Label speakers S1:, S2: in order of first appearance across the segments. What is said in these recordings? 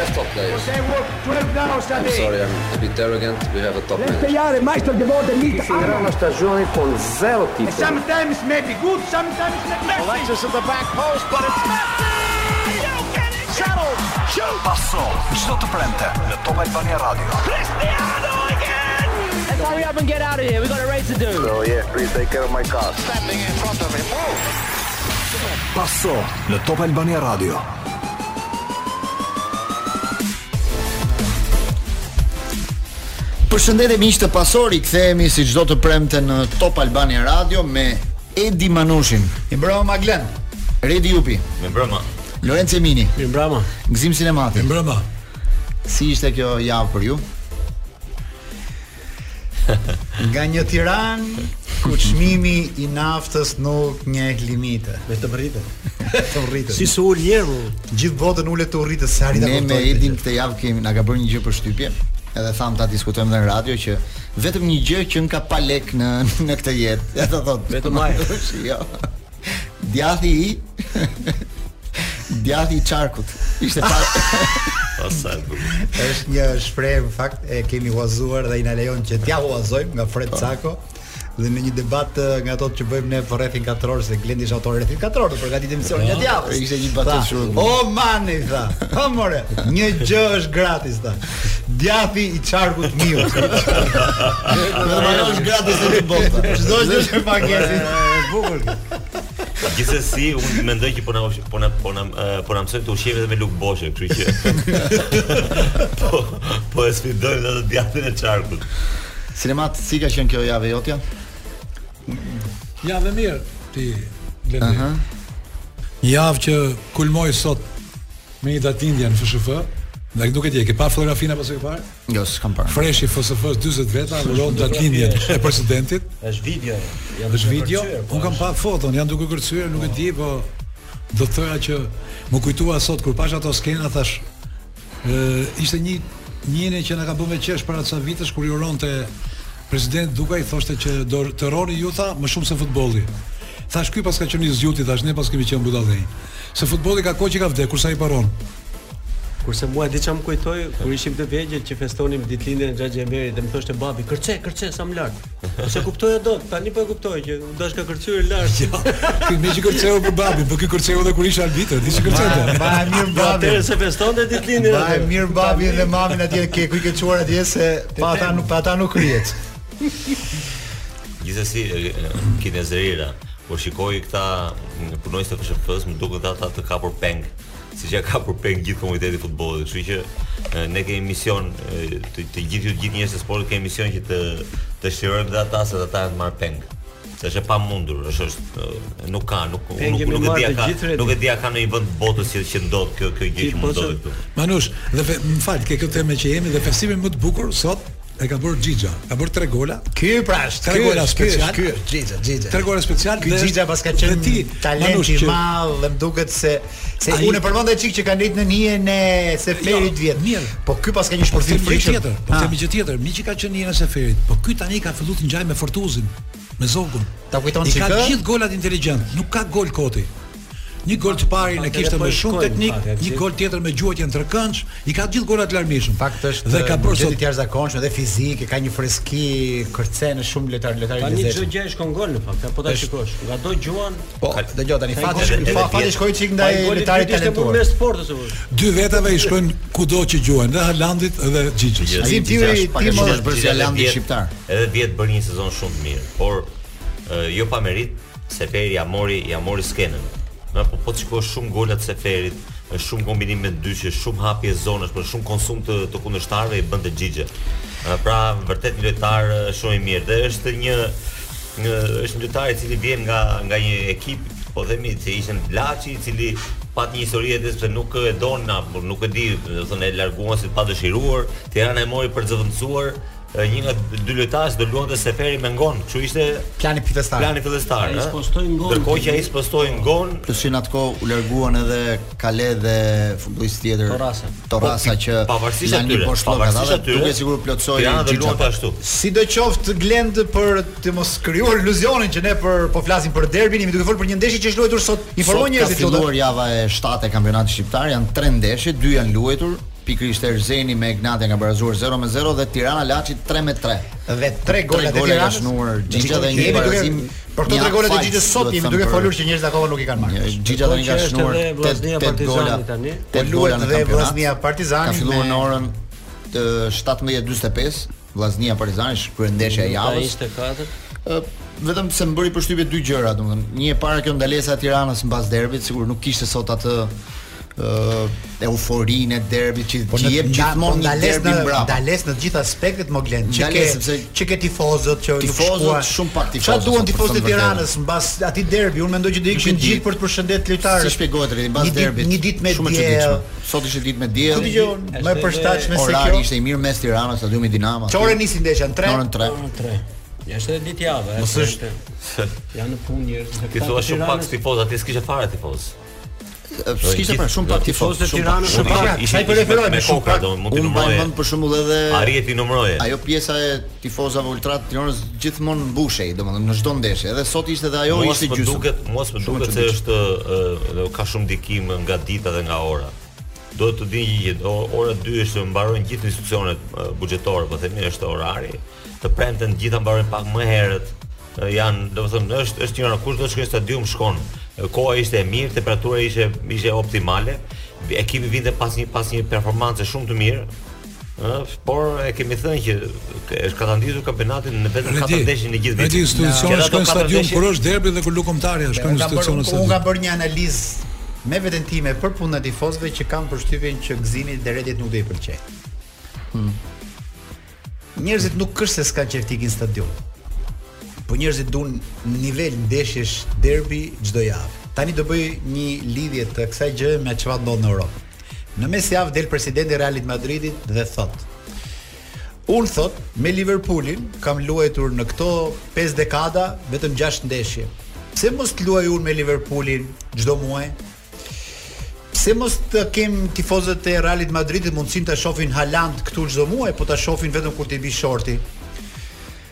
S1: have top players.
S2: They work 12 hours a
S1: I'm
S2: day.
S1: sorry, I'm a bit arrogant. We have a top
S2: Let's
S1: manager.
S2: jahre Meister geworden mit
S3: Igrao na
S2: Arnold.
S3: stadioni kon zero
S2: And
S3: titula.
S2: Sometimes maybe good, sometimes not. Messi.
S4: Alexis at the back post, but it's Settled. Shoot.
S5: Paso çdo të premte në Top Albania Radio.
S4: Cristiano again.
S6: Let's hurry up and get out of here. We got a race to do.
S3: Oh yeah, please take care of my car.
S4: Standing in front of him. Move.
S5: Paso në Top Albania Radio.
S7: Përshëndetje miq të pasori, kthehemi si çdo të premte në Top Albania Radio me Edi Manushin. I mbrëmë Maglen. Redi Jupi.
S8: Me mbrëma.
S7: Lorenzo Emini.
S9: Mirë mbrama.
S7: Gzim Sinemati.
S9: mbrama.
S7: Si ishte kjo javë për ju? Nga një tiran ku çmimi i naftës nuk njeh limite.
S9: Me të rritën.
S7: Të rritën.
S9: Si su ul njerë.
S7: Gjithë botën ulet të urritës se
S9: arrita
S7: Ne me
S9: kuptoj këtë
S7: Edin
S9: gjë.
S7: këtë javë kemi na ka bërë një gjë për shtypje. Edhe tham ta diskutojmë edhe në radio që vetëm një gjë që më ka pa lek në në këtë jetë. Ja ta thot.
S9: Vetëm ai.
S7: jo. Djathi i Djathi i Çarkut. Ishte pa
S8: Po sa e bukur.
S10: është një shprehje në fakt e kemi huazuar dhe i na lejon që t'ja huazojmë nga Fred Sako dhe në një debat eh, nga ato që bëjmë ne për rrethin katror se Glendi është autor i rrethit katror të përgatit emisionin gjatë javës.
S7: Ishte një batet
S10: Tha,
S7: shumë.
S10: O mani tha. Ha more. Një gjë është gratis tha. Djathi i çarkut miu.
S7: vetëm ajo është gratis në të botë.
S10: Çdo gjë është e pagesë. Bukur.
S8: Gjithsesi, unë mendoj që po na ush- po na po na eh, po na mësojnë të ushqejmë edhe me luk boshe, kështu që. po po e sfidojmë edhe djathtin e çarkut.
S7: Sinemat si ka qenë kjo javë jotja?
S9: Ja dhe mirë ti. Blendi. Aha. Javë që kulmoi sot me një datindje në FSHF. Dhe nuk e di, e ke parë fotografinë apo s'e ke parë?
S7: Jo, s'kam parë.
S9: Freshi FSF-s 40 veta anulon datindjen e presidentit.
S4: Është video.
S9: Është video. Un kam pa foton, janë duke kërcyer, nuk e di, po do të thoya që më kujtua sot kur pash ato skena thash ë ishte një njëne që na ka bën me qesh para ca vitesh kur i uronte president Duka i thoshte që do të rroni ju tha më shumë se futbolli. Thash ky pas ka qenë i zgjuti, thash ne pas kemi qenë budallënj. Se futbolli ka kohë që ka vdekur sa i paron.
S6: Kurse mua diçka më kujtoi kur ishim të vegjël që festonim ditëlindjen e Xhaxhi Emerit dhe më thoshte babi, "Kërce, kërce sa më lart." Se kuptoja dot, tani po e kuptoj që u dash ka kërcyer lart.
S9: Ky më që kërceu për babin, po ky kërceu edhe kur ishte arbitër, di si kërcente.
S10: Ba e mirë
S6: Po
S10: babi.
S6: atëherë
S9: Jo,
S6: se festonte ditëlindjen
S10: Ba e
S6: atë.
S10: mirë babi dhe mamin atje ke ku i ke çuar atje se pa ata nuk pa ata nuk rihet.
S8: Gjithsesi, eh, eh, kinezerira. Kur shikoj këta mm, punojës të FSHF-s, më duket ata të kapur peng si që ka për peng gjithë komuniteti i futbollit. Kështu që eh, ne kemi mision eh, të, të gjithë ju të gjithë njerëzit e sportit kemi mision që të të shtirojmë dhe ata se ata janë të marrë peng. Se është e pamundur, është është eh, nuk ka, nuk
S6: Peng
S8: nuk
S6: kemi
S8: nuk e di
S6: marrë
S8: a
S6: të
S8: ka,
S6: gjithë, Redi.
S8: nuk e di a ka në një vend të botës që që ndodh kjo kjo gjë
S6: Ti,
S8: që
S6: po,
S8: mund ndodhi
S6: se-
S8: këtu.
S9: Manush, dhe fe, më fal, ke këtë temë që jemi dhe festimi më të bukur sot e ka bërë Xhixha. Ka bërë tre gola.
S10: Ky pra është,
S9: Tre
S10: ky
S9: gola
S10: është, ky
S9: special.
S10: është, ky është Xhixa, Xhixa.
S9: Tre gola special.
S10: Ky
S9: dhe-
S10: Xhixa pas ka
S9: dhe
S10: qenë
S9: ti,
S10: talent
S9: Manush,
S10: i
S9: që-
S10: madh dhe më duket se se
S9: Ai-
S10: unë e përmendaj çik që kanë ditë në nijen e Seferit
S9: Jo,
S10: vjet.
S9: mirë.
S10: Po ky pas ka një
S9: Po
S10: shpërthim
S9: themi gjë
S10: frikshëm.
S9: tjetër, po
S10: Ah,
S9: themi gjë tjetër, mi që ka qenë njëra se ferit, po ky tani ka filluar të ngjajë me Fortuzin, me Zogun.
S10: Ta kujton
S9: I ka
S10: çikë?
S9: gjithë golat inteligjent, nuk ka gol koti. Një gol të parin e
S6: atëherë
S9: kishte
S6: po
S9: me
S6: i
S9: shumë
S6: shkojmë,
S9: teknik,
S6: atëherë,
S9: një
S6: si-
S9: gol tjetër me gjuhëtjen tërkëndsh, i ka gjithë golat larmishëm.
S10: Fakt është
S9: dhe ka bërë sot
S10: të jashtëzakonshme dhe fizike, ka një freski kërcen shumë lojtar lojtar i
S6: Tani çdo
S10: lezetshëm.
S6: gjë është kongol në fakt, apo ta shikosh. Nga do gjuan.
S10: Po, dëgjoj tani
S6: Ka
S10: fati
S6: një
S10: shkoi
S8: golit
S10: fa-
S8: edhe
S10: fati
S8: vjet.
S10: shkoi çik
S6: Pa
S10: ndaj
S6: i golit
S10: lojtarit
S6: ishte
S10: talentuar.
S6: punë me sportës u.
S9: dy vetave i shkojnë kudo që gjuajnë, dhe Haalandit dhe Xhixhit.
S8: Gjithë
S10: Azim, ti-
S8: gjithë
S10: ti
S8: është
S10: më-
S8: gjithë
S7: bërë si
S8: edhe
S7: Alandi
S8: vjet-
S7: shqiptar.
S8: Edhe vjet bën një sezon shumë të mirë, por e, jo pa merit Seferi ja mori ja mori skenën. Na po po të shikosh shumë golat e Seferit, është shumë kombinim me dyqe, shumë hapje zonësh, por shumë konsum të, të kundërshtarëve i bën të gjigje. E, Pra vërtet një lojtar e, shumë i mirë dhe është një një është një lojtar i cili vjen nga nga një ekip po themi se ishte në Laçi i cili pat një histori edhe se nuk e don na por nuk e di do të thonë e larguan si pa dëshiruar Tirana e mori për zëvendësuar e, një nga dy lojtarë do luante Seferi me ngon kështu ishte
S10: Plani fitestar.
S8: plani fillestar
S6: Ai spostoi ngon.
S8: ndërkohë që ai spostoi ngon
S7: Plus që në atë kohë u larguan edhe Kale dhe futbollist tjetër
S6: Torrasa. Po,
S7: Torrasa që
S8: pavarësisht
S7: janë një
S8: atyre
S7: bosh lloka,
S8: pavarësisht
S7: dhe
S8: atyre
S7: duke sigur plotsoi
S8: Tirana do
S7: Xhixa
S8: luante
S7: pak.
S8: ashtu
S10: Si do qoftë Glend për të mos krijuar iluzionin që ne për po flasim për derbin, jemi duke folur për një ndeshje që është luajtur sot. Informo
S7: Sot ka
S10: njerëzit Luta.
S7: filluar java e 7 e kampionatit shqiptar, janë 3 ndeshje, 2 janë luajtur, pikërisht Erzeni me Ignatia ka barazuar 0 me 0 dhe Tirana Laçi 3 me 3.
S10: Dhe tre gola të
S7: ka
S10: Tiranës.
S7: shnuar Xhixa dhe një
S10: Jemi duke-
S7: barazim.
S10: Për këto
S7: një
S10: tre gola të
S7: fajs,
S10: Xhixës sot
S7: duhet
S10: jemi
S7: thënë
S10: duke
S7: për-
S10: folur që njerëzit akoma nuk i kanë marrë.
S7: Xhixa tani ka
S6: Po që është
S7: shnuar
S6: edhe
S7: 8
S6: Vllaznia
S7: gola
S6: Partizani tani.
S10: Po
S7: 8 gola
S10: luhet
S7: në
S10: dhe
S7: kampionat.
S10: Vllaznia Partizani
S7: Ka filluar
S10: me-
S7: në orën të 17:45 Vllaznia Partizani shkruan ndeshja e
S6: Ata
S7: javës.
S6: ishte 4.
S7: Ë, vetëm se më bëri përshtypje dy gjëra, domethënë, një e para kjo ndalesa e Tiranës mbas derbit, sigur nuk kishte sot atë ë euforinë e derbit që
S10: Po
S7: që jep gjithmonë një
S10: ndales
S7: derbi
S10: në
S7: mbrapa.
S10: ndales në të gjitha aspektet më glen. Që ke
S7: Ndales, sepse-
S10: që ke tifozët që nuk
S7: Tifozët,
S10: shkuan.
S7: shumë pak tifozë
S10: Çfarë duan
S7: sot,
S10: tifozët
S7: për
S10: e
S7: të vërtetë.
S10: Tiranës mbas atij derbi? Unë mendoj që do
S7: e
S10: ikshin
S7: di.
S10: gjithë për të përshëndet lojtarët.
S7: Si shpjegohet rreth mbas
S10: Një ditë-
S7: derbit?
S10: Një ditë me
S7: shumë e
S10: diell.
S7: çuditshme. Sot ishte ditë me diell.
S10: Ku dëgjon më e përshtatshme se
S7: Orari
S10: kjo?
S7: ishte i mirë mes Tiranës, stadiumi Dinamo.
S10: Çore nisi ndeshja në 3.
S7: në orën 3.
S6: Tre. Ja është edhe ditë javë. Mos është. Janë në punë njerëz.
S8: Ti thua shumë pak tifoz, aty s'kishte fare tifoz.
S7: S'kishte pra shumë pak tifoz.
S6: Tifozët e Tiranës
S8: Unë
S6: shumë pak.
S8: ishe-
S10: sa i
S8: ishe
S10: përreferohen,
S8: me
S10: shumë
S8: kokra,
S10: pak.
S8: do mund t'i
S7: Unë mbaj
S8: numëroje.
S7: mend për shembull edhe
S8: Arje ti numëroje.
S7: ajo pjesa e tifozave ultrat të Tiranës gjithmonë mbushej, domethënë në çdo ndeshje. Edhe sot ishte dhe ajo
S8: Mos
S7: ishte
S8: më
S7: gjysmë.
S8: duket, mos më
S7: Shumë
S8: duket se
S7: çuditshme.
S8: është ë, ë, ka shumë ndikim nga dita dhe nga ora. Duhet të dini një gjë, o- ora 2 është që mbarojnë gjithë institucionet ë, bugjetore, po themi është orari. Të premten gjitha mbarojnë pak më herët. ë, Janë, do të thënë, është është një orë kush do të shkojë në stadium shkon. Ë, Koha ishte e mirë, temperatura ishte ishte optimale. Ekipi vinte pas një pas një performance shumë të mirë. ë, por e kemi thënë që është ka ta nditur kampionatin në vetëm 4 ndeshje në gjithë
S9: Redi,
S8: vitin. Që
S9: institucionet
S8: ato
S9: shkojnë në
S8: katër
S9: stadium
S8: ndeshje-
S9: kur është derbi dhe kur lukumtarja shkojnë
S10: Unë kam
S9: në
S10: bërë
S9: institucionet
S10: unë kam
S9: stadium.
S10: bërë një analizë me veten time për punën e tifozëve që kanë përshtypjen që gëzimi i deretit nuk do i pëlqej.
S9: Hmm.
S10: Njerëzit nuk është se s'kan qejf tikin në stadium. Po njerëzit duan në nivel ndeshjesh derbi çdo javë. Tani do bëj një lidhje të kësaj gjë me çfarë ndodh në Europë. Në mes javë del presidenti i Realit Madridit dhe thotë Unë thot, me Liverpoolin kam luajtur në këto 5 dekada vetëm 6 ndeshje. Pse mos të luaj unë me Liverpoolin çdo muaj? Pse mos të kem tifozët e Realit Madridit mundësinë ta shohin Haaland këtu çdo muaj, po ta shohin vetëm kur t'i vi shorti?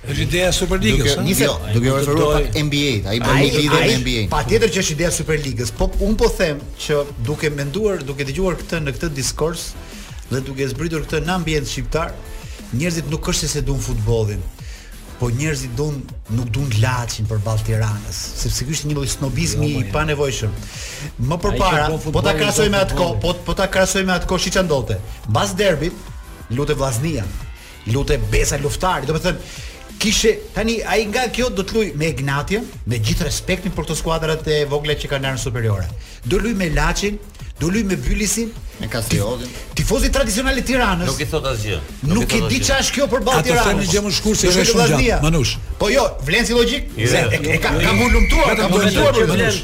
S9: Është ideja e Superligës,
S7: Duke,
S9: ha?
S7: nise,
S6: ai
S7: duke
S6: nuk
S7: referuar
S6: kuptoi.
S7: pak NBA, ai bën një lidhje me NBA.
S10: Patjetër që është ideja e Superligës, po un po them që duke menduar, duke dëgjuar këtë në këtë diskurs dhe duke zbritur këtë në ambient shqiptar, njerëzit nuk është se se duan futbollin, po njerëzit duan nuk duan laçin përballë Tiranës, sepse ky është një lloj
S7: Jo,
S10: snobizmi
S7: po
S10: i panevojshëm. Më përpara,
S6: që po
S10: po ta
S6: futbollin,
S10: krahasoj
S6: do
S10: me atë kohë,
S6: futbollin.
S10: po po ta krahasoj me atë kohë siç ndodhte. Mbas derbit, lutë Vllaznia, lutë Besa Luftari, do të thënë kishe tani ai nga kjo do të luaj me Ignatien, me gjithë respektin për këto skuadrat e vogla që kanë armë superiore. Do luaj me Laçin, do luaj me Bylisin,
S7: Me Kastriodin.
S10: tifozi tradicional i Tiranës.
S8: Nuk i thot asgjë.
S10: Nuk e
S8: thot
S10: di
S8: asgjë.
S10: ç'a është kjo për ballë
S9: Atë
S10: Tiranës.
S9: themi gjë më shkurtë se
S10: Do shkoj
S9: ishte
S10: në
S9: shumë
S10: Vllaznia.
S9: gjatë, Manush.
S10: Po jo, vlen si logjik?
S8: Jo,
S10: Ze- e- e ka ka mulumtuar, ka
S9: Vetëm do të
S10: mulumtuar
S9: thotë
S10: për
S9: që
S10: Manush.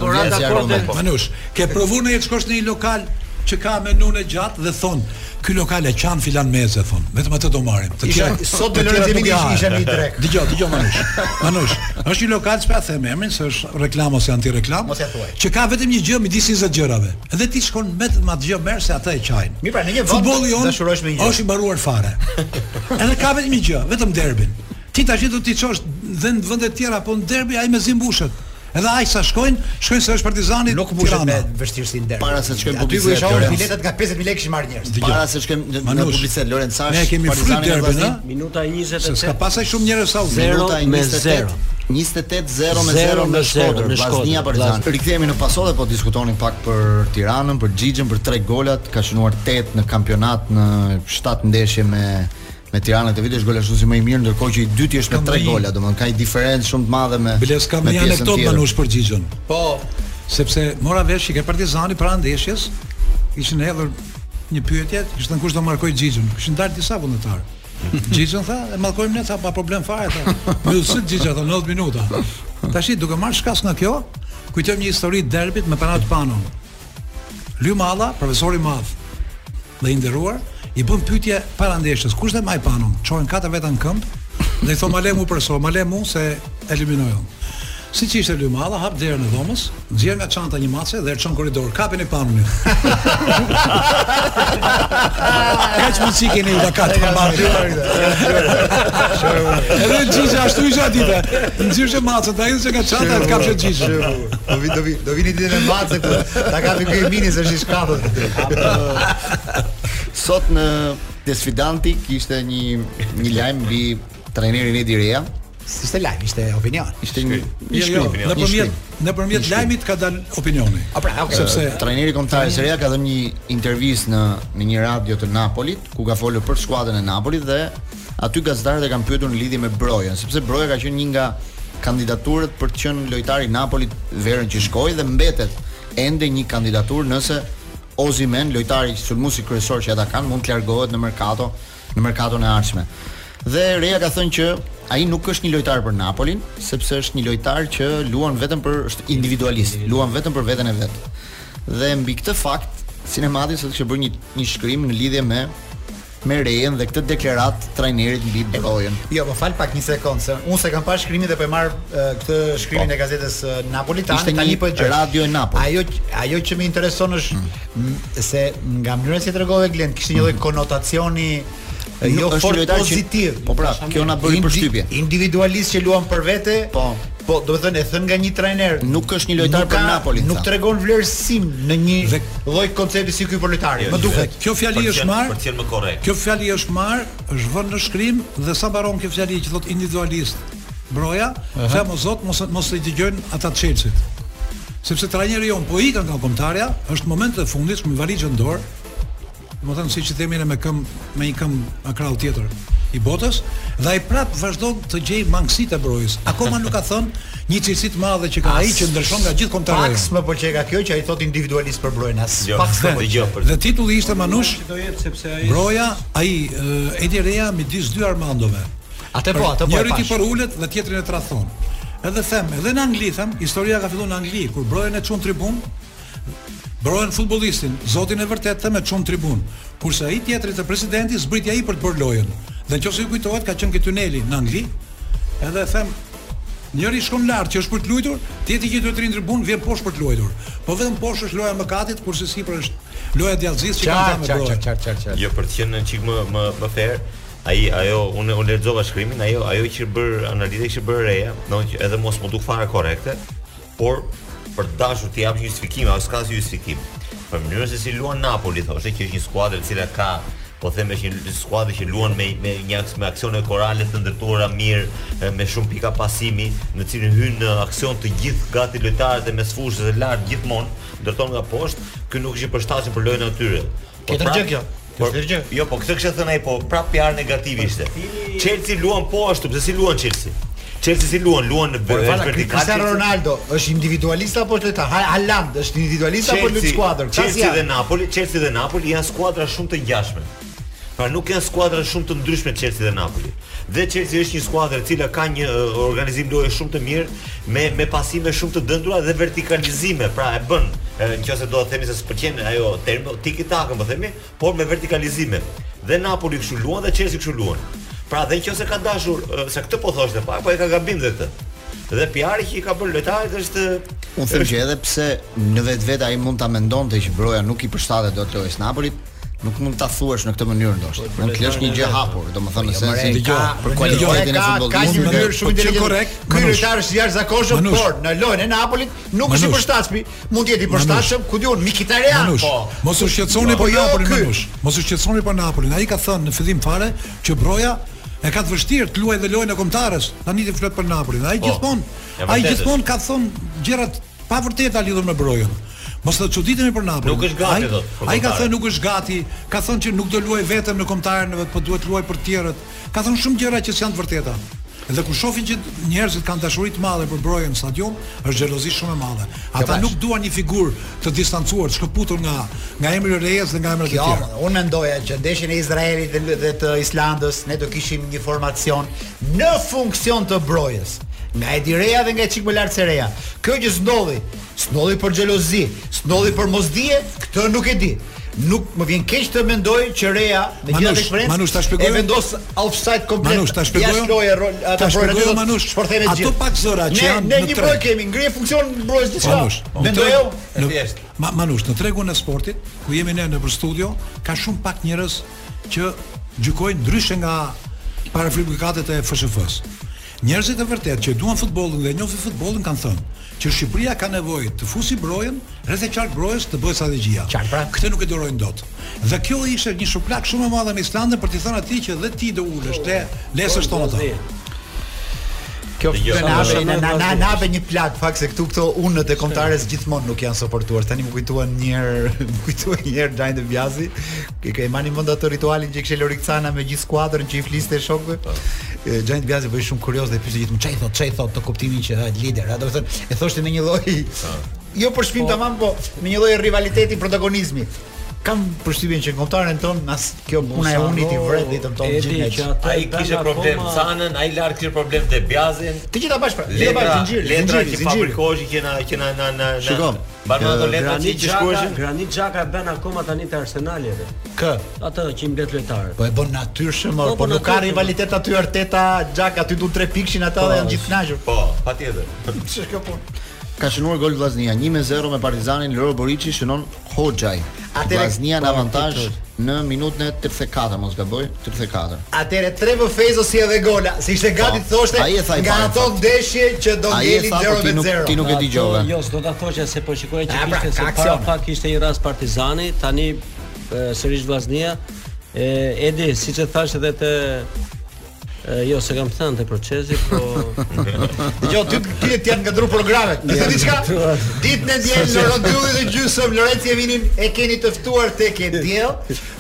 S9: vlen,
S10: po.
S9: Manush, ke provu në jetë shkosh në një lokal që ka menun e gjatë dhe thon, ky lokal e qan filan meze thon. Vetëm atë do marrim. Të
S10: Isha-
S9: tjera-
S10: sot
S9: të
S10: me
S9: tjera
S10: Lorenzo
S9: nuk
S10: Mini
S9: janë.
S10: isha në i drek.
S9: Dgjoj, dgjoj Manush. Manush, është një lokal s'pa them emrin se është reklam ose antireklam.
S10: Mos ja thuaj.
S9: Që ka vetëm një gjë midis 20 gjërave. Edhe ti shkon me ma atë gjë merr se ata e qajnë.
S10: Mirë, pra, në një vend
S9: futbolli jon
S10: dashurohesh me një gjë.
S9: është i mbaruar fare. Edhe ka vetëm një gjë, vetëm derbin. Ti tash do ti çosh dhe në vende të tjera, po në derbi ai me zimbushet. Edhe ai sa shkojnë, shkojnë se është Partizani
S10: Nuk mbushet me
S9: Tirana.
S10: vështirësinë derbi.
S7: Para se të shkojmë
S10: Aty ku
S7: publicitet,
S10: isha unë
S7: Lorenz.
S10: biletat nga 50000 lekë kishin marrë njerëz.
S9: Dgjoj.
S7: Para se shkojmë në- në
S9: Manush,
S7: publicitet, Lorenz Sash,
S9: Ne kemi fryt
S7: Partizani nga
S9: derbin,
S7: Vllazni,
S9: ha?
S6: Minuta
S9: Se
S6: 28.
S9: s'ka pasaj shumë njerëz sa u
S6: Zero.
S9: zero.
S7: Minuta
S6: me
S7: 28.
S6: zero.
S7: 28-0 me
S6: Zero
S7: 0 në
S6: me zero
S7: Shkodër,
S6: në
S7: Vllaznia Partizan.
S6: Shkodër, Vllaznia.
S7: Rikthehemi në paso dhe po diskutonin pak për Tiranën, për Xhixhin, për tre golat, ka shënuar 8 në kampionat në 7 ndeshje me me Tiranën këtë vit është golashtuesi më i mirë, ndërkohë që i dyti është me
S9: Kam
S7: 3
S9: një-
S7: gola, domethënë ka një diferencë shumë të madhe me
S9: Biles kam
S7: me
S9: një
S7: pjesën
S9: anekdot
S7: tjetër.
S9: Manush për Gjixhën.
S10: Po,
S9: sepse mora vesh që ke Partizani para ndeshjes, kishin hedhur një pyetje, kishte thënë kush do markoj Xhixhin. Kishin dalë disa vullnetar. Xhixhin tha, e mallkojmë ne tha pa problem fare tha. Më së Xhixha tha 90 minuta. Tashi duke marrë shkas nga kjo, kujtojmë një histori të derbit me Panat Panon. Ly Malla, profesori i madh dhe i nderuar, i bën pyetje para ndeshjes, kush do maj Panon? Çohen katër veta në këmp dhe i thon ma le mu përso, ma le mu se eliminojmë. Si që ishte lymalla, hap derën e dhomës, nxjerr nga çanta një mace dhe e çon në korridor, kapin e panunit. Kaç mund si keni ata katë për Edhe gjisha ashtu isha ditë. Nxjerrshë macën, ta hidhshë nga çanta e kapshë gjishën.
S10: Do vi do vi do vini ditën e mbacë këtu. Ta kapi ky mini se është i shkatët.
S7: Sot në Desfidanti kishte një një lajm mbi trajnerin Edi Rea.
S10: Si ishte lajm, ishte opinion.
S7: Ishte një
S9: Jo, jo,
S7: një shkrim.
S9: nëpërmjet nëpërmjet lajmit ka dal opinioni.
S10: A pra, okay.
S9: Sepse
S7: Trajneri kombëtar i Serie A ka dhënë një intervistë në në një radio të Napolit, ku ka folur për skuadrën e Napolit dhe aty gazetarët e kanë pyetur në lidhje me Brojan, sepse Broja ka qenë një nga kandidaturët për të qenë lojtari i Napolit verën që shkoi dhe mbetet ende një kandidaturë nëse Ozimen, lojtari sulmuesi kryesor që ata kanë, mund të largohet në merkato, në merkaton e ardhshme. Dhe Reja ka thënë që ai nuk është një lojtar për Napolin, sepse është një lojtar që luan vetëm për është individualist, luan vetëm për veten e vet. Dhe mbi këtë fakt, Sinemati sot kishte bërë një një shkrim në lidhje me me Rejen dhe këtë deklaratë të trajnerit mbi Brojen.
S10: Jo, po fal pak një sekond, se unë se kam parë shkrimin dhe po e marr e, këtë shkrimin e gazetës e, Napolitane,
S7: Ishte
S10: tani
S7: një
S10: po e gjej.
S7: radio e Napoli. Mm.
S10: Ajo q- ajo që më intereson është m- se nga mënyra si tregove Glen, kishte një lloj konotacioni e,
S7: Nuk
S10: jo
S7: është
S10: fort
S7: lojtar që-
S10: pozitiv.
S7: Po pra, kjo na bëri
S10: Indi-
S7: përshtypje.
S10: Individualist që luan për vete.
S7: Po.
S10: Po, do të thënë e thën nga një trajner.
S7: Nuk është një lojtar
S10: Nuk
S7: për
S10: ka-
S7: Napolin,
S10: Nuk
S7: tha.
S10: tregon vlerësim në një
S9: Dhe-
S10: lloj koncepti si ky për lojtarin.
S8: Jo,
S10: Më
S8: jo.
S10: duket.
S9: kjo fjali
S8: Për të
S9: është
S8: qenë-
S9: marr
S8: për të qenë më korrekt.
S9: Kjo fjali është marr, është vënë në shkrim dhe sa mbaron kjo fjali që thot individualist Broja, them o zot mos mos i dëgjojnë ata të Chelsea-t. Sepse trajneri jon po ikën nga kombëtarja, është momenti i fundit me varixhën dorë. Do të thënë siç i themi ne me këmbë me një këmbë akrau tjetër i botës dhe ai prap vazhdon të gjej mangësitë e brojës. Akoma nuk ka thënë një cilësi të madhe që ka ai që ndryshon nga gjithë kombëtarja.
S10: Paks më pëlqej ka kjo që ai thot individualist për Brojën. as
S8: Jo,
S10: Paks më
S8: dhe
S10: pëlqej.
S8: gjë për
S9: Dhe titulli ishte Manush
S6: do jetë sepse ai
S9: Broja, ai e, Edi Rea midis dy Armandove.
S10: Atë po, atë po. e
S9: Njëri ti
S10: pash.
S9: për ulet dhe tjetrin e tradhon. Edhe them, edhe në Angli them, historia ka filluar në Angli kur Brojen e çon tribun, Brojen futbollistin, zotin e vërtet them e çon tribun. Kurse ai tjetri të presidenti zbriti ai për të bërë lojën. Dhe nëse ju kujtohet ka qenë ky tuneli në Angli. Edhe them, njëri shkon lart që është për të luajtur, tjetri që duhet të rinë në tribun vjen poshtë për të luajtur. Po vetëm poshtë është loja e mëkatit, kurse sipër është loja e djallëzisë që kanë
S10: Çar,
S9: dhënë me
S10: çar,
S9: Brojen.
S10: çar, çar, çar, çar.
S8: Jo për të qenë çik më më më fair, ai ajo unë unë lexova shkrimin, ajo ajo që bër analitika që bër reja, domethënë që edhe mos më duk fare korrekte, por për të dashur të jap një justifikim, ajo s'ka asnjë justifikim. Për mënyrën se si luan Napoli thoshte që është një skuadër e cila ka po them është një skuadër që luan me me një aks, me aksione korale të ndërtuara mirë, e, me shumë pika pasimi, në cilin hyn në aksion të gjithë gati lojtarët e mes fushës e lart gjithmonë, ndërton nga poshtë, ky nuk ishte përshtatshëm për lojën e atyre. Po
S10: Tjetër
S8: prap-
S10: gjë kjo.
S8: Por,
S10: Tjetër gjë.
S8: jo, po këtë kështë thënë ai, po prap PR negativ ishte. Chelsea luan po ashtu, pse si luan Chelsea? Chelsea si luan, luan në
S10: Por
S8: vë-
S10: Po, fala,
S8: vertikal
S10: Cristiano
S8: Chelsea.
S10: Ronaldo është individualist apo është lojtar? Ha- Haaland është individualist apo lojtë skuadër? Këta si
S8: Chelsea
S10: janë?
S8: dhe Napoli, Chelsea dhe Napoli janë skuadra shumë të ngjashme. Pra nuk janë skuadra shumë të ndryshme Chelsea dhe Napoli. Dhe Chelsea është një skuadër e cila ka një ë, organizim loje shumë të mirë me me pasime shumë të dëndura dhe vertikalizime, pra e bën ë, nëse do të themi se s'pëlqen ajo termo tiki taka, po themi, por me vertikalizime. Dhe Napoli kështu luan dhe Chelsea kështu luan. Pra dhe nëse ka dashur, ë, se këtë po thoshte pak, po e ka gabim dhe këtë. Dhe PR-i që i ka bërë lojtarit është
S7: Unë them që edhe pse në vetvete ai mund ta mendonte që Broja nuk i përshtatet dot lojës Napolit, nuk mund ta thuash në këtë mënyrë ndoshta. Mund të lësh një gjë hapur, domethënë në
S10: Jo, more,
S7: sensin
S10: ka-
S7: për
S10: mënyrë-
S7: cilësinë e
S10: ka- Ka një
S7: futbollistit.
S10: mënyrë
S7: dhe-
S10: shumë
S9: Po, që
S10: inteligjente.
S9: korrekt,
S10: Ky
S9: Manush.
S10: lojtar është jashtëzakonshëm,
S9: Manush.
S10: por në lojën e Napolit nuk është i
S9: Manush.
S10: përshtatshëm. Mund të jetë i përshtatshëm, ku diun Mikitarian,
S9: Manush,
S10: po.
S9: mos u shqetësoni
S10: Po
S9: për
S10: jo,
S9: Napolin,
S10: ky.
S9: Manush. Mos u shqetësoni për Napolin. Ai ka thënë në fillim fare që Broja e ka të vështirë të luajë dhe lojën e kombëtarës. Tani ti flet për Napolin. Ai
S8: Po, e
S9: gjithmonë, ai
S8: vërtetë
S9: gjithmonë ka thënë gjëra të pavërteta lidhur me Brojën. Mos të çuditemi për Napolin.
S8: Nuk është gati,
S9: Ai-
S8: thotë, për
S9: Ai ka
S8: kombëtarën.
S9: thënë nuk është gati, ka thënë që nuk do luaj vetëm në kombëtarën, po duhet luaj për të tjerët. Ka thënë shumë gjëra që janë të vërteta. Dhe kur shohin që njerëzit kanë dashuri të madhe për Brojën në stadium, është xhelozi shumë e madhe. Ata
S10: bash.
S9: nuk duan një figurë të distancuar, të shkëputur nga nga emri Reyes dhe nga emrat e
S10: Kjo,
S9: tjerë.
S10: unë mendoja që ndeshjen e Izraelit dhe, dhe të Islandës ne do kishim një formacion në funksion të brojës nga Edi Rea dhe nga Çik më lart Serea. Kjo që s'ndodhi, s'ndodhi për xhelozi, s'ndodhi për mosdije, këtë nuk e di. Nuk më vjen keq të mendoj që Rea me gjithë
S9: Manush,
S10: eksperiencën
S9: Manush, ta shpjegoj?
S10: e vendos offside komplet.
S9: Manush, ta shpjegoj?
S10: Jashtë loje rol
S9: Ta
S10: ata
S9: shpjegoj, Manush?
S10: por thënë
S9: Ato pak zëra që janë
S10: ne
S9: në
S10: një
S9: treg.
S10: broj kemi, ngrije funksion brojës diçka.
S9: Manush, në
S10: Mendoj jo?
S9: treg-
S10: unë.
S8: e
S9: në-
S8: thjeshtë.
S9: Ma, Manush, në tregun e sportit, ku jemi ne nëpër studio, ka shumë pak njerëz që gjykojnë ndryshe nga parafrikatet e FSHF-s. Njerëzit e vërtet që duan futbollin dhe njohin futbollin kanë thënë që Shqipëria ka nevojë të fusi brojën rreth e qark brojës të bëhet strategjia.
S10: Qartë, pra.
S9: Këtë nuk e dorojnë dot. Dhe kjo ishte një shuplak shumë e madhe me Islandën për t'i thënë atij që dhe ti do ulesh, te lesësh tonë ato.
S10: Kjo
S8: Dëgjoj.
S10: do na hape
S6: Sa më
S10: na na
S8: jo,
S10: na
S6: vazhdimesh.
S10: na hape një plak fakt se këtu këto unët e kombëtares gjithmonë nuk janë suportuar. Tani më kujtuan një herë, më kujtuan një herë Gjajnë Biazi. Ke ke mani mend atë ritualin që kishte Loricana me gjithë skuadrën që i fliste shokëve.
S8: Po.
S10: E, Gjajnë Biazi bëri shumë kurioz dhe pyeti gjithmonë çai thot, çai thot të kuptimin që ha lider, a do të thonë e thoshte në një lloj
S8: Po.
S10: jo për shpim tamam, po me një lloj rivaliteti protagonizmi. Kam përshtypjen që kombëtaren ton as kjo puna e unit i vret ditën tonë gjithë.
S8: Ai kishte problem Canën, ai lart kishte problem te Bjazin.
S10: Të gjitha bashkë, pra, të gjitha
S8: Letra,
S10: bashkë zinxhiri,
S8: letra
S10: zinxhiri,
S8: që
S10: zinxhiri.
S8: fabrikoshi që na që na na na.
S7: Shiko,
S8: mban ato letra që
S6: Granit
S8: që
S6: Xhaka,
S8: shkruajnë.
S6: Granit Xhaka e bën akoma tani te Arsenali edhe.
S10: Kë?
S6: Atë që i mblet lojtarët.
S10: Po e bën natyrshëm,
S6: Po,
S10: or,
S6: po,
S10: po nuk ka
S6: natyrshëm.
S10: rivalitet aty Arteta, Xhaka aty duan tre pikshin ata dhe janë gjithë kënaqur.
S8: Po, patjetër.
S10: Ç'është kjo punë?
S7: Ka shënuar gol Vllaznia 1-0 me Partizanin Loro Boriçi shënon Hoxhaj.
S10: Atëre-
S7: Vllaznia në
S10: po,
S7: avantazh
S10: kujtoj.
S7: në minutën e 34 mos gaboj, 34.
S10: Atëre tre më fezo si edhe gola, se ishte gati të
S7: Po,
S10: thoshte
S7: ai e tha i
S10: nga
S7: pari,
S10: ato
S7: fakt.
S10: ndeshje që do
S7: Ai e
S10: ngeli
S7: tha, po,
S10: 0
S7: ti nuk- ti nuk- e
S6: Ato-
S7: dëgjove.
S6: Jo, s'do ta thoshja se po shikoja që
S10: A, pra,
S6: kishte
S10: ka
S6: se para
S10: aksion.
S6: pak kishte një rast Partizani, tani e, sërish Vllaznia. E, Edi, siç e thash edhe te e, jo, se kam thënë te procesi, po
S10: Dgjoj ty ti ti janë ngadru programet. Nëse diçka ditën e diel në rondylli dhe gjysmë Lorenci e vinin e keni të ftuar tek e diell.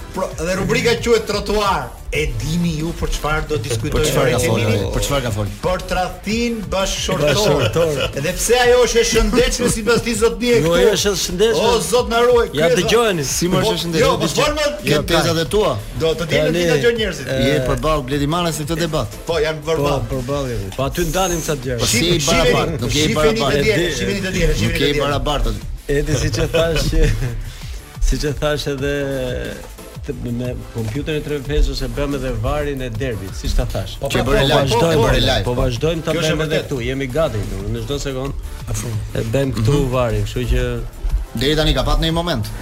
S10: Pro, dhe rubrika quhet trotuar. E dini ju për çfarë do
S7: Për
S10: diskutojmë
S7: çfarë ka
S10: Lorenci e
S7: folur?
S10: vinin?
S7: ai? Për çfarë ka folur?
S10: Për tradhtin bashkëshortor. Edhe pse ajo është e shëndetshme sipas ti zotnie këtu.
S6: Jo, ajo është e shëndetshme.
S10: O zot na ruaj.
S6: ja
S10: ky e
S6: dëgjojeni.
S7: Si më është shëndet?
S10: Jo, po s'folma.
S7: Ke tezat e tua?
S10: Do të dilën
S6: Tani-
S10: ti ajo njerëzit.
S7: Je përballë Bledimanës në këtë debat.
S10: Po janë verbal.
S6: Po aty ndanin ca gjëra.
S7: Po si je i barabart, nuk je i barabart.
S10: Shihni të dielën,
S7: Nuk
S10: shihni
S7: je i
S10: të dielën.
S7: barabart.
S6: Edi si që thash që si që thash edhe të- me kompjuterin të rëfeshës e bëm edhe varin e derbit, si që ta thash. Po,
S7: Që e bëre live,
S6: vazhdojmë,
S7: e bëre live.
S6: po vazhdojmë ta
S10: Kjo është
S6: bëjmë
S10: e
S6: edhe
S10: vërtetë.
S6: këtu, jemi gati këtu, në çdo sekond. E bëjmë këtu varin, kështu që
S7: Deri tani ka pat në një moment.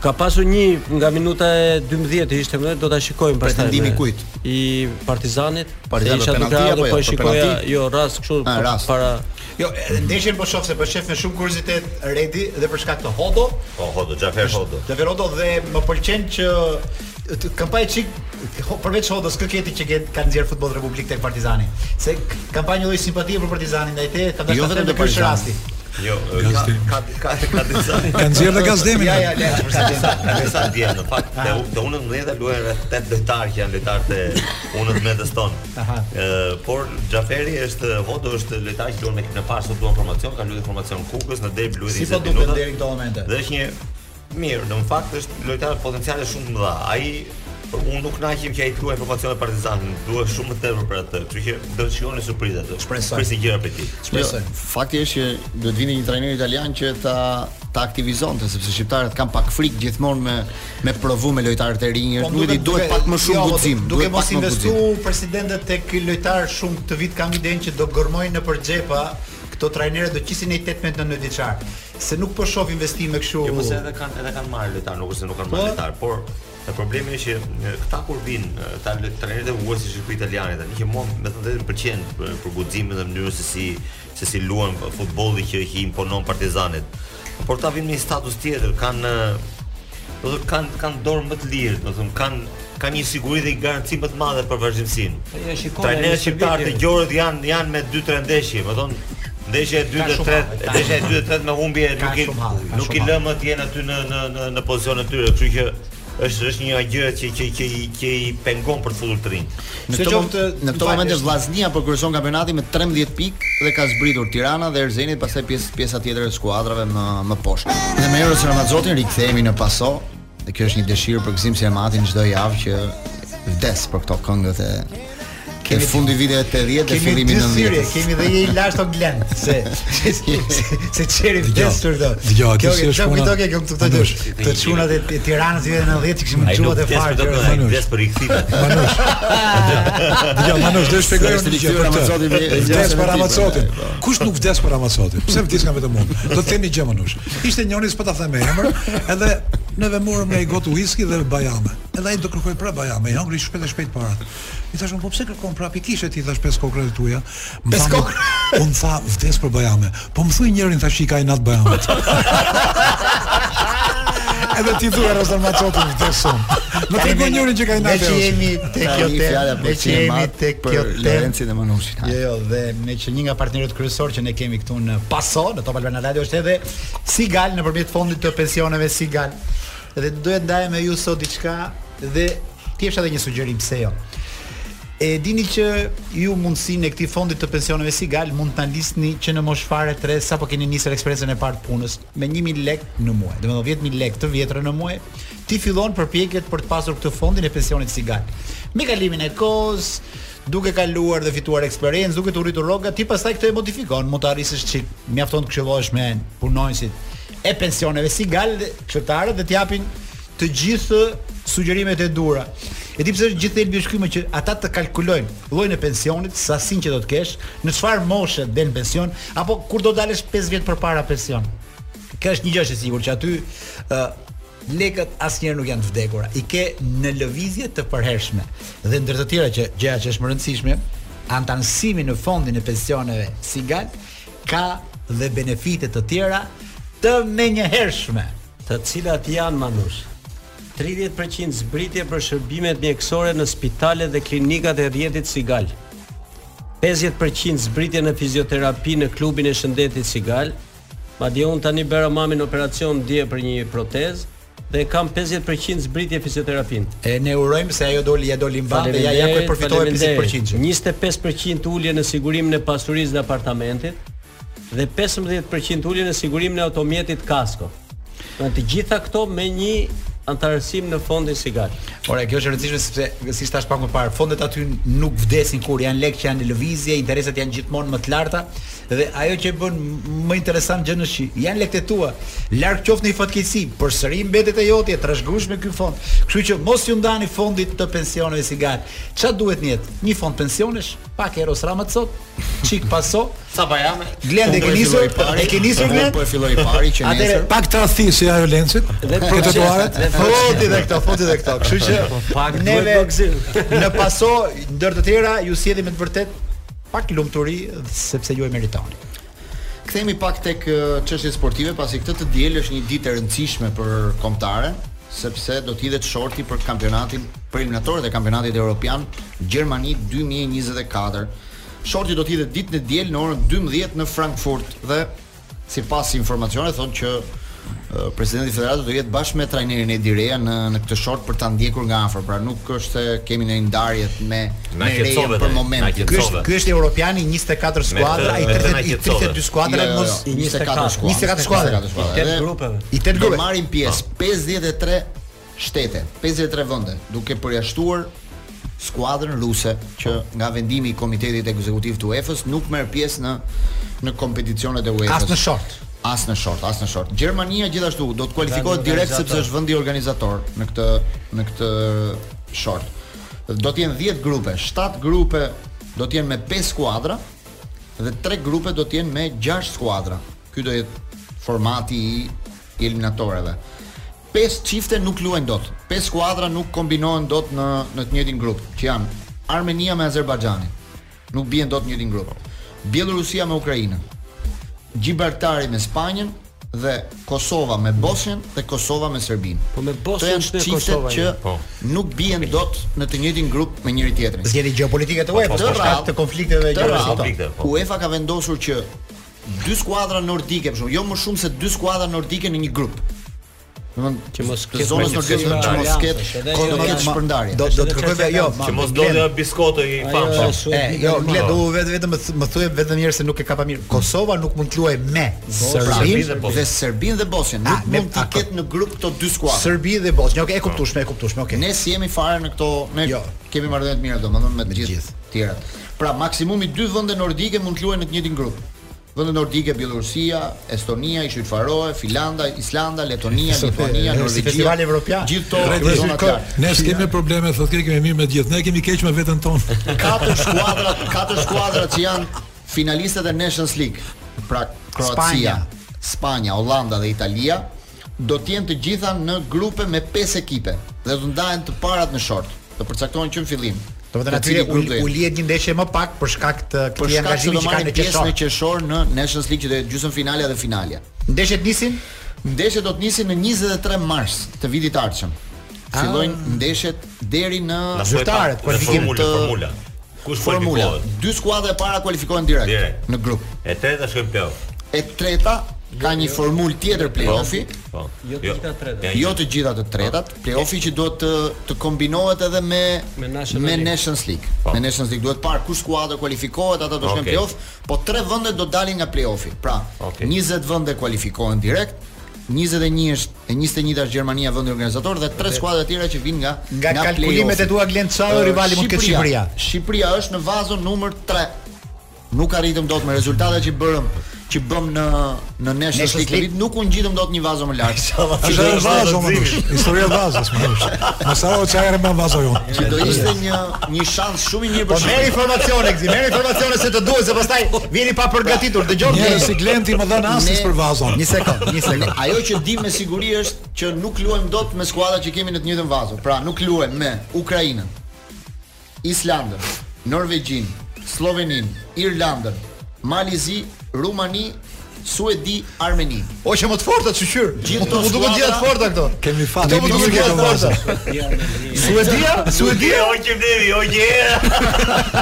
S6: ka pasur një nga minuta e 12 ishte më do ta shikojmë pastaj.
S7: Pretendimi
S6: me-
S7: kujt?
S6: I Partizanit.
S7: Partizani
S6: se isha
S7: për
S6: duke
S7: penalti apo
S6: ardhur,
S7: jo?
S6: po e
S7: Për
S6: shikoja
S7: penalti?
S6: jo rast kështu
S7: Ah,
S6: pa-
S7: rast.
S6: para
S10: Jo, edhe ndeshjen po shoh se po shef me shumë kuriozitet Redi dhe për shkak të Hodo,
S8: Po, Hodo, Xhafer Hodo.
S10: të Verodo dhe më pëlqen që të- kampanja çik ho- përveç Hodos kë keti që ke- ka nxjerr futboll Republik tek Partizani. Se k- ka pa një lloj simpatie për Partizanin ndaj te, ka
S7: Jo
S10: dashur
S7: vetëm
S10: të
S7: te
S10: ky është
S7: Partizani.
S10: rasti.
S8: Jo, ka ka ka ka disa
S9: Ka nxjerrë dhe gazdemin.
S10: Ja, ja, le, për sa gjë.
S8: Ka disa dje në fakt te te unë në dhe luajnë rreth 8 lojtarë që janë lojtarë të unë të mendës tonë.
S10: Aha.
S8: Ë por Xhaferi është Hodo është lojtar që luan me ekipin e parë sot luan formacion, ka luajtur formacion Kukës në derbi luajti
S10: Si po
S8: 20
S10: duket
S8: minuta.
S10: deri në këtë moment?
S8: Dhe është një mirë, në fakt është lojtar potenciale shumë të mëdha. Ai unë nuk naqim që ai luaj formacion e Partizanit, duhet shumë më tepër për atë. Kështu që do të shihoni surprizat.
S10: Shpresoj.
S8: Prisni gjëra për ti.
S7: Jo,
S10: Shpresoj.
S7: fakti është që do të vini një trajner italian që ta ta aktivizonte sepse shqiptarët kanë pak frikë gjithmonë me me provu me lojtarët e rinj.
S10: Po,
S7: Nuk e di,
S10: duket-
S7: duhet
S10: duke-
S7: pak më shumë
S10: jo, po,
S7: guxim.
S10: Duke
S7: duhet
S10: mos
S7: pak më
S10: investu
S7: guxim.
S10: presidentët tek lojtar shumë këtë vit kam idenë që do gërmojnë nëpër xhepa këto trajnerë do qisin ai 18-19 vjeçar. Se nuk po shoh investime kështu.
S8: Jo, mos edhe kanë edhe kanë marrë lojtar, nuk është se nuk kanë marrë lojtar, por e problemi është që e, këta kur vinë e, ta lë- trajnerët e vuajës si shqiptar italianë tani që mua me të vërtetë më pëlqen për, për guximin dhe mënyrën se si se si luan futbolli që i imponon Partizanit. Por ta vinë me një status tjetër, kanë e, do të thotë, kanë kanë dorë më të lirë, do të thonë kanë kanë një siguri dhe një garanci më të madhe për vazhdimsinë.
S6: Ja, shikoj,
S8: Trajnerët
S6: një
S8: shqiptar të
S6: shërbim.
S8: gjorët janë janë me 2-3 ndeshje, më thon ndeshja e
S10: Ka
S8: 2 dhe
S10: shumë
S8: 3,
S10: hallë, ka
S8: ndeshja e 2 dhe 3 me humbje
S10: Ka
S8: nuk i
S10: shumë hallë, ka
S8: nuk i
S10: shumë
S8: lëmë atje jenë aty në në në në pozicionin e tyre, kështu që është është një gjë që që që i që i pengon për të futur të rinj.
S7: Në
S10: Se
S7: këtë
S10: qoftë,
S7: mom- në
S10: më
S7: këtë
S10: falë,
S7: moment
S10: është-
S7: Vllaznia po kryeson kampionatin me 13 pikë dhe ka zbritur Tirana dhe Erzenit, pastaj pjesë pjesa tjetër e skuadrave më më poshtë. Dhe me Eros Ramazotin rikthehemi në paso dhe kjo është një dëshirë për gëzim se e matin çdo javë që vdes për këto këngët e Kemi fundi viteve 80 dhe
S10: Kemi
S7: fillimi
S10: dy
S7: 90.
S10: syrje, kemi dhe je i lashtë o glen se se se- se çeri vdes
S9: Dgjoj,
S10: çurdo.
S9: dgjoj, aty
S10: kjo
S9: si është
S10: kjo
S9: puna.
S10: kujto kjo kjo kuptoj dysh. Të çunat e e Tiranës i 90 kishim
S8: Ai nuk
S10: çuat e
S8: vdes
S10: farë.
S8: për
S10: qërë.
S8: të, ai vdes për rikthimin.
S9: Manush. Dgjoj, Manush, do të shpjegoj
S7: Është
S9: unë
S7: rikthyer
S9: për këtë.
S7: Ramazotin me-
S9: Vdes
S7: gjasën e
S9: për
S7: tij,
S9: Ramazotin.
S7: po.
S9: Kush nuk vdes për Ramazotin? Pse vdes nga vetëm unë? Do të themi gjë Manush. Ishte një njerëz pa ta them me emër, edhe Ne vemurëm nga i gotë whisky dhe bajame. Edhe ai do kërkoi prapë bajame, i hëngri shpejt e shpejt parat. I thash unë, po pse kërkon prapë i kishe ti thash pesë kokra të tuaja. Më
S7: Pesë
S9: tha,
S7: kokra?
S9: Unë tha vdes për bajame. Po më thuj njërin thash i ka i nat bajamet.
S11: Edhe ti thua Rozan Maçotin vdesun.
S9: Më tregoj njërin që ka i
S10: Ne
S9: nat.
S10: që jemi tek kjo
S7: Një
S10: temë,
S7: fjala për
S10: ne po që jemi
S7: Cinemat,
S10: tek
S7: për
S10: kjo temë.
S7: Lorencin e Manushit.
S10: Jo, jo, dhe ne që një nga partnerët kryesor që ne kemi këtu në Paso, në Top Albana Radio është edhe Sigal nëpërmjet fondit të pensioneve Sigal. Dhe doja të ndaja me ju sot diçka dhe ti jesh edhe një sugjerim pse jo. E dini që ju mundësinë e këtij fondi të pensioneve Sigal mund ta lisni që në moshë fare të re sapo keni nisur eksperiencën e parë të punës me 1000 lekë në muaj. Domethënë 10000 lekë të vjetra në muaj, ti fillon përpjekjet për të pasur këtë fondin e pensionit Sigal. Me kalimin e kohës, duke kaluar dhe fituar eksperiencë, duke të rritur rroga, ti pastaj këtë e modifikon, mund të arrisësh çik. Mjafton të këshillohesh me punonjësit e pensioneve Sigal, dhe qytetarët dhe të japin të gjithë sugjerimet e dura. E di pse është gjithë thelbi është ky më që ata të kalkulojnë llojin e pensionit, sasinë që do të kesh, në çfarë moshe del në pension, apo kur do dalësh 5 vjet përpara pension. Kjo është një gjë është e sigurt që aty ë lekët asnjëherë nuk janë të vdekura. I ke në lëvizje të përhershme. Dhe ndër të tjera që gjëja që është më e rëndësishme, antanësimi në fondin e pensioneve Sigal ka dhe benefite të tjera të menjëhershme.
S6: të cilat janë manush. 30% zbritje për shërbimet mjekësore në spitale dhe klinikat e rrjetit Sigal. 50% zbritje në fizioterapi në klubin e shëndetit Sigal. Madje un tani bëra mamin operacion dje për një protezë dhe kam 50% zbritje fizioterapinë.
S10: E ne urojmë se ajo doli ja doli mban dhe ja ja ku e përfitoi 50%.
S6: 25% ulje në sigurimin e pasurisë dhe apartamentit dhe 15% ulje në sigurimin e automjetit kasko. Pra të gjitha këto me një antarësim në fondin Sigal.
S10: Ora, kjo është e rëndësishme sepse si thash pak më parë, fondet aty nuk vdesin kur janë lekë që janë në lëvizje, interesat janë gjithmonë më të larta dhe ajo që e bën më interesant gjë është që janë lekët e tua. Larg qoftë në një fatkeqësi, përsëri mbetet e jotja, trashëgush me ky fond. Kështu që mos ju ndani fondit të pensioneve Sigal. Çfarë duhet në jetë? Një fond pensionesh, pak Eros Ramazzotti, çik paso,
S8: Sa bajame?
S10: Glen e ke nisur, e ke nisur Glen?
S7: Po e filloi pari që
S10: Atëre,
S7: nesër.
S9: Pak tradhti si ajo Lencit. Protestuarët.
S10: Foti dhe këto, foti dhe këto. Kështu
S6: Po,
S10: që
S6: pak
S10: neve
S6: duhet boxim.
S10: në paso ndër të tjera ju sjellim me të vërtet pak lumturi sepse ju e meritoni.
S7: Kthehemi pak tek ë, çështjet sportive pasi këtë të diel është një ditë e rëndësishme për kombëtare sepse do të hidhet shorti për kampionatin preliminator dhe kampionatit evropian Gjermani 2024. Shorti do të hidhet ditën e diel në orën 12 në Frankfurt dhe sipas informacioneve thonë që ë, presidenti i federatës do jetë bashkë me trajnerin Edi Rea në në këtë short për ta ndjekur nga afër. Pra nuk është se kemi ndonjë ndarje me
S8: Na
S7: me Rea
S8: qetësove
S7: për
S8: tani, na
S7: momentin.
S8: qetësove.
S10: Ky është ky është europiani 24 skuadra, ai
S8: me të
S10: 30 i
S8: qetësove.
S10: 32 skuadra
S7: Jo, jo,
S10: mos
S7: jo, 24 skuadra.
S10: 24 skuadra.
S7: 24 skuadra.
S6: Tet
S7: Edhe
S6: grupeve.
S10: I tet
S7: Do
S10: grupe.
S7: marrin pjesë 53 shtete, 53 vende, duke përjashtuar skuadrën ruse që nga vendimi i Komitetit Ekzekutiv të UEFA-s nuk merr pjesë në në kompeticionet e UEFA-s.
S10: As në short.
S7: As në short, as në short. Gjermania gjithashtu do të kualifikohet direkt sepse është vendi organizator në këtë në këtë short. Do të jenë 10 grupe, 7 grupe do të jenë me 5 skuadra dhe 3 grupe do të jenë me 6 skuadra. Ky do jetë formati i eliminatoreve. 5 çifte nuk luajnë dot. 5 skuadra nuk kombinohen dot në në të njëjtin grup, që janë Armenia me Azerbajxhanin. Nuk bien dot në të njëjtin grup. Bielorusia me Ukrainën. Gibraltari me Spanjën dhe Kosova me Bosnjën dhe Kosova me Serbinë.
S6: Po me Bosnjën
S7: Këto janë
S6: s'ne
S7: çiftet
S6: Kosova,
S7: që
S8: Po.
S7: nuk bien dot në të njëjtin grup me njëri tjetrin.
S10: Zgjeri gjeopolitike të UEFA,
S7: po,
S10: për
S7: po,
S10: shkak
S7: po.
S10: të konflikteve
S7: Të radhë,
S10: gjeopolitike.
S8: konflikte, po.
S7: UEFA ka vendosur që dy skuadra nordike, për shembull, jo më shumë se dy skuadra nordike në një grup. Domthonë
S6: Që mos
S7: të
S6: ketë
S7: zonës nordike
S6: manipulime,
S7: që mos ketë
S6: aliancesh, edhe
S7: që
S6: jo
S7: mos ketë
S6: janë-
S7: shpërndarje.
S10: Do do të kërkojmë jo, ma-
S8: Që mos
S10: Glenn,
S8: doli biskoto i famshëm.
S10: E, jo, Glen, do vetë vetëm më th- më thuaj vetëm njëherë se nuk e ka pa mirë. Kosova nuk mund të luajë me
S7: Serbinë
S10: Serbinë
S8: dhe Bosnjën.
S7: Pra, dhe Serbinë dhe Bosnjën
S10: Ah,
S7: nuk
S10: ne-
S7: mund të
S10: ako.
S7: ketë në grup këto dy skuadra.
S10: Serbi dhe Bosnjë. Okej, e kuptueshme, e kuptueshme. Okej.
S7: Ne si jemi fare në këto, ne
S10: Jo.
S7: kemi marrëdhënie të mira domethënë me të gjithë
S10: gjithë.
S7: tjerat. Pra maksimumi dy vende nordike mund të luajnë në të njëjtin grup. Vende nordike Bielorusia, Estonia, Ishujt Faroe, Finlanda, Islanda, Letonia,
S10: Sot,
S7: Lituania,
S10: e, si
S7: Norvegjia.
S10: festivali evropian.
S7: Gjithë to
S9: Redi,
S7: zona të lartë.
S9: Ne s'kemë probleme, thotë ke kemi mirë me të gjithë. Ne kemi keq me veten tonë.
S7: Katër skuadra, katër skuadra që janë finalistët e Nations League. Pra Kroacia, Spanja, Hollanda dhe Italia do të jenë të gjitha në grupe me 5 ekipe dhe do ndahen të parat në short. Do përcaktohen që në fillim.
S10: Do të thënë
S7: Në
S10: aty
S7: cili
S10: u,
S7: grup do jenë.
S10: u lihet një ndeshje më pak për shkak të
S7: për
S10: këtij
S7: shkak se do
S10: angazhimi që kanë
S7: marrin
S10: në
S7: pjesë
S10: qeshor.
S7: në qeshor në Nations League që do jetë gjysmëfinalja dhe finalja.
S10: Ndeshjet nisin?
S7: Ndeshjet do të nisin në 23 mars të vitit të ardhshëm.
S10: Ah.
S7: Fillojnë ndeshjet deri në
S8: Na thuaj Zyrtarët, pak, kualifikim formula, të- formula. Kush
S7: formula.
S8: kualifikohet?
S7: Dy skuadra e para kualifikohen direkt,
S8: Direkt.
S7: në grup.
S8: E treta shkojnë play-off.
S7: E treta ka një formulë tjetër play-offi.
S8: Po.
S6: Jo të gjitha tretat.
S8: Ja,
S7: Jo të gjitha të tretat, play-offi që duhet të të kombinohet edhe me
S6: Me National
S7: me
S6: League.
S7: Nations League.
S8: Po.
S7: Me Nations League duhet parë kush skuadra kualifikohet, ata do shkojnë okay.
S8: Okej.
S7: play-off, po tre vende do dalin nga play-offi. Pra,
S8: Okej.
S7: 20 vende kualifikohen direkt, 21 është e 21-ta është Gjermania vendi organizator dhe tre skuadra të tjera që vinë nga
S10: Nga kalkulimet e tua Glen Çau
S7: play-offi.
S10: rivali mund të ketë Shqipëria.
S7: Shqipëria. Shqipëria është në vazon numër 3. Nuk arritëm dot me rezultatet që bërëm që bëm në në Nations
S10: Nations
S7: League,
S10: League.
S7: League. nuk u ngjitëm dot një vazon më lart.
S11: Është e vazo më dush. Historia e vazos më dush. Mos haro çfarë më vazo jon.
S7: që do ishte një një shans shumë i mirë
S10: Po
S7: për
S10: merr
S7: Shqipërinë.
S10: informacione, gzi, merr informacione se të duhet se pastaj vjeni pa përgatitur. Dëgjoj.
S11: Një si Glenti më dhën asis
S7: Ne-
S11: për vazon.
S10: Një sekond, një sekond.
S7: Ajo që di me siguri është që nuk luajmë dot me skuadra që kemi në të njëjtën vazo. Pra nuk luajmë me Ukrainën, Islandën, Norvegjinë, Sloveninë, Irlandën, Malizi, Rumani, Suedi, Armeni.
S10: O që më të forta çyqyr.
S7: Gjithë këto
S10: Mu duket
S7: skuadra-
S10: gjithë të forta këto.
S11: Kemi fat,
S10: Këto
S11: ne
S10: mu
S11: nuk
S10: duket
S11: e
S10: gjithë
S11: kemi
S10: të forta. Suedia,
S8: Ti
S10: Suedia.
S8: o që vleri, o që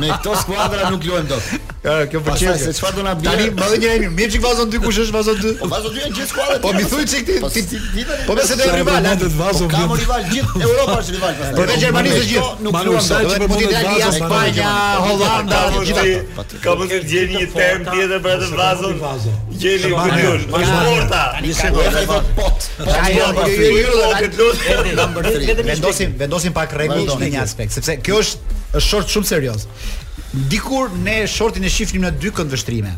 S7: Me këto skuadra nuk luajmë dot.
S10: Ja, kjo pëlqen.
S7: Pastaj se çfarë do na bie?
S10: Tani më dhënë një emër. Mirë çik vazon dy kush është vazon dy.
S7: Po vazo dy janë gjithë skuadrat.
S10: Po mi thuj çik ti.
S7: Po si
S10: ti-
S7: ti tani?
S10: Po pse do
S11: Sa
S10: e rival?
S11: argumentet
S10: a?
S11: vazo
S7: Po kam
S11: vjen.
S7: rival gjithë Europa është rival pastaj.
S10: Përveç Gjermanisë
S7: Me këto
S10: gjithë.
S7: Nuk
S9: Manu,
S7: luajmë
S9: sa
S7: dot.
S9: që
S10: Do të
S9: përmendet
S10: mund Italia,
S9: vazo, Manu,
S10: Spanja, Hollanda,
S7: Gjermani,
S10: gjithë ato.
S8: Ka mund Po, të gjeni një term tjetër për atë vazon. Gjeni këtyr, më sporta.
S6: Një sekondë.
S7: pot.
S10: Ja, ja,
S8: Po,
S10: jo, jo, jo, jo,
S8: jo, këtë lutë.
S10: Vendosim, vendosim pak rregull në një aspekt, sepse kjo është është short shumë serioz. Dikur ne shortin e shifnim në dy këndvështrime.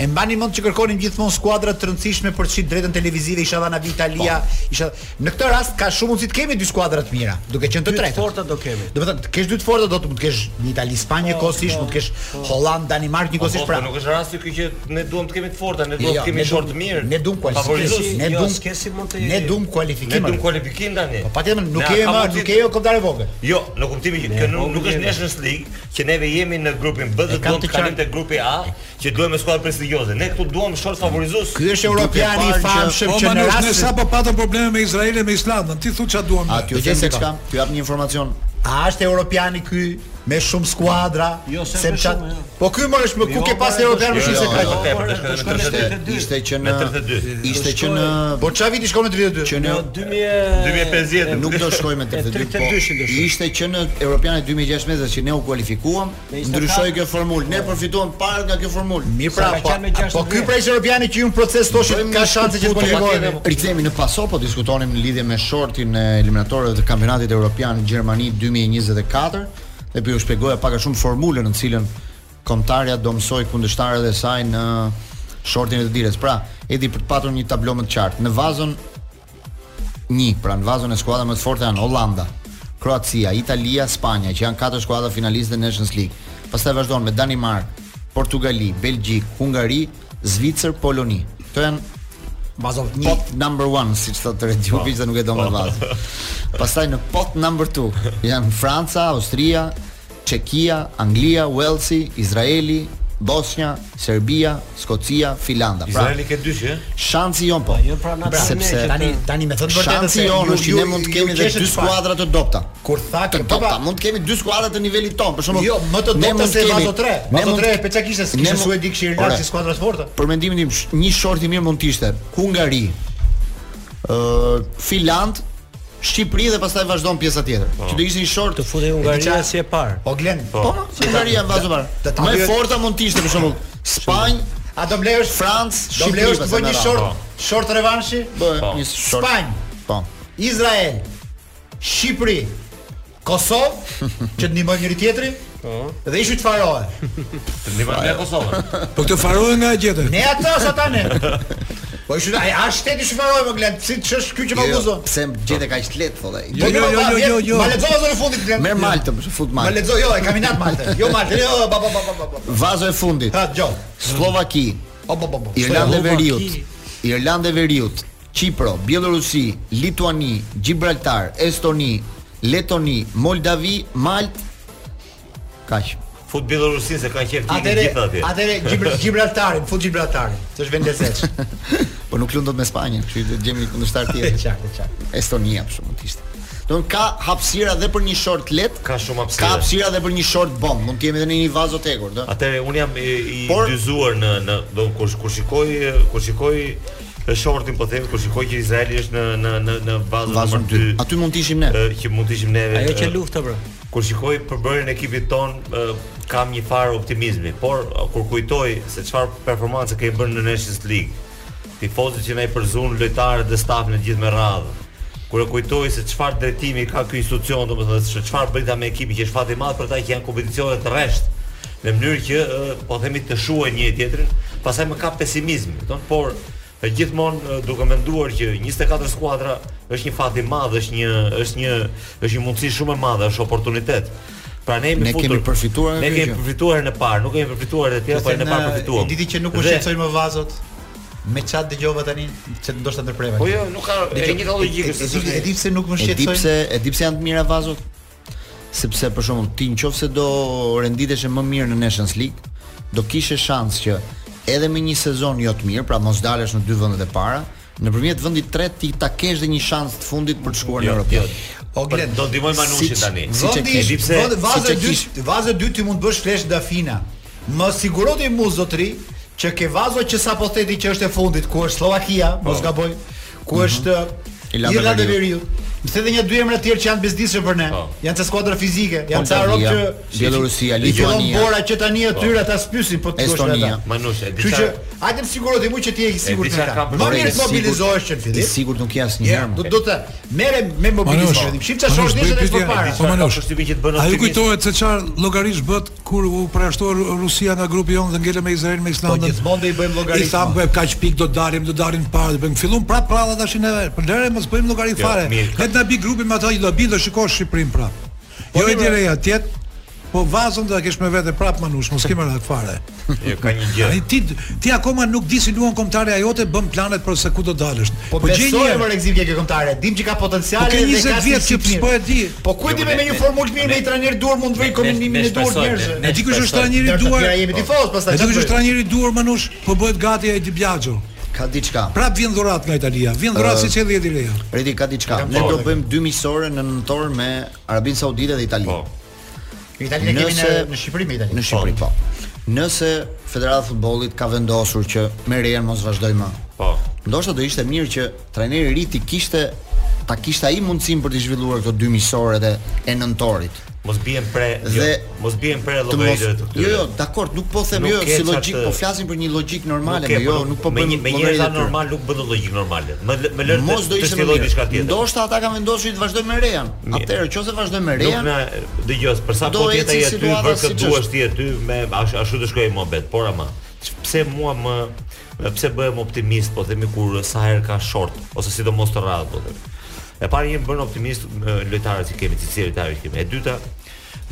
S10: E mbani mend që kërkonin gjithmonë skuadra të rëndësishme për çit drejtën televizive, isha dhëna vi
S7: Po.
S10: Italia, isha në këtë rast ka shumë mundësi të kemi dy skuadra të mira, duke qenë të
S6: Dy të
S10: tretë.
S6: forta do kemi.
S10: Do të thënë, të kesh dy të forta do të mund të kesh një Itali, Spanjë njëkohësisht, mund të kesh Holland, Danimark njëkohësisht pra.
S8: po, nuk është rasti ky që ne duam të kemi të forta, ne duam
S10: Jo,
S8: të kemi
S10: ne duam-
S8: short të mirë.
S10: Ne duam
S8: Favorizues.
S10: kualifikim, ne
S6: jo,
S10: duam
S6: s'ke si mund të-
S10: ne duam
S8: Ne
S10: kualifikim.
S8: duam kualifikim tani.
S10: Po patjetër nuk
S8: Na,
S10: kemi
S8: ka
S10: më,
S8: mundësi-
S10: nuk kemi kombëtar e vogël.
S8: Jo, në kuptimin që kjo nuk,
S6: po,
S8: nuk është
S6: mirë.
S8: Nations League, që neve jemi në grupin B dhe
S10: E kam
S8: duam
S10: të
S8: të kalim
S10: qartë.
S8: te grupi A, që duhem me skuadra prestigjioze. Ne këtu duam short favorizues.
S10: Ky është europiani i
S7: parë që-
S10: famshëm
S9: Po
S10: që në
S9: Manush, ne
S10: rast
S9: sapo patëm probleme me Izraelin me Islandën. Ti thu çfarë duam. ne.
S7: A ty
S10: Dëgjoj
S7: vjen
S10: se
S7: se çka? Ty jap një informacion.
S10: a është europiani ky me shumë skuadra,
S6: Jo, se me
S10: qa-
S6: shumë, jo.
S10: po ky më është më ku
S6: Jo,
S10: ke pas
S6: po,
S10: europian më
S8: jo,
S10: shumë se
S8: jo,
S10: kaq.
S8: jo.
S7: Ishte ishte që në
S8: Me 32.
S7: ishte që në
S10: Po çfarë viti shkon në 32?
S7: që në
S8: 2050.
S7: nuk do shkoj me 32, po ishte që në Europianë 2016 që ne u kualifikuam,
S6: Me 24.
S7: ndryshoi kjo formulë. Ne përfituam parë nga kjo formulë.
S10: Mirë pra,
S6: Sa ka
S10: po,
S6: qenë me 60
S10: po ky pra është europiani që ju në proces thoshit ka shanse që të kualifikohemi.
S7: Rikthehemi në paso, po diskutonim në lidhje me shortin e eliminatorëve të kampionatit evropian Gjermani 2024 dhe po ju shpjegoja pak a shumë formulën në të cilën kombëtarja do mësoj kundërshtarët e saj në shortin e të ditës. Pra, Edi për të patur një tablo më të qartë. Në vazon 1, pra në vazon e skuadra më të forte janë Hollanda, Kroacia, Italia, Spanja, që janë katër skuadra finaliste në Nations League. Pastaj vazhdon me Danimark, Portugali, Belgjik, Hungari, Zvicër, Poloni. Këto janë
S10: Bazo një
S7: pot number 1 siç thotë Redjupic dhe nuk e do më vazh. Pastaj në pot number 2 janë Franca, Austria, Çekia, Anglia, Walesi, Izraeli, Bosnja, Serbia, Skocia, Finlanda. Pra,
S8: Izraeli ke dyshë, ë?
S7: shansi jon po.
S6: jo, pra, na
S7: Pra,
S6: besime
S7: sepse
S6: që
S10: tani tani me thënë vërtetë
S7: shansi jon është që ne mund të kemi edhe dy skuadra të dopta.
S10: Kur tha
S7: Të
S10: kë po
S7: dopta, mund të kemi dy skuadra të nivelit ton. Për shembull,
S10: Jo, më të
S7: ne
S10: dopta
S7: mund
S10: se
S7: kemi-
S10: Vazo 3.
S7: ne
S10: Vazo
S7: mund-
S10: 3 pe çka kishte,
S7: ne
S10: kishte
S7: mund-
S10: Suedi, kishte
S7: Ore,
S10: Irland, si skuadra të forta.
S7: për mendimin tim, sh- një short i mirë mund të ishte Hungari, ë Finland, Shqipëri dhe pastaj vazhdon pjesa tjetër. Që do ishte një short
S6: Po. Të futej Hungaria si e parë.
S10: O Glen,
S7: Po, Hungaria në vazhdo
S10: Da- da-
S7: parë. Më e forta mund të ishte për shembull Spanjë,
S10: a do mlehesh
S7: Francë,
S10: Do
S7: Shqipëri.
S10: mlehesh të
S7: pastaj
S10: bëj
S7: me
S10: një
S7: radhë.
S10: short, short revanshi?
S7: Bëj një short.
S10: Spanjë.
S7: Po.
S10: Izrael, Shqipëri, Kosovë, që të ndihmojmë njëri tjetrin, dhe ishujt faroe.
S8: Ne vazhdojmë nga Kosova.
S9: Po këtë farohen nga e gjetën.
S10: Ne ato sa ta ne. Po ishujt, ai a shteti ishujt faroe më glen, po si ç'është ky që më
S7: Jo, jo,
S10: akuzon?
S7: Pse më gjete kaq lehtë thotë ai.
S10: Po
S9: jo,
S10: mirë,
S9: jo,
S10: ma-
S9: jo, jo, jo.
S10: Ma lexova zonë fundit glen.
S7: Merr Maltën, për shembull, fut
S10: jo. Ma
S7: Maltën.
S10: lexo, jo, e kam inat Malte. Jo Malte, jo, ba ba ba ba ba. ba.
S7: Vazo e fundit.
S10: Ha, dëgjoj.
S7: Slovaki,
S9: Jo,
S10: O ba ba ba.
S7: Irlandë e Veriut. Irlandë e Veriut, Qipro, Bielorusi, Lituani, Gibraltar, Estoni, Letoni, Moldavi, Malt. Kaq.
S8: Fut Bielorusin se kanë qef ti
S10: Atëre,
S8: gjithë atje.
S10: atëre Gibr- Gibraltarin, fut Gibraltarin. Të është vend lezeç.
S7: Po nuk lund dot me Spanjën, kështu që do të gjejmë një kundërshtar tjetër.
S10: Qartë, qartë.
S7: Estonia për shkakun ishte. Domthon ka hapësira edhe për një short let,
S8: Ka
S7: ka
S8: shumë hapësira.
S7: hapësira edhe për një short bomb. Mund të jemi edhe në një vazotekur, do.
S8: Atëre un jam i, i
S7: Por-
S8: dyzuar në në do kur kur shikoj kur shikoj e, shortin po them kur shikoj që Izraeli është në në në në bazën
S7: Vazon
S8: numër
S7: dy. Aty mund të ishim ne.
S8: 2 që mund të ishim neve.
S6: Ajo që
S8: e,
S6: luftë bro.
S8: Kur shikoj përbërjen e ekipit ton, e, kam një farë optimizmi, por e, kur kujtoj se çfarë performance kemi bërë në Nations League, tifozët që na i përzun lojtarët dhe stafin e gjithë me radhë. Kur e kujtoj se çfarë drejtimi ka ky institucion, domethënë se çfarë brita me ekipin që është fat i madh për ta që janë kompeticione të rresht në mënyrë që e, po themi të shuajnë njëri tjetrin, pastaj më ka pesimizmi, kupton, por e, gjithmonë e, duke menduar që 24 skuadra është një fat i madh, është një është një është një mundësi shumë e madhe, është oportunitet. Pra ne jemi
S7: Ne
S8: futur.
S7: kemi përfituar nga
S8: Ne
S7: kjo
S8: kemi
S7: gjë.
S8: përfituar në parë, nuk kemi përfituar edhe tjetër, po
S10: Qëse
S8: në parë
S10: na-
S8: përfituam.
S10: e Diti që nuk u
S8: Dhe-
S10: shqetësojnë më vazot. Me çat dëgjova tani, që ndoshta ndërpreva.
S8: Po jo, nuk ka e njëjta
S10: E
S8: logjikë se
S10: di- E di pse nuk më
S7: E di pse,
S10: shqetësojnë.
S7: e di pse janë të mira vazot. Sepse për shembull ti nëse do renditesh më mirë në Nations League, do kishe shans që edhe me një sezon jo të mirë, pra mos dalesh në dy vendet e para, nëpërmjet vendit tret ti ta kesh dhe një shans të fundit për të shkuar
S10: Jo,
S7: në Europë.
S10: O Glen,
S8: do ndihmoj Manushin
S7: Si-
S8: tani.
S7: si- që
S10: Vendi
S7: kish.
S8: E di pse-
S10: vendi- vaza
S7: si
S10: e
S7: që kish.
S10: dytë, vaza e dytë ti mund të bësh flesh Dafina. Më siguroni mu zotri që ke vazo që sapo theti që është e fundit, ku është Slovakia,
S7: Po.
S10: mos gaboj, ku
S7: Mhm.
S10: është uh,
S7: Irlanda e
S10: Irlanda e
S7: Veriut.
S10: Veriut. Më thënë një dy emra të tjerë që janë bezdisje për ne.
S8: Po.
S10: Janë ca skuadra fizike, janë ca
S7: Moldavia,
S10: rrok që
S7: Bielorusia,
S10: i fillon
S7: Lituania.
S10: Bora që tani atyre ata spyesin po ti kush
S7: Estonia.
S10: ata.
S8: Manush, e di
S10: Kështu që
S8: çfarë-
S10: hajde të sigurohet mu që ti je i sigurt
S8: diçka
S10: në
S8: ka
S10: ta.
S8: për-
S10: Më
S8: Por
S10: Po mirë
S7: Ore,
S10: të
S7: sigurt-
S10: mobilizohesh që në
S7: I
S10: fillim.
S7: sigurt nuk jas një
S10: Ja,
S7: herë.
S10: do
S7: më.
S10: do të merrem me
S9: Manush,
S10: mobilizim. Shif çfarë
S9: Manush,
S10: shoh
S9: bëj
S10: nesër
S9: pyetje.
S10: më para.
S9: Po Manush,
S8: Ka përshtypjen që të bën
S9: a ju
S8: optimist.
S9: kujtohet se çfarë llogarisht bëhet kur u parashtroi Ru- Rusia nga grupi jon dhe ngele me Izrael me
S10: Po,
S9: Islandin?
S10: gjithmonë do i bëjmë llogaritmë.
S9: I thamë bëjmë kaq pikë do dalim, do dalim parë, do bëjmë fillum pra prap prapa tashin edhe. Për lere mos bëjmë llogarit
S8: Jo,
S9: fare.
S8: mirë.
S9: Le të na bi grupin me ata që do bi do shikosh Shqipërinë prap. Jo e dire ja tjet. Po vazon do ta kesh me vete prap manush, mos kemë rak fare.
S8: Jo, ka një gjë.
S9: Ai ti ti akoma nuk di si luan kombëtarja jote, bën planet për se ku do dalësh.
S10: Po
S9: gjej
S10: besoj
S9: herë.
S10: më Rexim ke kombëtare. Dim që ka
S9: Po
S10: potenciale
S9: ke 20 vjet që
S10: mirë.
S9: s'po e di.
S10: Po ku e di me me një formulë të mirë me një trajner dur mund të vëj kombinimin e dur njerëzve.
S9: E di kush është trajneri i duar. Po.
S10: Ja jemi tifoz pastaj.
S9: E di
S10: çfarë
S9: kush është
S10: bëj?
S9: trajneri i duar manush, po bëhet gati ai Di Biagio.
S7: Ka diçka.
S9: Prap vjen dhurat nga Italia, vjen dhurat
S7: Ë,
S9: si çelli e Dileja.
S7: Redi ka diçka. Ne do bëjmë dy miqësore në nëntor me Arabinë Saudite dhe Italinë.
S8: Po.
S10: Italinë kemi në në Shqipëri me Italinë.
S7: Në Shqipëri po. Nëse Federata e Futbollit ka vendosur që me Real mos vazhdoj më.
S8: Po.
S7: Ndoshta do ishte mirë që trajneri i ri ti kishte ta kishte ai mundësinë për të zhvilluar këto dy miqësorët e- e nëntorit.
S8: Mos bien pre, jo,
S7: Dhe-
S8: mos bien pre
S7: Të mos,
S8: llogaritëve të këtyre.
S7: jo, jo, dakor, nuk po them
S8: Nuk
S7: jo
S8: ke
S7: si
S8: qatë-
S7: logjik, po flasim për një logjik normale,
S8: Nuk e,
S7: me jo,
S8: po,
S7: nuk po
S8: me
S7: bëjmë
S8: një- me
S7: llogaritë
S8: njerëz
S7: të tyre.
S8: normal nuk bën logjik normale. Më lë- më lër
S7: Mos do
S8: të
S7: ishte më
S8: sfidoj diçka
S7: mirë.
S8: tjetër.
S7: Ndoshta ata kanë vendosur që të vazhdojmë me Real.
S8: Mirë.
S7: Atëherë, nëse vazhdojmë me
S8: Nuk
S7: Real,
S8: na dëgjoj, për sa
S7: Do
S8: po jeta
S7: eci
S8: e aty,
S7: situata
S8: vër këtë
S7: siç
S8: duash
S7: është.
S8: ti aty me ash- ashtu të shkojë mohabet, por ama ç- pse mua më pse bëhem optimist, po themi kur sa herë ka short ose sidomos të radhë, po themi. E para jemi bën optimist e, lojtarët që kemi, cilësi lojtarë që kemi. E dyta,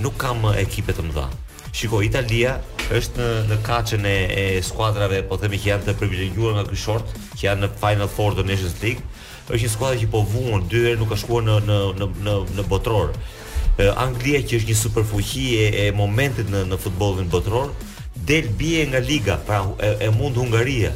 S8: nuk kam e, ekipe të mëdha. Shiko, Italia është në në kaçën e, e skuadrave, po themi që janë të privilegjuar nga ky short, që janë në Final Four të Nations League. Është një skuadër që po vuon dy herë nuk ka shkuar në në në në, në botror. E, Anglia që është një superfuqi e, e momentit në në futbollin botror, del bie nga liga, pra hu- e, e mund Hungaria.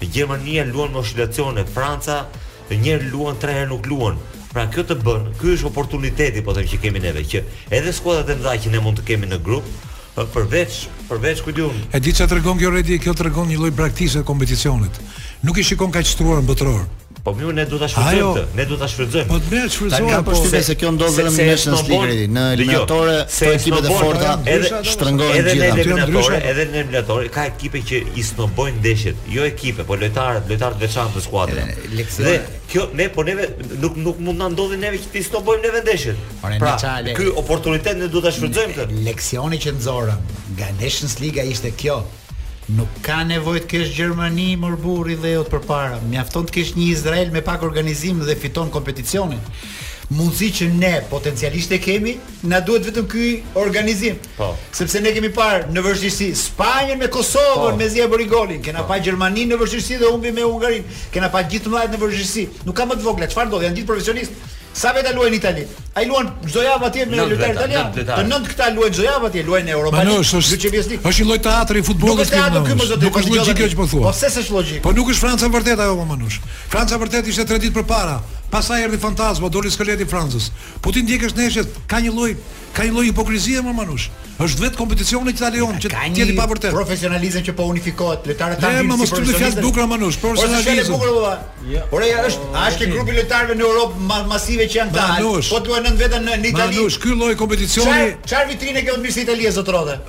S8: Gjermania luan me oscilacione, Franca njerë luan, tre herë nuk luan. Pra kjo të bën, ky është oportuniteti po them që kemi neve që edhe skuadrat e mëdha që ne mund të kemi në grup, ë, përveç përveç kujt diun,
S9: E di çfarë tregon kjo Redi, kjo tregon një lloj braktisë e kompeticionit. Nuk i shikon kaq shtruar në botror.
S8: po mirë ne duhet ta shfrytëzojmë
S9: Ajo.
S8: këtë, ne duhet ta shfrytëzojmë.
S9: Po të merr
S7: Ka
S9: shfrytëzohet
S7: po
S9: po.
S7: shtypje se kjo ndodh vetëm në Nations League Redi, në eliminatore
S8: Jo, se
S7: të ekipet e
S8: snobon,
S7: forta
S8: edhe-
S7: shtrëngohen
S8: Edhe në
S7: gjithë. aty.
S9: janë
S8: eliminatore,
S9: ndryshe.
S8: edhe në eliminatore ka ekipe që i snobojnë ndeshjet, jo ekipe, po lojtarët, lojtarët veçantë të skuadrës.
S10: leksione.
S8: Dhe kjo ne po neve nuk nuk mund na ndodhi neve që ti snobojmë neve ndeshjet.
S10: Ore,
S8: Pra,
S10: ne çale.
S8: ky oportunitet ne duhet ta shfrytëzojmë këtë.
S10: Leksioni që nxorëm nga Nations Liga ishte kjo. Nuk ka nevojë të kesh Gjermani, Morburri dhe jot përpara. Mjafton të kesh një Izrael me pak organizim dhe fiton kompeticionin. mundësi që ne potencialisht e kemi, na duhet vetëm ky organizim.
S8: Po.
S10: Sepse ne kemi parë në vështirësi Spanjën me Kosovën,
S8: Po.
S10: mezi e bëri golin, kena pa Gjermaninë në vështirësi dhe humbi me Hungarinë, kena pa gjithë mëdhenjtë në vështirësi. Nuk ka më të vogla, çfarë ndodh? Janë gjithë profesionistë. Sa veta luajnë në Itali? Ai luan çdo javë atje me
S8: Nëntë
S10: lojtarë
S8: veta,
S10: italian.
S8: nëntë
S10: Të
S8: lojtarë.
S10: nëntë këta luajnë çdo javë atje, luajnë në Europa
S9: Manush,
S10: League,
S9: është
S10: në Champions League.
S9: është një lloj teatri i futbollit.
S10: Nuk është teatri
S9: Manush.
S10: ky, më zotri,
S9: Nuk është
S10: po
S9: logjik
S10: dëgjova
S9: kjo që po thua.
S10: tani. Po pse s'është logjik?
S9: Po nuk është Franca vërtet ajo më manush. Franca vërtet ishte 3 ditë përpara. Pastaj erdhi fantazma, doli skeleti i Francës. Po ti ndjekësh neshjet, ka një lloj ka një lloj hipokrizie më manush. Është vetë kompeticioni italian që
S10: Ka
S9: tjeli pa
S10: një
S9: vërtet.
S10: profesionalizëm që po unifikohet, lojtarët
S9: Ne,
S10: tanë
S9: ma, mos të bëj fjalë bukura, Manush, profesionalizëm.
S10: Ore, ja është, a është ke grupi lojtarëve në Europë ma- masive që janë ta.
S9: Manush.
S10: Po duan nën veten në në Itali.
S9: Manush, ky lloj kompeticioni
S10: Çfarë çfarë vitrine ke ndërmjet Italisë zot Rode?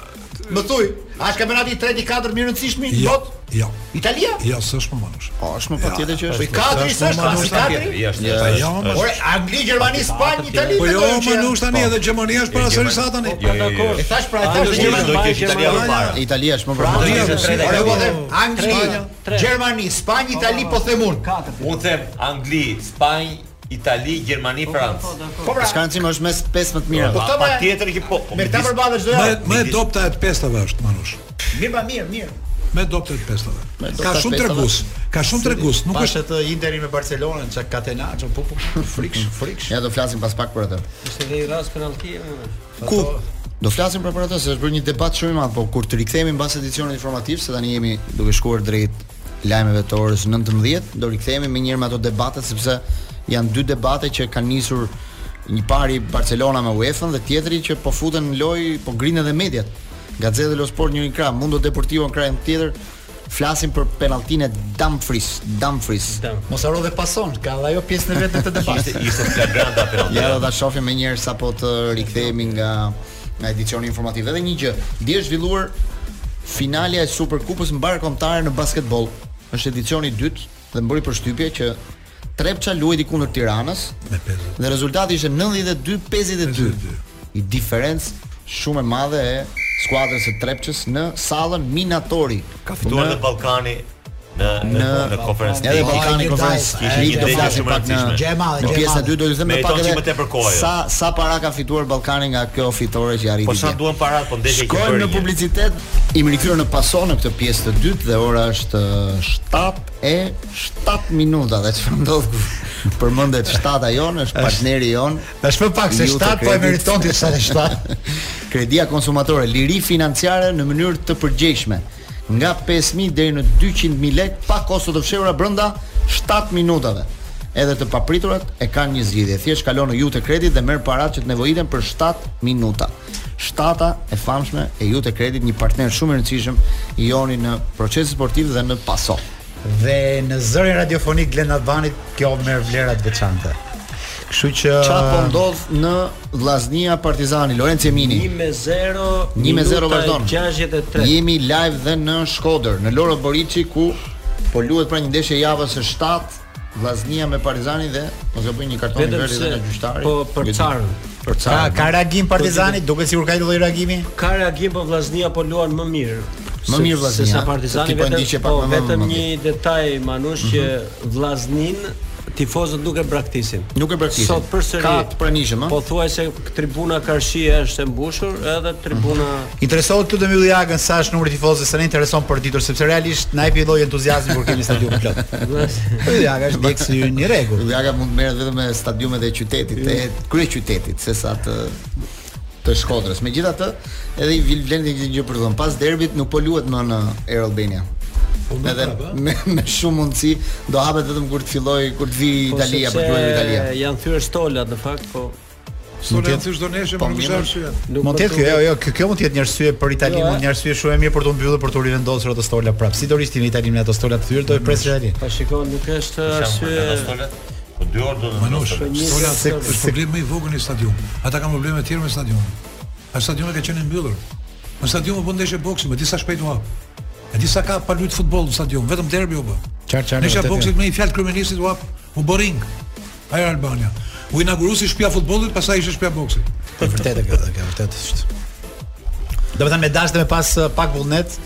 S10: Më thuj, a është kampionati i tretë i katërt më i rëndësishmi në
S9: Jo,
S10: botë?
S9: jo.
S10: Italia?
S9: Jo, s'është më manush.
S7: Po, është më patjetër që
S10: Po
S7: është.
S10: i katërt i s'është, as i katërt.
S8: Ja, është.
S9: Po jo,
S8: është-
S9: Manush.
S10: Ore, Angli, Gjermani, Spanjë, Itali,
S9: Po jo,
S10: mendojnë që janë-
S9: manush tani edhe Gjermania është para sërish sa
S6: Po,
S9: tani.
S8: Jo, jo, jo.
S10: E thash pra, e thash
S8: Unë
S10: Gjermani.
S8: mendoj që është Italia më para.
S7: Italia është më
S8: Pra,
S7: përpara.
S9: Italia është-
S10: Ore, po them, Angli,
S6: tre.
S10: Gjermani, Spanjë, Itali, po them unë.
S8: Unë them Angli, Spanjë, Itali, Gjermani, Francë.
S10: Po pra,
S7: Shkancimi është mes 15 mira.
S10: Po këta
S8: Pa
S10: pra-
S8: tjetër që po. po
S10: me ta
S8: midis-
S10: përballë çdo
S9: Më
S10: javë.
S9: më e dopta e të pestave është manush.
S10: Mirë, pa, mirë, mirë.
S9: Me dopta e të pestave.
S7: dopta
S9: Ka
S7: e
S9: shumë
S7: pestave.
S9: tregus. Ka shumë tregus, nuk është
S10: Pashë të Interi me Barcelonën, çka Catenaccio, po po, friksh, friksh.
S7: Ja do flasim pas pak për atë.
S6: Ishte dhe i rast penalti.
S7: Ku do flasim pra për atë se është bërë një debat shumë i madh, po kur të rikthehemi mbas edicionit informativ, se tani jemi duke shkuar drejt lajmeve të orës 19, do rikthehemi më njëherë me ato debatet sepse janë dy debate që kanë nisur një pari Barcelona me UEFA-n dhe tjetri që po futen në lojë, po grinë edhe mediat. Gazeta dello Sport në një krah, Mundo Deportivo në krahun tjetër, flasim për penalltinë e Dumfries, Dumfries.
S10: Mos haro dhe pason, ka dhe ajo pjesën e vetë të
S8: Ishte
S10: debatit.
S8: ishte flagrant apo jo?
S7: Ja do ta shohim më njëherë sapo të rikthehemi nga nga edicioni informativ. Edhe një gjë, dje është zhvilluar finalja e Superkupës mbarkombëtare në basketboll. Është edicioni i dytë dhe më bëri përshtypje që Trepça luajti kundër Tiranës
S9: me pesë.
S7: dhe rezultati ishte 92-52.
S9: 52.
S7: Një diferencë shumë e madhe e skuadrës së Trepçës në sallën Minatori.
S8: Ka fituar
S7: Në-
S8: në Ballkani në në në konferencë.
S7: Edhe
S10: Po,
S7: Ballkani
S10: një
S7: Conference
S10: dajs,
S7: League
S8: një
S7: do
S8: dajs
S7: flasim
S8: shumë
S7: pak në
S8: rëndësishme.
S10: Gjë e
S7: në
S10: madhe, gjë e
S7: pjesën e
S10: madhe.
S7: dytë do të them me
S8: Meriton
S7: pak
S8: që
S7: edhe
S8: më tepër kohë, jo.
S7: sa sa para ka fituar Ballkani nga kjo fitore që arriti.
S8: Po sa
S7: dje.
S8: duan parat, po ndeshje që
S7: Shkojmë
S8: bëri.
S7: në publicitet. Jemi rikthyer në paso në këtë pjesë të dytë dhe ora është eh, 7 e 7 minuta dhe çfarë ndodh kur përmendet 7-a jon është partneri jon.
S10: Tash më pak se
S7: Ju të
S10: 7, po e
S7: kredit.
S10: meriton ti sa të 7.
S7: Kredia konsumatore, liri financiare në mënyrë të përgjegjshme nga 5000 deri në 200000 lek pa kosto të fshehura brenda 7 minutave. Edhe të papriturat e kanë një zgjidhje. Thjesht kalon në Jute Credit dhe merr paratë që të nevojiten për 7 minuta. Shtata e famshme e Jute Credit, një partner shumë i rëndësishëm i joni në proces sportiv dhe në paso.
S10: Dhe në zërin radiofonik Glen Albanit, kjo merr vlera të veçanta. Kështu që
S7: Qa po ndodh në Vllaznia Partizani Lorenzo Emini.
S6: 1 me 0.
S7: 1 me 0
S6: minuta
S7: vazhdon.
S6: 63.
S7: Jemi live dhe në Shkodër, në Loro Boriçi ku po luhet pra një ndeshje javës së 7 Vllaznia me Partizani dhe mos e bëj një karton i
S6: Vetëm
S7: verë
S6: se-
S7: dhe në gjyqtarin.
S6: po, për
S7: Gjeti.
S6: Carën.
S7: Për po.
S10: ka
S7: Carën.
S10: ka reagim Partizani, duket sikur ka një lloj reagimi.
S6: Ka reagim po Vllaznia po luan më mirë.
S7: Më
S6: Se-
S7: mirë Vllaznia,
S6: Se sa
S7: se ti
S6: Partizani
S7: po ndiqje
S6: vetëm
S7: pak
S6: po
S7: më- më-
S6: vetëm
S7: më- më
S6: një detaj Manush që Vllaznin tifozët nuk e braktisin.
S7: Nuk e braktisin.
S6: Sot përsëri.
S7: Ka të pranishëm, ë?
S6: Po thuaj se tribuna Karshi është e mbushur, edhe tribuna
S7: Mhm.
S10: Interesohet lutem Ylli Jagën sa është numri i tifozëve se ne intereson për ditër sepse realisht na jepi lloj entuziazmi kur kemi stadium plot. Ylli Jaga është djeksi i në rregull.
S7: Vllaga mund të merret vetëm me stadiumet e qytetit, e krye qytetit, sesa të të Shkodrës. Megjithatë, edhe i vil vlen një gjë për të thënë. Pas derbit nuk po luhet më në Air Albania. Edhe me, me shumë mundësi do hapet vetëm kur të filloj kur të vi
S6: po,
S7: Italia
S6: sepse
S7: për luajtur Italia.
S6: Janë thyer stolat në fakt, po
S9: Sot janë thjesht doneshë,
S7: Po,
S9: por nuk
S7: mirë,
S9: është arsye.
S6: nuk po
S10: Mund të jetë kjo, jo, jo, kjo, kjo mund të jetë një arsye për Italinë,
S6: Jo,
S10: mund një arsye shumë e mirë për të mbyllur për të rivendosur ato stola prap. Si do rishtin në Italinë me ato stola të thyrë, do e presë Italinë.
S6: Pa shikon, nuk është arsye
S8: arsye. Po dy orë do të
S9: Manush,
S8: ndoshta.
S6: një
S9: stola
S6: se-
S9: është problem më i vogël i stadium. Ata kanë probleme të tjera me stadiumin. A stadiumi ka qenë i mbyllur. Në stadium po ndeshje boksi, më disa shpejt u hap. E di sa ka pa lut futboll në stadium, vetëm derbi u bë.
S10: Qartë, qartë,
S9: Ndeshja
S10: vërtet,
S9: boksit me një fjalë kryeministit u hap, u bë ring. Ajo Albania. U inauguruar si shtëpia e futbollit, pastaj ishte shtëpia e boksit.
S10: Po vërtet e kjo, kjo vërtet është. Do të thënë me dash dhe me pas uh, pak vullnet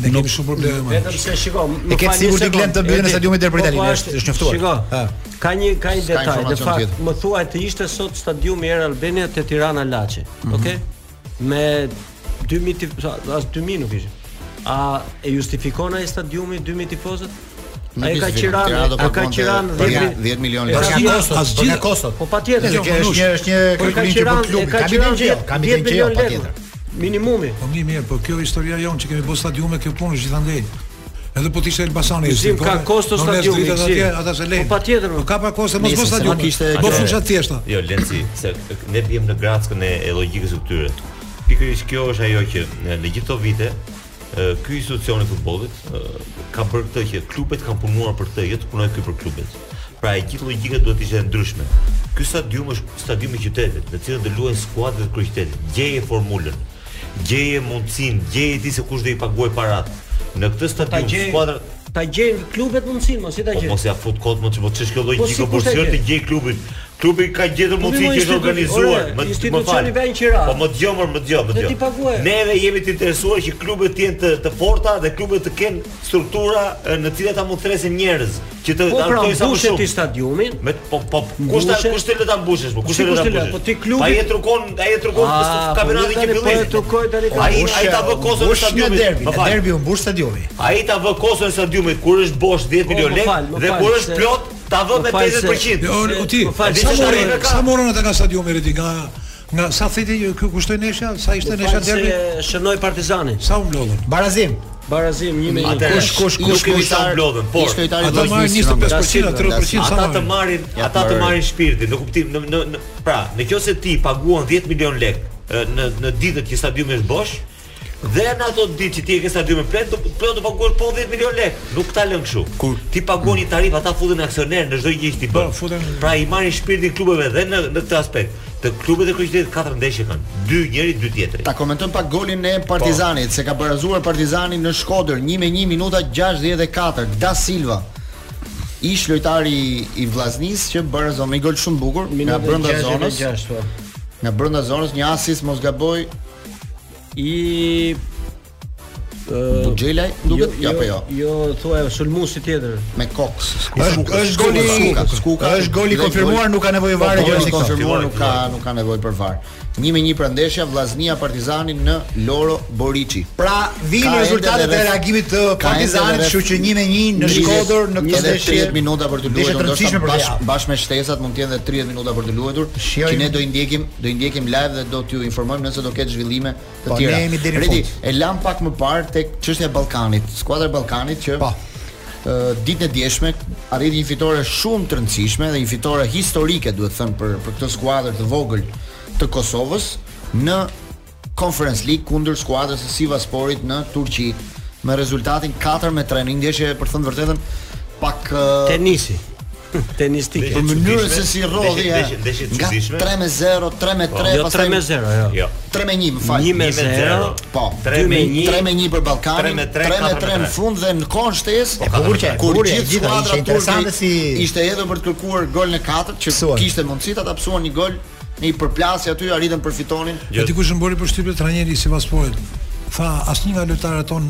S9: Ne kemi shumë probleme më.
S6: Vetëm se shiko, më
S10: E ke
S6: falni
S10: sigurt
S6: një
S10: i Glenn të
S6: sekond.
S10: bëjë në
S6: Edi,
S10: stadiumin e Derby
S6: po, po,
S10: italian,
S6: është-
S10: është njoftuar.
S6: Shiko, ka një ka një
S10: S'ka
S6: detaj, në
S10: informacion
S6: fakt,
S10: tjetër.
S6: më thuaj të ishte sot stadiumi Air Albania te Tirana Laçi,
S10: Mhm.
S6: okay? Me 2000 tif- sa- as 2000 nuk ishte. A e justifikon ai stadiumi 2000 tifozët?
S7: Nuk
S6: Ai ka
S7: justifikon.
S6: Qiran,
S7: Tirana do
S6: a ka
S7: kërkonte
S6: Qiran
S7: për
S6: 10
S7: nga 10 milion
S6: e
S7: lekë.
S6: ka
S7: Për nga
S6: gjithë-
S7: Kosot,
S6: as
S7: për nga
S6: gjithë-
S7: Kosot.
S6: Po patjetër,
S7: Kjo është një- është një
S6: Po, ka
S7: kalkulim që
S6: Qiran-
S7: bën klubi.
S6: e ka
S7: Ka
S6: Qiran
S7: milion gjeo,
S6: 10
S7: ka milion gjeo,
S6: milion lekë.
S7: patjetër.
S6: Minimumi.
S9: Po mirë, mirë, po kjo historia jon që kemi bërë stadiume kjo punë është gjithandej. Edhe po të ishte Elbasani.
S6: Gzim, ka kosto stadiumi, Gzim.
S9: Atje ata se lejnë.
S6: Po patjetër,
S9: Po ka pa kosto, mos
S7: Nisë, se
S9: bë stadium.
S7: ma kishte-
S9: Bë
S7: Atje-
S9: fusha të thjeshta.
S8: Jo, Lenci, se ne bjem në grackën e, e logjikës së këtyre. Pikërisht kjo është ajo që në në gjithë këto vite ë, ky institucion i futbollit ë, ka bërë këtë që klubet kanë punuar për këtë, jo të punojë ky për klubet. Pra e gjithë logjika duhet të ishte e ndryshme. Ky stadium është stadium i qytetit, në cilën do luajnë skuadrat e kryeqytetit. Gjeje formulën, gjeje mundsinë, gjeje ti se kush do i paguaj parat. Në këtë
S6: Ta
S8: stadium
S6: gjejnë
S8: skuadrat
S6: ta gjejnë klubet mundsinë, mos i ta
S8: Po
S6: gjejnë.
S8: mos ja fut kot më çfarë ç'është kjo
S6: Po, si
S8: logjika, po
S6: kush e
S8: si është të
S6: gjen?
S8: gjej klubin. Klubi ka gjetur
S6: Klubi
S8: mundësi
S6: më
S8: që është
S6: institu-
S8: organizuar.
S6: ore,
S8: Më më fal.
S6: institucioni vjen qira.
S8: Po më dëgjoj, më dëgjoj, më
S6: Dhe ti paguaj.
S8: dëgjoj. Neve jemi të interesuar që klubet të jenë të, të forta dhe klubet të kenë struktura e, në të cilat ta mund thresin njerëz që të
S6: Po pra
S8: artojnë sa më
S6: mbushet ti
S8: shumë.
S6: stadiumin.
S8: Me po po kush ta
S6: Mbushet.
S8: kush të le ta mbushesh, po kush
S6: Si
S8: të le
S6: kush
S8: ta
S6: të le?
S8: mbushesh.
S6: Po ti klubi-
S8: Ai e trukon, ai e trukon
S6: Ah,
S8: s-
S6: po
S8: kampionatin
S6: tani
S8: që
S6: po e
S8: filloi.
S6: trukoj tani po- ka-
S8: Ai ai ta vë
S10: kokën
S8: kosën
S10: në
S8: në stadiumin.
S10: derbi,
S8: Më
S10: në
S8: fal.
S10: derbi u mbush stadiumi.
S8: Ai ta vë kosën e stadiumit kur është bosh 10
S6: Po,
S8: milion
S6: më fal, më
S8: lekë dhe
S6: fal,
S8: kur
S6: se-
S8: është plot ta vë me
S6: më fal, se-
S8: 50%.
S9: Jo, o ti.
S6: Po fal,
S9: Sa
S8: se-
S9: morën,
S8: se-
S9: sa morën ata nga stadiumi Redi nga nga sa thiti ju ky kushtoi nesha, sa ishte nesha derbi?
S6: Se shënoi Partizani.
S9: Sa u mblodhën?
S10: Barazim.
S6: Barazim 1 milion.
S8: Atëherë,
S7: Kush kush
S8: nuk
S7: kush
S8: kemi sa mblodhën, por-
S7: Ish lojtari
S9: Ata
S7: do të
S9: marrin 25%, 30%, sa
S8: Ata të
S9: marrin?
S8: marrin,
S7: Ja,
S8: ata të
S7: marrin.
S8: marrin shpirtin, në kuptim në në, në pra, në qoftë se ti paguan 10 milion lekë e, në në ditët që stadiumi është bosh, dhe në ato ditë që ti e ke stadiumin plot, do plot do paguash po 10 milion lekë. Nuk ta lën kështu.
S7: Kur-
S8: ti paguan një tarifë, ata futen aksioner në çdo gjë që ti bën.
S9: Mm. Po, futen-
S8: Pra i marrin shpirtin klubeve dhe në në këtë aspekt. Të klubet e kryeqytetit katër ndeshje kanë, dy njëri, dy tjetri.
S7: Ta komentojmë pak golin e Partizanit, se ka barazuar Partizani në Shkodër 1 me 1 minuta 64 Da Silva. Ish lojtari i Vllaznis që barazon me gol shumë bukur nga brenda zonës, nga brenda zonës një asist mos gaboj
S6: I
S7: Buxhelaj, duket jo, apo jo.
S6: Jo, thuaj sulmuesi tjetër.
S7: Me Cox.
S10: Është është goli, është goli konfirmuar, nuk ka nevojë varë gjë
S7: Po, Goli
S10: si këto.
S7: konfirmuar nuk ka nuk ka nevojë për var. 1 me 1 pra ndeshja Vllaznia Partizani në Loro Boriçi.
S10: Pra
S7: Ka
S10: vinë
S7: ende
S10: rezultatet
S7: dhe
S10: e
S7: ref-
S10: reagimit të
S7: ka ende
S10: Partizanit,
S7: dhe
S10: kështu
S7: ref-
S10: që 1 me 1 në Shkodër në këtë
S7: Edhe
S10: ndeshje
S7: 30 minuta për të
S10: ndeshje
S7: luajtur,
S10: të
S7: ndoshta
S10: rëndësishme për
S7: bash,
S10: Real.
S7: bashkë me shtesat mund të jenë edhe 30 minuta për të luajtur.
S10: Shijojmë-
S7: Që ne do i ndjekim, do i ndjekim live dhe do t'ju informojmë nëse do ketë zhvillime të
S10: Po,
S7: tjera.
S10: ne jemi deri në
S7: Redi,
S10: fund.
S7: e lam pak më parë tek çështja e Ballkanit, skuadra e Ballkanit që
S10: Po.
S7: ë, ditën e djeshme arriti një fitore shumë të rëndësishme dhe një fitore historike duhet thënë për për këtë skuadër të vogël të Kosovës në Conference League kundër skuadrës së Sivasporit në Turqi me rezultatin 4 me 3 në një ndeshje për thënë të vërtetën pak ë,
S6: Tenisi. Tenistike.
S7: Për mënyrën se si rodhi
S8: Ndeshje- ndeshje- ndeshje
S7: Nga
S8: çuditshme.
S7: 3 me 0, 3 me 3,
S6: Jo 3 me 0, jo.
S8: Jo.
S7: 3 me 1, më fal.
S6: 1 me
S8: 1 me
S6: 0.
S8: 0.
S7: Po.
S8: 3 me 1.
S7: 3 me 1 për Ballkanin, 3
S8: 3
S7: me
S8: me
S7: 3,
S8: 3, 4 me
S7: 3 në
S8: 3.
S7: fund dhe në kohën shtesë.
S8: Po, bukur që-
S7: kur
S10: bukur që
S7: gjithë
S10: gjitha,
S7: skuadra
S10: ishte interesante
S7: turke
S10: si-
S7: ishte hedhur për të kërkuar gol në 4 që
S10: Psuan.
S7: kishte mundësi ata psuan një gol në një përplasje aty arritën përfitonin.
S8: Jo.
S9: E ti kush mbori për shtypje trajneri i Sivasporit. Tha asnjë nga lojtarët ton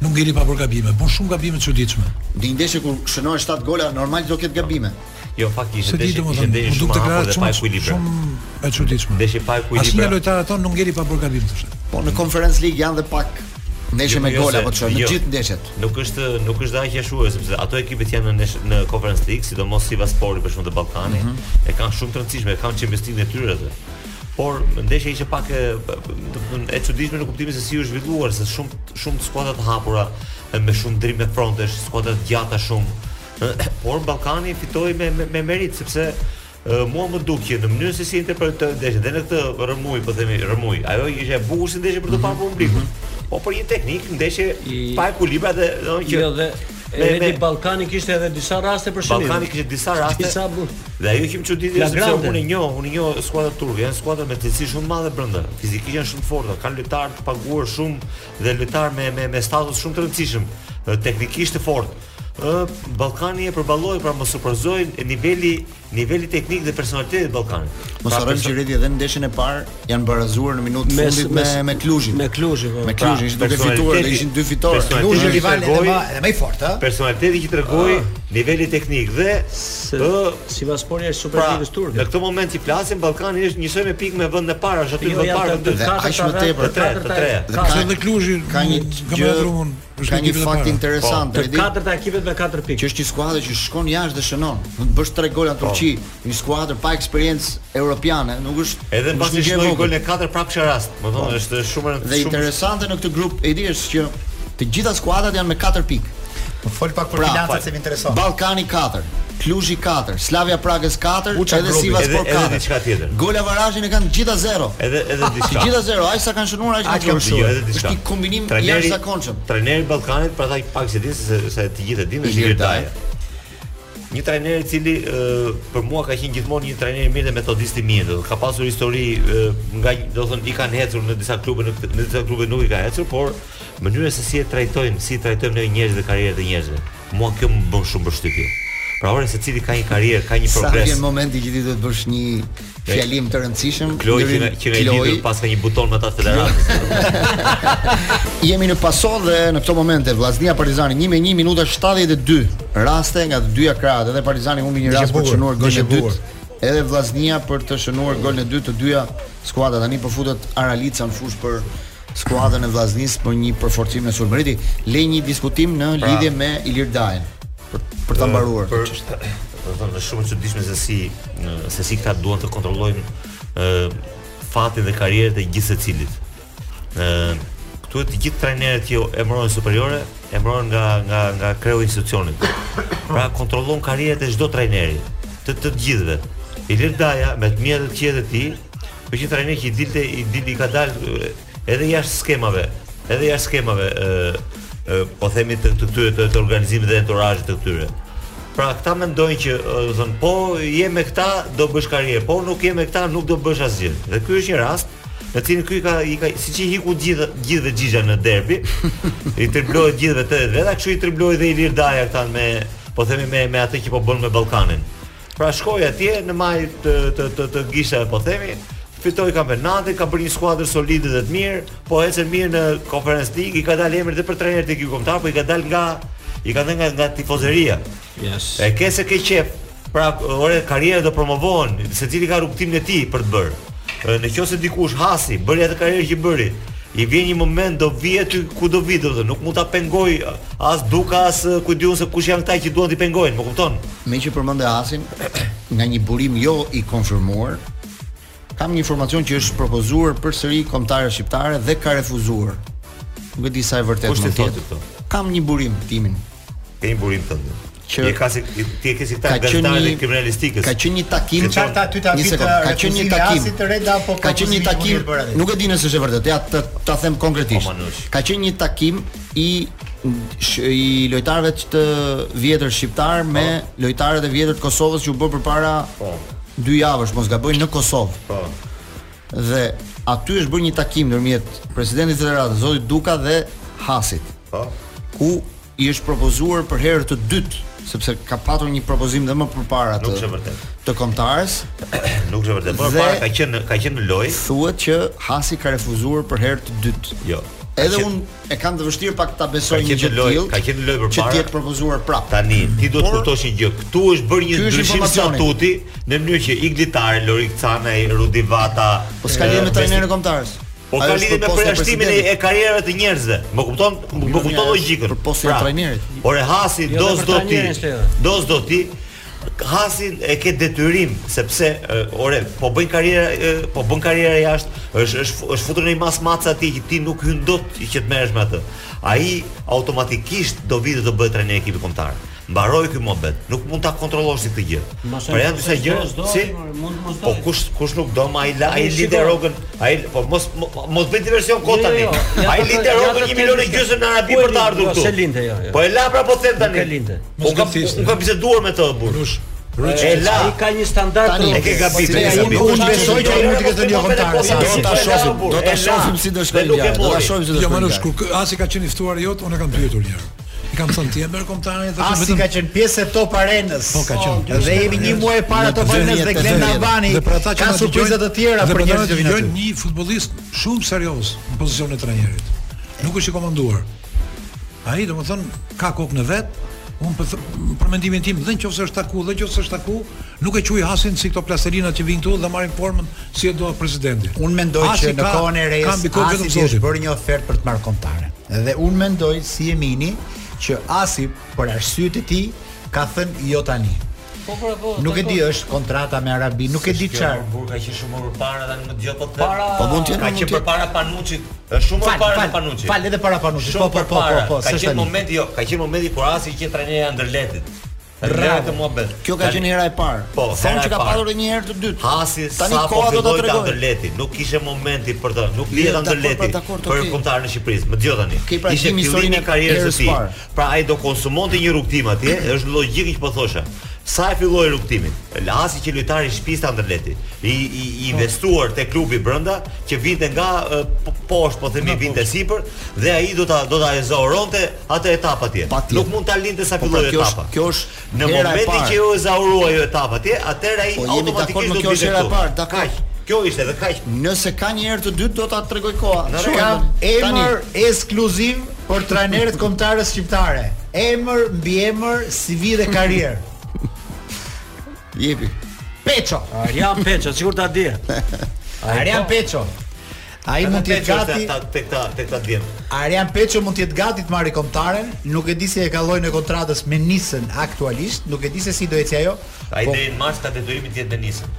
S9: nuk ngeli pa për gabime, por shumë gabime të çuditshme.
S7: Në një ndeshje ku shënohen 7 gola, normal do ketë gabime.
S8: Jo, fakt
S9: Se
S8: ishte
S9: di
S8: ndeshje, ishte
S9: domethënë,
S8: ndeshje
S9: u duk
S8: shumë
S9: të
S8: hapur
S9: krahat
S8: dhe pa
S9: shumë
S8: ekuilibër.
S9: shumë e çuditshme.
S8: Ndeshje pa ekuilibër.
S9: Asnjë nga lojtarët ton nuk ngeli pa për gabime tash.
S7: Po në Conference League janë dhe pak ndeshje
S8: Jo,
S7: me
S8: jo,
S7: gola,
S8: se-
S7: po çon në
S8: jo.
S7: gjithë ndeshjet.
S8: Nuk është nuk është dashje shuar sepse ato ekipet janë në nesh- në Conference League, sidomos Sivaspori për shkak të Ballkanit, e kanë shumë të rëndësishme, e kanë Champions League-n e tyre atë. Por ndeshja ishte pak e do të thonë, e çuditshme në kuptimin se si u zhvilluar, se shumë shumë skuadra të hapura e me shumë ndrime frontesh, skuadra të gjata shumë. Por Ballkani fitoi me me, me merit sepse e, mua më duk që në mënyrën se si interpretoi ndeshjen dhe në këtë rëmuj, po themi rëmuj, ajo ishte e bukur si ndeshje për të parë publikun. Po për një teknik ndeshje
S6: I-
S8: pa ekuilibra dhe do të thonë që
S6: Jo dhe
S8: me-
S6: Edhe
S8: me-
S6: Ballkani kishte edhe disa raste për shënim.
S8: Ballkani kishte disa raste.
S6: Disa bu-
S8: Dhe ajo që më çuditi është sepse
S6: Flagrante.
S8: unë e njoh, unë e njoh skuadrat turke, janë skuadra me cilësi shumë madhe brenda. Fizikisht janë shumë forta, kanë lojtarë të paguar shumë dhe lojtarë me me me status shumë të rëndësishëm, eh, teknikisht të fortë. Ë Ballkani e përballoi, pra më surprizoi niveli niveli teknik dhe personalitetit ballkanit. Pra,
S7: Mos harrojmë që Redi edhe në ndeshjen e parë janë barazuar në minutën e fundit me me Kluzhin.
S6: Me Kluzhin, po.
S7: Me Kluzhin ishin duke
S8: personaliteti-
S7: fituar dhe ishin dy fitore.
S8: personaliteti
S7: Kluzhi
S8: që
S7: rivali
S8: tregoi-
S7: edhe më
S10: edhe më i fortë, ë?
S8: Personaliteti që tregoi
S7: Ah.
S8: niveli teknik dhe
S6: Pra,
S8: ë
S6: Sivaspori është
S8: pra,
S6: Superligës turke.
S8: në këtë moment që flasim Ballkani është njësoj me pikë me vendin e parë, është aty
S6: Jo,
S8: në
S6: janë
S8: parë
S6: të-
S8: dy.
S6: të katërt,
S7: aq më
S6: të
S7: tepër.
S8: Të tre,
S6: katërt,
S8: të tre.
S6: të
S7: Dhe
S6: katërt.
S9: Se edhe Kluzhi
S7: Ka një gjë,
S9: Rumën, është
S7: ka një
S9: ekipit e
S7: fakt
S9: parë.
S7: interesant,
S6: Po, Të
S7: Redi,
S6: katërt e ekipet me 4
S7: që
S6: pikë.
S7: është një skuadër që shkon jashtë dhe shënon. Mund të bësh 3 gola në Turqi, një skuadër pa eksperiencë europiane, nuk është
S8: Edhe
S7: nuk
S8: mbasi
S7: është një gjë e
S8: shkoi
S7: vogël. Po.
S8: golin e katërt prapë kishte rast. Do thonë është shumë
S7: Dhe
S8: shumë
S7: interesante në këtë grup e di është që të gjitha skuadrat janë me 4 pikë.
S10: Po fol pak për
S7: Pra,
S10: bilancën
S7: fal.
S10: se më intereson.
S7: Ballkani 4, Kluzhi 4, Slavia Pragës 4,
S10: Uça
S7: edhe
S10: grupi,
S7: Sivaspor
S8: edhe- edhe
S7: 4.
S8: diçka tjetër.
S7: Gola varazhin e kanë të gjitha 0.
S8: Edhe edhe diçka.
S7: Ah, Të gjitha 0, aq sa kanë shënuar, aq
S10: Aq
S7: kanë
S10: kanë
S7: shënuar.
S8: Jo, edhe diçka.
S7: Është një kombinim
S8: Trajneri-
S7: jashtëzakonshëm.
S8: Trajneri i Ballkanit, për ata që pak se dinë se se- se të gjithë e dinë, është
S7: Ilir
S8: Ilir
S7: Daja.
S8: Daja. Një trajner i cili ë, për mua ka qenë gjithmonë një trajner i mirë dhe metodist i mirë. do të thotë, Ka pasur histori ë, nga do të thonë i kanë ecur në disa klube në, këtë- në disa klube nuk i ka ecur, por mënyra se si e trajtojmë, si trajtojmë ne njerëz dhe karrierat e njerëzve. Mua kjo më bën shumë përshtypje. Pra ore se cili ka një karrierë, ka një
S7: Sa
S8: progres.
S7: vjen momenti që ti do të bësh një fjalim të rëndësishëm.
S8: Kloj që
S7: ndërim
S8: nga që nga i
S7: Kloj,
S8: lidhur pas ka një buton me ata federatës.
S7: Jemi në paso dhe në këto momente Vllaznia Partizani 1 me 1 minuta 72 raste nga të dyja krahët. Edhe Partizani humbi një
S10: Dishë
S7: rast për të
S10: bukur,
S7: shënuar golin e
S10: dishë
S7: dytë.
S10: bukur.
S7: Edhe Vllaznia për të shënuar golin e dytë të dyja skuadra tani po futet Aralica në fushë për skuadrën e Vllaznisë për një përforcim në sulmëriti. Le një diskutim në
S8: Pra.
S7: lidhje me Ilir Dajën për, për ta mbaruar.
S8: Për, do të thonë është shumë e çuditshme se si në- se si këta duan të kontrollojnë ë fatin dhe karrierën e gjithë secilit. ë Këtu të gjithë trajnerët që emërohen superiore, emërohen nga nga nga kreu i institucionit. Pra kontrollon karrierën e çdo trajneri, të të gjithëve. Ilir Daja me të mirë dhe të qetë e tij, për një trajner që i dilte i dili ka dalë ë, edhe jashtë skemave, edhe jashtë skemave ë ë, po themi të të këtyre të, të organizimit dhe entourage të këtyre. Pra këta mendojnë që ë, do thon po je me këta do bësh karrierë, po nuk je me këta nuk do bësh asgjë. Dhe ky është një rast në cilin ky ka i ka siç i hiku gjithë gjithëve xhixha në derbi, i triblohet gjithëve të veta, kështu i triblohet dhe Ilir Daja këta me po themi me me atë që po bën me Ballkanin. Pra shkoi atje në maj të të të, të gisha po themi, fitoi kampionatin, ka bërë një skuadër solide dhe të mirë, po ecën mirë në Conference League, i ka dalë emri dhe për trajnerët e ekipit kombëtar, po i ka dalë nga i ka dalë nga nga tifozeria.
S6: Yes.
S8: E ke se ke qef. Pra, ore karriera do promovohen, secili ka rrugtimin e tij për të bërë. E, Në qoftë se dikush hasi, bëri atë karrierë që bëri, i vjen një moment do vi aty ku do vi, do të thotë, nuk mund ta pengoj as Duka as e, ku diun se kush janë këta që duan t'i pengojnë, më kupton?
S7: Me që përmende Asin, nga një burim jo i konfirmuar, kam një informacion që është propozuar përsëri kombëtare shqiptare dhe ka refuzuar. Nuk e di sa e vërtetë
S8: Kush t'i
S7: mund të
S8: thotë
S7: jetë.
S8: këto?
S7: Kam një burim timin.
S8: Ke një burim tënd.
S7: Që-
S8: Që je kasi ti e ke si
S7: Ka
S8: këta
S7: qenë
S8: gazetarë
S7: një
S8: e kriminalistikës.
S7: Ka qenë një takim.
S8: Që qartë
S10: aty ta
S7: Një
S10: vit,
S7: sekundë,
S10: uh,
S7: Ka qenë një
S10: refuzimi
S7: takim.
S10: Hasit të Red, apo
S7: Ka qenë një
S10: propozimi
S7: takim.
S10: mund jetë bërë atë?
S7: Nuk e di nëse është e vërtetë. Ja të ta them konkretisht.
S8: O, Manush.
S7: Ka qenë një takim i sh- i lojtarëve të vjetër shqiptar me lojtarët e vjetër të Kosovës që u bë përpara dy javësh, mos gaboj në Kosovë.
S8: Po.
S7: dhe aty është bërë një takim ndërmjet presidentit të Federatës, Zotit Duka dhe Hasit,
S8: Po.
S7: ku i është propozuar për herë të dytë, sepse ka patur një propozim dhe më përpara të
S8: Nuk është e vërtetë.
S7: të kombëtarës,
S8: Nuk është po, e vërtetë. Por
S7: Dhe-
S8: para ka qenë ka qenë në lojë.
S7: thuhet që Hasi ka refuzuar për herë të dytë.
S8: Jo. Ka
S7: Edhe
S8: qenë-
S7: unë e kam të vështirë pak ta besoj
S8: Ka
S7: një
S8: qenë
S7: gjë të
S8: loj-
S7: tillë.
S8: ka qenë loj
S7: Që
S8: përpara.
S7: të jetë propozuar prapë.
S8: Tani ti do të
S7: Por-
S8: kuptosh një gjë. Këtu është bërë një
S7: Ky është
S8: ndryshim
S7: informacioni.
S8: statuti në mënyrë që iglitare Lori Canaj, Rudi Vata,
S7: Po s'ka
S8: e,
S7: lidhje me trajnerin e
S8: Besi-
S7: kombëtarës.
S8: Po
S7: Ajo
S8: ka
S7: është
S8: lidhje me
S7: për postën e
S8: përjashtimin e, e
S7: presidentit.
S8: karrierave të njerëzve. Më kupton? Më
S7: mirë,
S8: kupton
S7: është
S8: logjikën.
S7: për postën e trajnerit.
S8: Por e Hasi
S6: Jo,
S8: do
S6: dhe për
S8: s'do ti.
S6: trajnerin është edhe.
S8: Do s'do ti. Hasi e ke detyrim sepse e, ore po bën karrierë e, po bën karrierë jashtë, është është fu- është futur në një mas mac aty që ti nuk hyn dot që të merresh me atë. Ai automatikisht do vi dhe do bëhet trajner ekipi kombëtar. Mbaroi ky mohabet. Nuk mund ta kontrollosh ti këtë gjë.
S6: Mos e-
S8: Por janë disa
S6: mos
S8: gjë
S6: do,
S8: si
S6: mor, mund të mos
S8: po
S6: doj.
S8: kush kush nuk do ma ai la- ai
S6: Tani,
S8: liderogën, ai po mos mo- mos bëj diversion kot
S6: Po, Jo,
S8: tani.
S6: jo, jo. Ja
S8: Ai
S6: ta-
S8: linte
S6: ja ta
S8: rrogën 1
S6: them
S8: milion e
S6: diçka.
S8: gjysmë në Arabi
S6: Po e
S8: për të
S6: linte,
S8: ardhur
S6: jo,
S8: këtu.
S6: se linte, jo, jo.
S8: Po e la pra po them tani.
S6: Nuk e linte.
S8: Unë kam
S9: Mos
S8: unë kam biseduar me të burr. E la.
S6: Ai ka një standard
S7: Tani,
S6: rrugë.
S8: E ke gabim.
S7: Si
S8: e
S7: ai
S8: gabim.
S7: unë
S10: besoj që ai mund t'i ketë dhënë një
S8: Po, po,
S10: kontakt.
S8: po, po, po,
S7: Do ta
S8: po, po,
S7: shohim,
S8: po,
S7: do
S8: e
S7: ta
S8: la.
S7: shohim si do
S8: Dhe
S7: shkojë
S8: nuk e
S7: ngjarja. Do ta
S8: mori.
S7: shohim si do
S9: Jo,
S7: shkojë
S9: Manush,
S7: ngjarja.
S9: kur Asi ka qenë i ftuar jot, unë e kam pyetur një herë. I kam thënë ti e merr kombëtarin dhe
S10: Asi ka qenë pjesë e Top Arenës.
S9: Po, ka qenë.
S10: Dhe jemi një muaj e para
S9: Në
S10: Top Arenës dhe
S9: 90,
S10: Glen
S9: 90.
S10: Albani.
S9: Dhe për ata që
S10: ka
S9: na
S10: surpriza
S9: dëgjojnë-
S10: të tjera
S9: dhe
S10: për
S9: për ata
S10: njerëzit
S9: që
S10: që vinë
S9: dëgjojnë
S10: aty.
S9: një futbollist shumë serioz në pozicionin e trajnerit. Nuk është i komanduar. Ai domethën ka kokë në vet. Unë për, për mendimin tim, dhe nëse është taku, dhe nëse është taku, nuk e quaj Hasin si këto plastelinat që vijnë këtu dhe marrin formën si e do presidenti.
S10: Unë mendoj që në kohën e
S9: ka mbi
S10: rres
S9: kokë
S10: Asi
S9: vetëm
S10: ti është
S9: Zotit.
S10: bërë një ofertë për të marrë kontare. Dhe unë mendoj si Jemini që Asi për arsye të tij ka thënë jo tani.
S6: Po po po.
S10: Nuk e di është kontrata me Arabi, nuk e di çfarë.
S8: Burg ka qenë shumë më para tani më dëgjoj po të.
S6: Para- Po
S7: mund t'jenë,
S8: Ka
S7: mund
S8: qenë
S7: t'jenë.
S8: përpara Panuçit. Është shumë më
S10: Fal,
S8: para
S10: fal,
S8: se Panuçi.
S10: fal, edhe para Panuçit.
S8: Shumë
S10: Po, po, po,
S8: përpara.
S10: po, po,
S8: Ka
S10: s'është
S8: qenë
S10: tani.
S8: momenti jo, ka qenë momenti kur Asi që trajneri i Anderletit.
S10: Bravo.
S8: Trajneri të muhabet.
S7: Kjo ka
S8: Tani-
S7: qenë hera e parë.
S8: Po, hera
S7: thonë
S8: e
S7: që ka
S8: parë.
S7: pasur edhe një herë të dytë.
S8: Hasi
S7: Tani
S8: sa po
S7: koha do ta
S8: filloi të
S7: tregoj.
S8: Anderleti, nuk kishte momenti për të, nuk
S7: Jo,
S8: lihet
S7: dakor,
S8: Anderleti
S7: po, dakor,
S8: për
S7: okay.
S8: kombëtarën e Shqipërisë. Më dëgjoj tani.
S7: Ke pra
S8: Ishte
S7: kimi
S8: fillimi
S7: historinë
S8: i
S7: e
S8: karrierës së
S7: herës
S8: tij.
S7: parë.
S8: Pra ai do konsumonte një rrugtim atje, është logjike që po thosha. Sa e filloi rrugtimin? Hasi që lojtari i shtëpisë të Anderleti, i, i, i
S7: Po.
S8: investuar te klubi brenda, që vinte nga eh, po- poshtë, po themi vinte sipër dhe ai do ta do ta ezoronte atë etapë atje.
S7: Patjetër.
S8: Nuk mund ta linte sa
S7: Po,
S8: filloi
S7: pra, kjo është-
S8: etapa.
S7: kjo është
S8: në
S7: hera e
S8: momentin
S7: parë.
S8: që ju e zaurua ju etapë atje, atëherë ai
S7: Po, jemi dakord,
S8: automatikisht
S7: nuk
S8: do të
S7: kjo është
S8: vinte
S7: hera e
S8: këtu.
S7: parë, dakord.
S8: Kaq. Kjo ishte dhe kaq.
S7: Nëse ka një herë të dytë do ta tregoj koha. Shumë
S10: Ka
S7: e tani.
S10: emër ekskluziv për trajnerët kombëtarës shqiptare. Emër mbi emër, CV dhe karrierë.
S7: Jepi.
S10: Peço.
S6: Arjan Peça, sigurt ta di.
S10: Arian Peço. Ai mund të jetë gati.
S8: tek ta tek ta djem.
S7: Po.
S10: Arian Peço mund të jetë gati të marrë kombëtaren, nuk e di se e ka llojin e kontratës me Nisën aktualisht, nuk e di se si do ecë ajo.
S8: Ai
S10: po,
S8: deri në mars ka detyrimin të jetë në Nisë.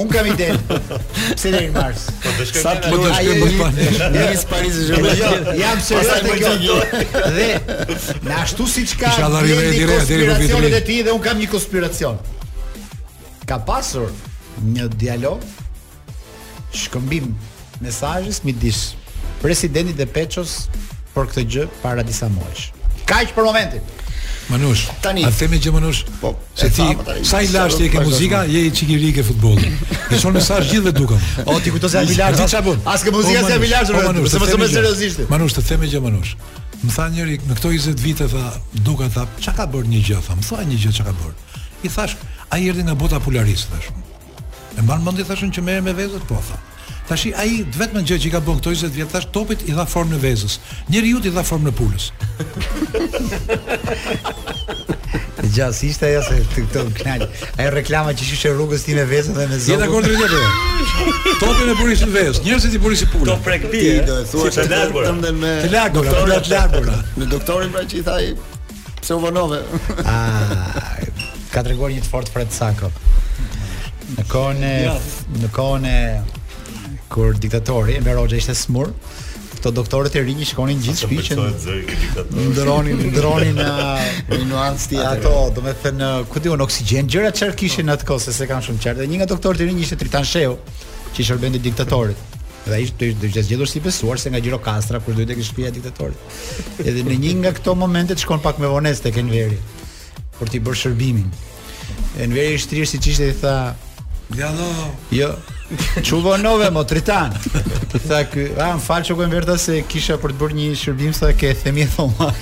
S10: un kam idenë. Pse deri në Mars?
S8: Po do shkojmë
S7: Sa
S8: ne
S7: të
S8: në-
S7: luaj
S9: do shkojmë
S7: ai- ai-
S9: më
S7: Paris Paris Saint-Germain.
S10: Jo, jam serioz
S8: Pastaj
S10: te
S8: më
S10: kjo.
S8: gjatë.
S10: Dhe në ashtu siç ka
S9: Inshallah,
S10: blendi
S9: rivej dire, deri në vitin e
S10: konspiracionet
S9: ri.
S10: e tij dhe un kam një konspiracion. Ka pasur një dialog shkëmbim mesazhes midis presidentit dhe Peços për këtë gjë para disa muajsh. Kaq për momentin.
S9: Manush.
S7: Tani.
S9: A themi që Manush,
S7: Po,
S9: se
S7: e
S9: ti
S7: thamë tani.
S9: sa i lashtë je ke
S7: Vazhdo,
S9: muzika, je i çikirik e futbollit. I shon mesazh gjithë dhe dukam.
S10: O ti kujto se Abilar,
S9: Ti çfarë bën?
S10: as ke muzika,
S9: O,
S10: se
S9: Manush,
S10: Abilar,
S9: o, Manush,
S10: se
S9: të
S10: mos e
S9: themi
S10: më
S9: gjë.
S10: seriozisht.
S9: Manush, të themi gjë Manush. Më tha njëri në këto 20 vite tha, duka tha, çka ka bërë një gjë, tha, më tha një gjë çka ka bërë. I thash, ai erdhi nga bota polariste thash. unë. E mban mendi thashën që merrem me vezët, po tha. Tashi ai vetëm gjë që i ka bën këto 20 vjet thash topit i dha formë në vezës. Njeriu i dha formë në pulës.
S10: Gjas ishte ajo se të këto knal. Ai reklama që ishte rrugës time vezën dhe me
S9: Je
S10: zogën.
S9: dakord drejtë apo? jo? Topin e burisë në vezë, njerëzit i burisë pulën.
S7: Ti do e thua
S8: eh? Si të largura.
S7: tëmden me
S9: Të largura,
S7: doktorin-
S9: pulat largura.
S7: Me doktorin pra që i tha ai pse u vonove.
S10: Ah, ka treguar një të fortë Fred Sako. Në kohën e në kohën e kur diktatori Enver Hoxha ishte smur, këto doktorët e rinj shkonin gjithë shtëpi që
S8: zëri i diktator.
S7: Mm.
S10: ndronin ndronin
S7: Në nuancë
S10: uh,
S7: tjetër.
S10: ato, do me thënë, ku diun oksigjen, gjëra çfarë kishin atë kohë se se kanë shumë qartë. Dhe një nga doktorët e rinj ishte Tritan Sheu, që i shërbente diktatorit. Dhe ai ishte do ishte zgjedhur si besuar se nga Gjirokastra kur duhet të kishte shtëpia e diktatorit. Edhe në një nga këto momente të shkon pak me vonesë tek Enveri për t'i bërë shërbimin. Enveri i shtrirë siç ishte i tha,
S9: Ja do.
S10: Jo. Çu vonove mo tritan. Ti tha ky, a më fal shokun Verta se kisha për të bërë një shërbim sa ke themi thoma.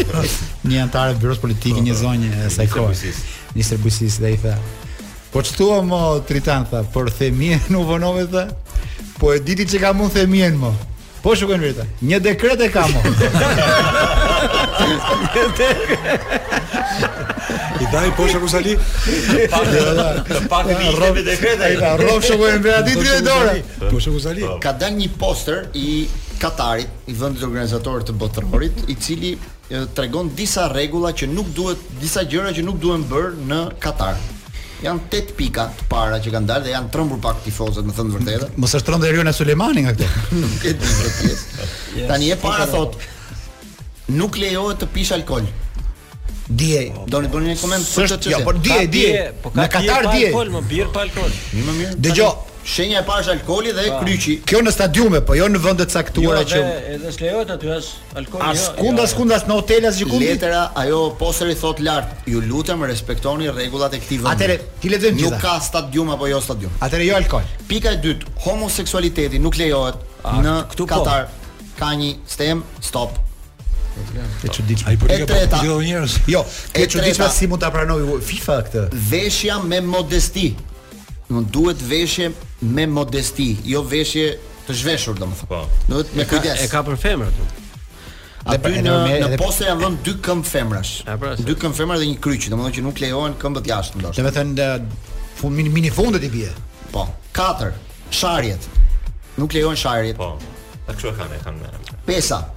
S10: një antar e byros politik, një zonjë e saj kohe.
S8: bujqis.
S10: Nisër bujqis dhe i tha. Po çtua mo tritan tha, por themien u vonove tha. Po e diti që ka mund themien mo. Po shokun Verta, një dekret e ka mo.
S9: I daj poshtë Kusali.
S8: Të
S7: Ah,
S8: pak të ishte me dekreta.
S10: Ai tha, rrof shokun Verta ti drejtë dorë.
S9: Poshtë Kusali.
S7: Ka dalë një poster i Katarit, i vendit organizator të botërorit, i cili e, tregon disa rregulla që nuk duhet, disa gjëra që nuk duhen bërë në Katar. Janë 8 pika të para që kanë dalë dhe janë trembur pak tifozët, me thënë të vërtetën.
S10: Mos e shtron dhe Riona Sulejmani nga këto.
S7: Nuk e di këtë pjesë. Tani e para thot nuk lejohet të pish alkool.
S10: Dije.
S7: Doni bëni një koment për këtë
S10: Jo,
S7: çështje.
S10: por dije, dije.
S6: Po ka
S10: Në Katar
S6: dje.
S10: dije.
S6: Alkool, më bir pa alkool.
S7: Më mirë.
S10: Dëgjo.
S7: Tani, shenja e parë është alkooli dhe kryqi.
S10: Kjo në stadiume, po jo në vende të caktuara
S6: Jo,
S10: që
S6: dhe edhe s'lejohet aty as alkool.
S10: as
S6: jo,
S10: kund
S6: jo.
S10: as kund as në hotel as gjikund.
S7: Letera ajo posteri thot lart, ju lutem respektoni rregullat e këtij vendi.
S10: Atëre, ti lexojmë
S7: Nuk
S10: gjitha.
S7: ka stadium apo jo stadium.
S10: Atëre jo alkool.
S7: Pika e dytë, homoseksualiteti nuk lejohet
S6: A,
S7: në
S6: këtu po.
S7: Katar. Ka një stem, stop.
S10: E çuditshme.
S9: Ai po
S7: E treta.
S9: jo njerëz.
S10: Jo, e
S7: E
S10: çuditshme
S7: treta.
S10: si mund ta pranoj FIFA këtë.
S7: Veshja me modesti. Do duhet veshje me modesti, jo veshje të zhveshur domethënë.
S8: Po.
S7: Duhet me kujdes.
S6: E ka pra- për femër atë.
S7: Aty
S10: Dhe-
S7: në
S10: edhe-
S7: në
S10: edhe-
S7: poste janë dhënë dy këmbë femrash.
S6: E, pra, se-
S7: Dy këmbë femrash dhe një kryq, domethënë që nuk lejohen këmbët jashtë ndoshta.
S10: Domethënë eh, fund mini, mini fondet i bie.
S7: Po. Katër, sharjet. Nuk lejohen sharjet.
S8: Po. Ta kështu e kanë, e kanë. me-
S7: Pesa.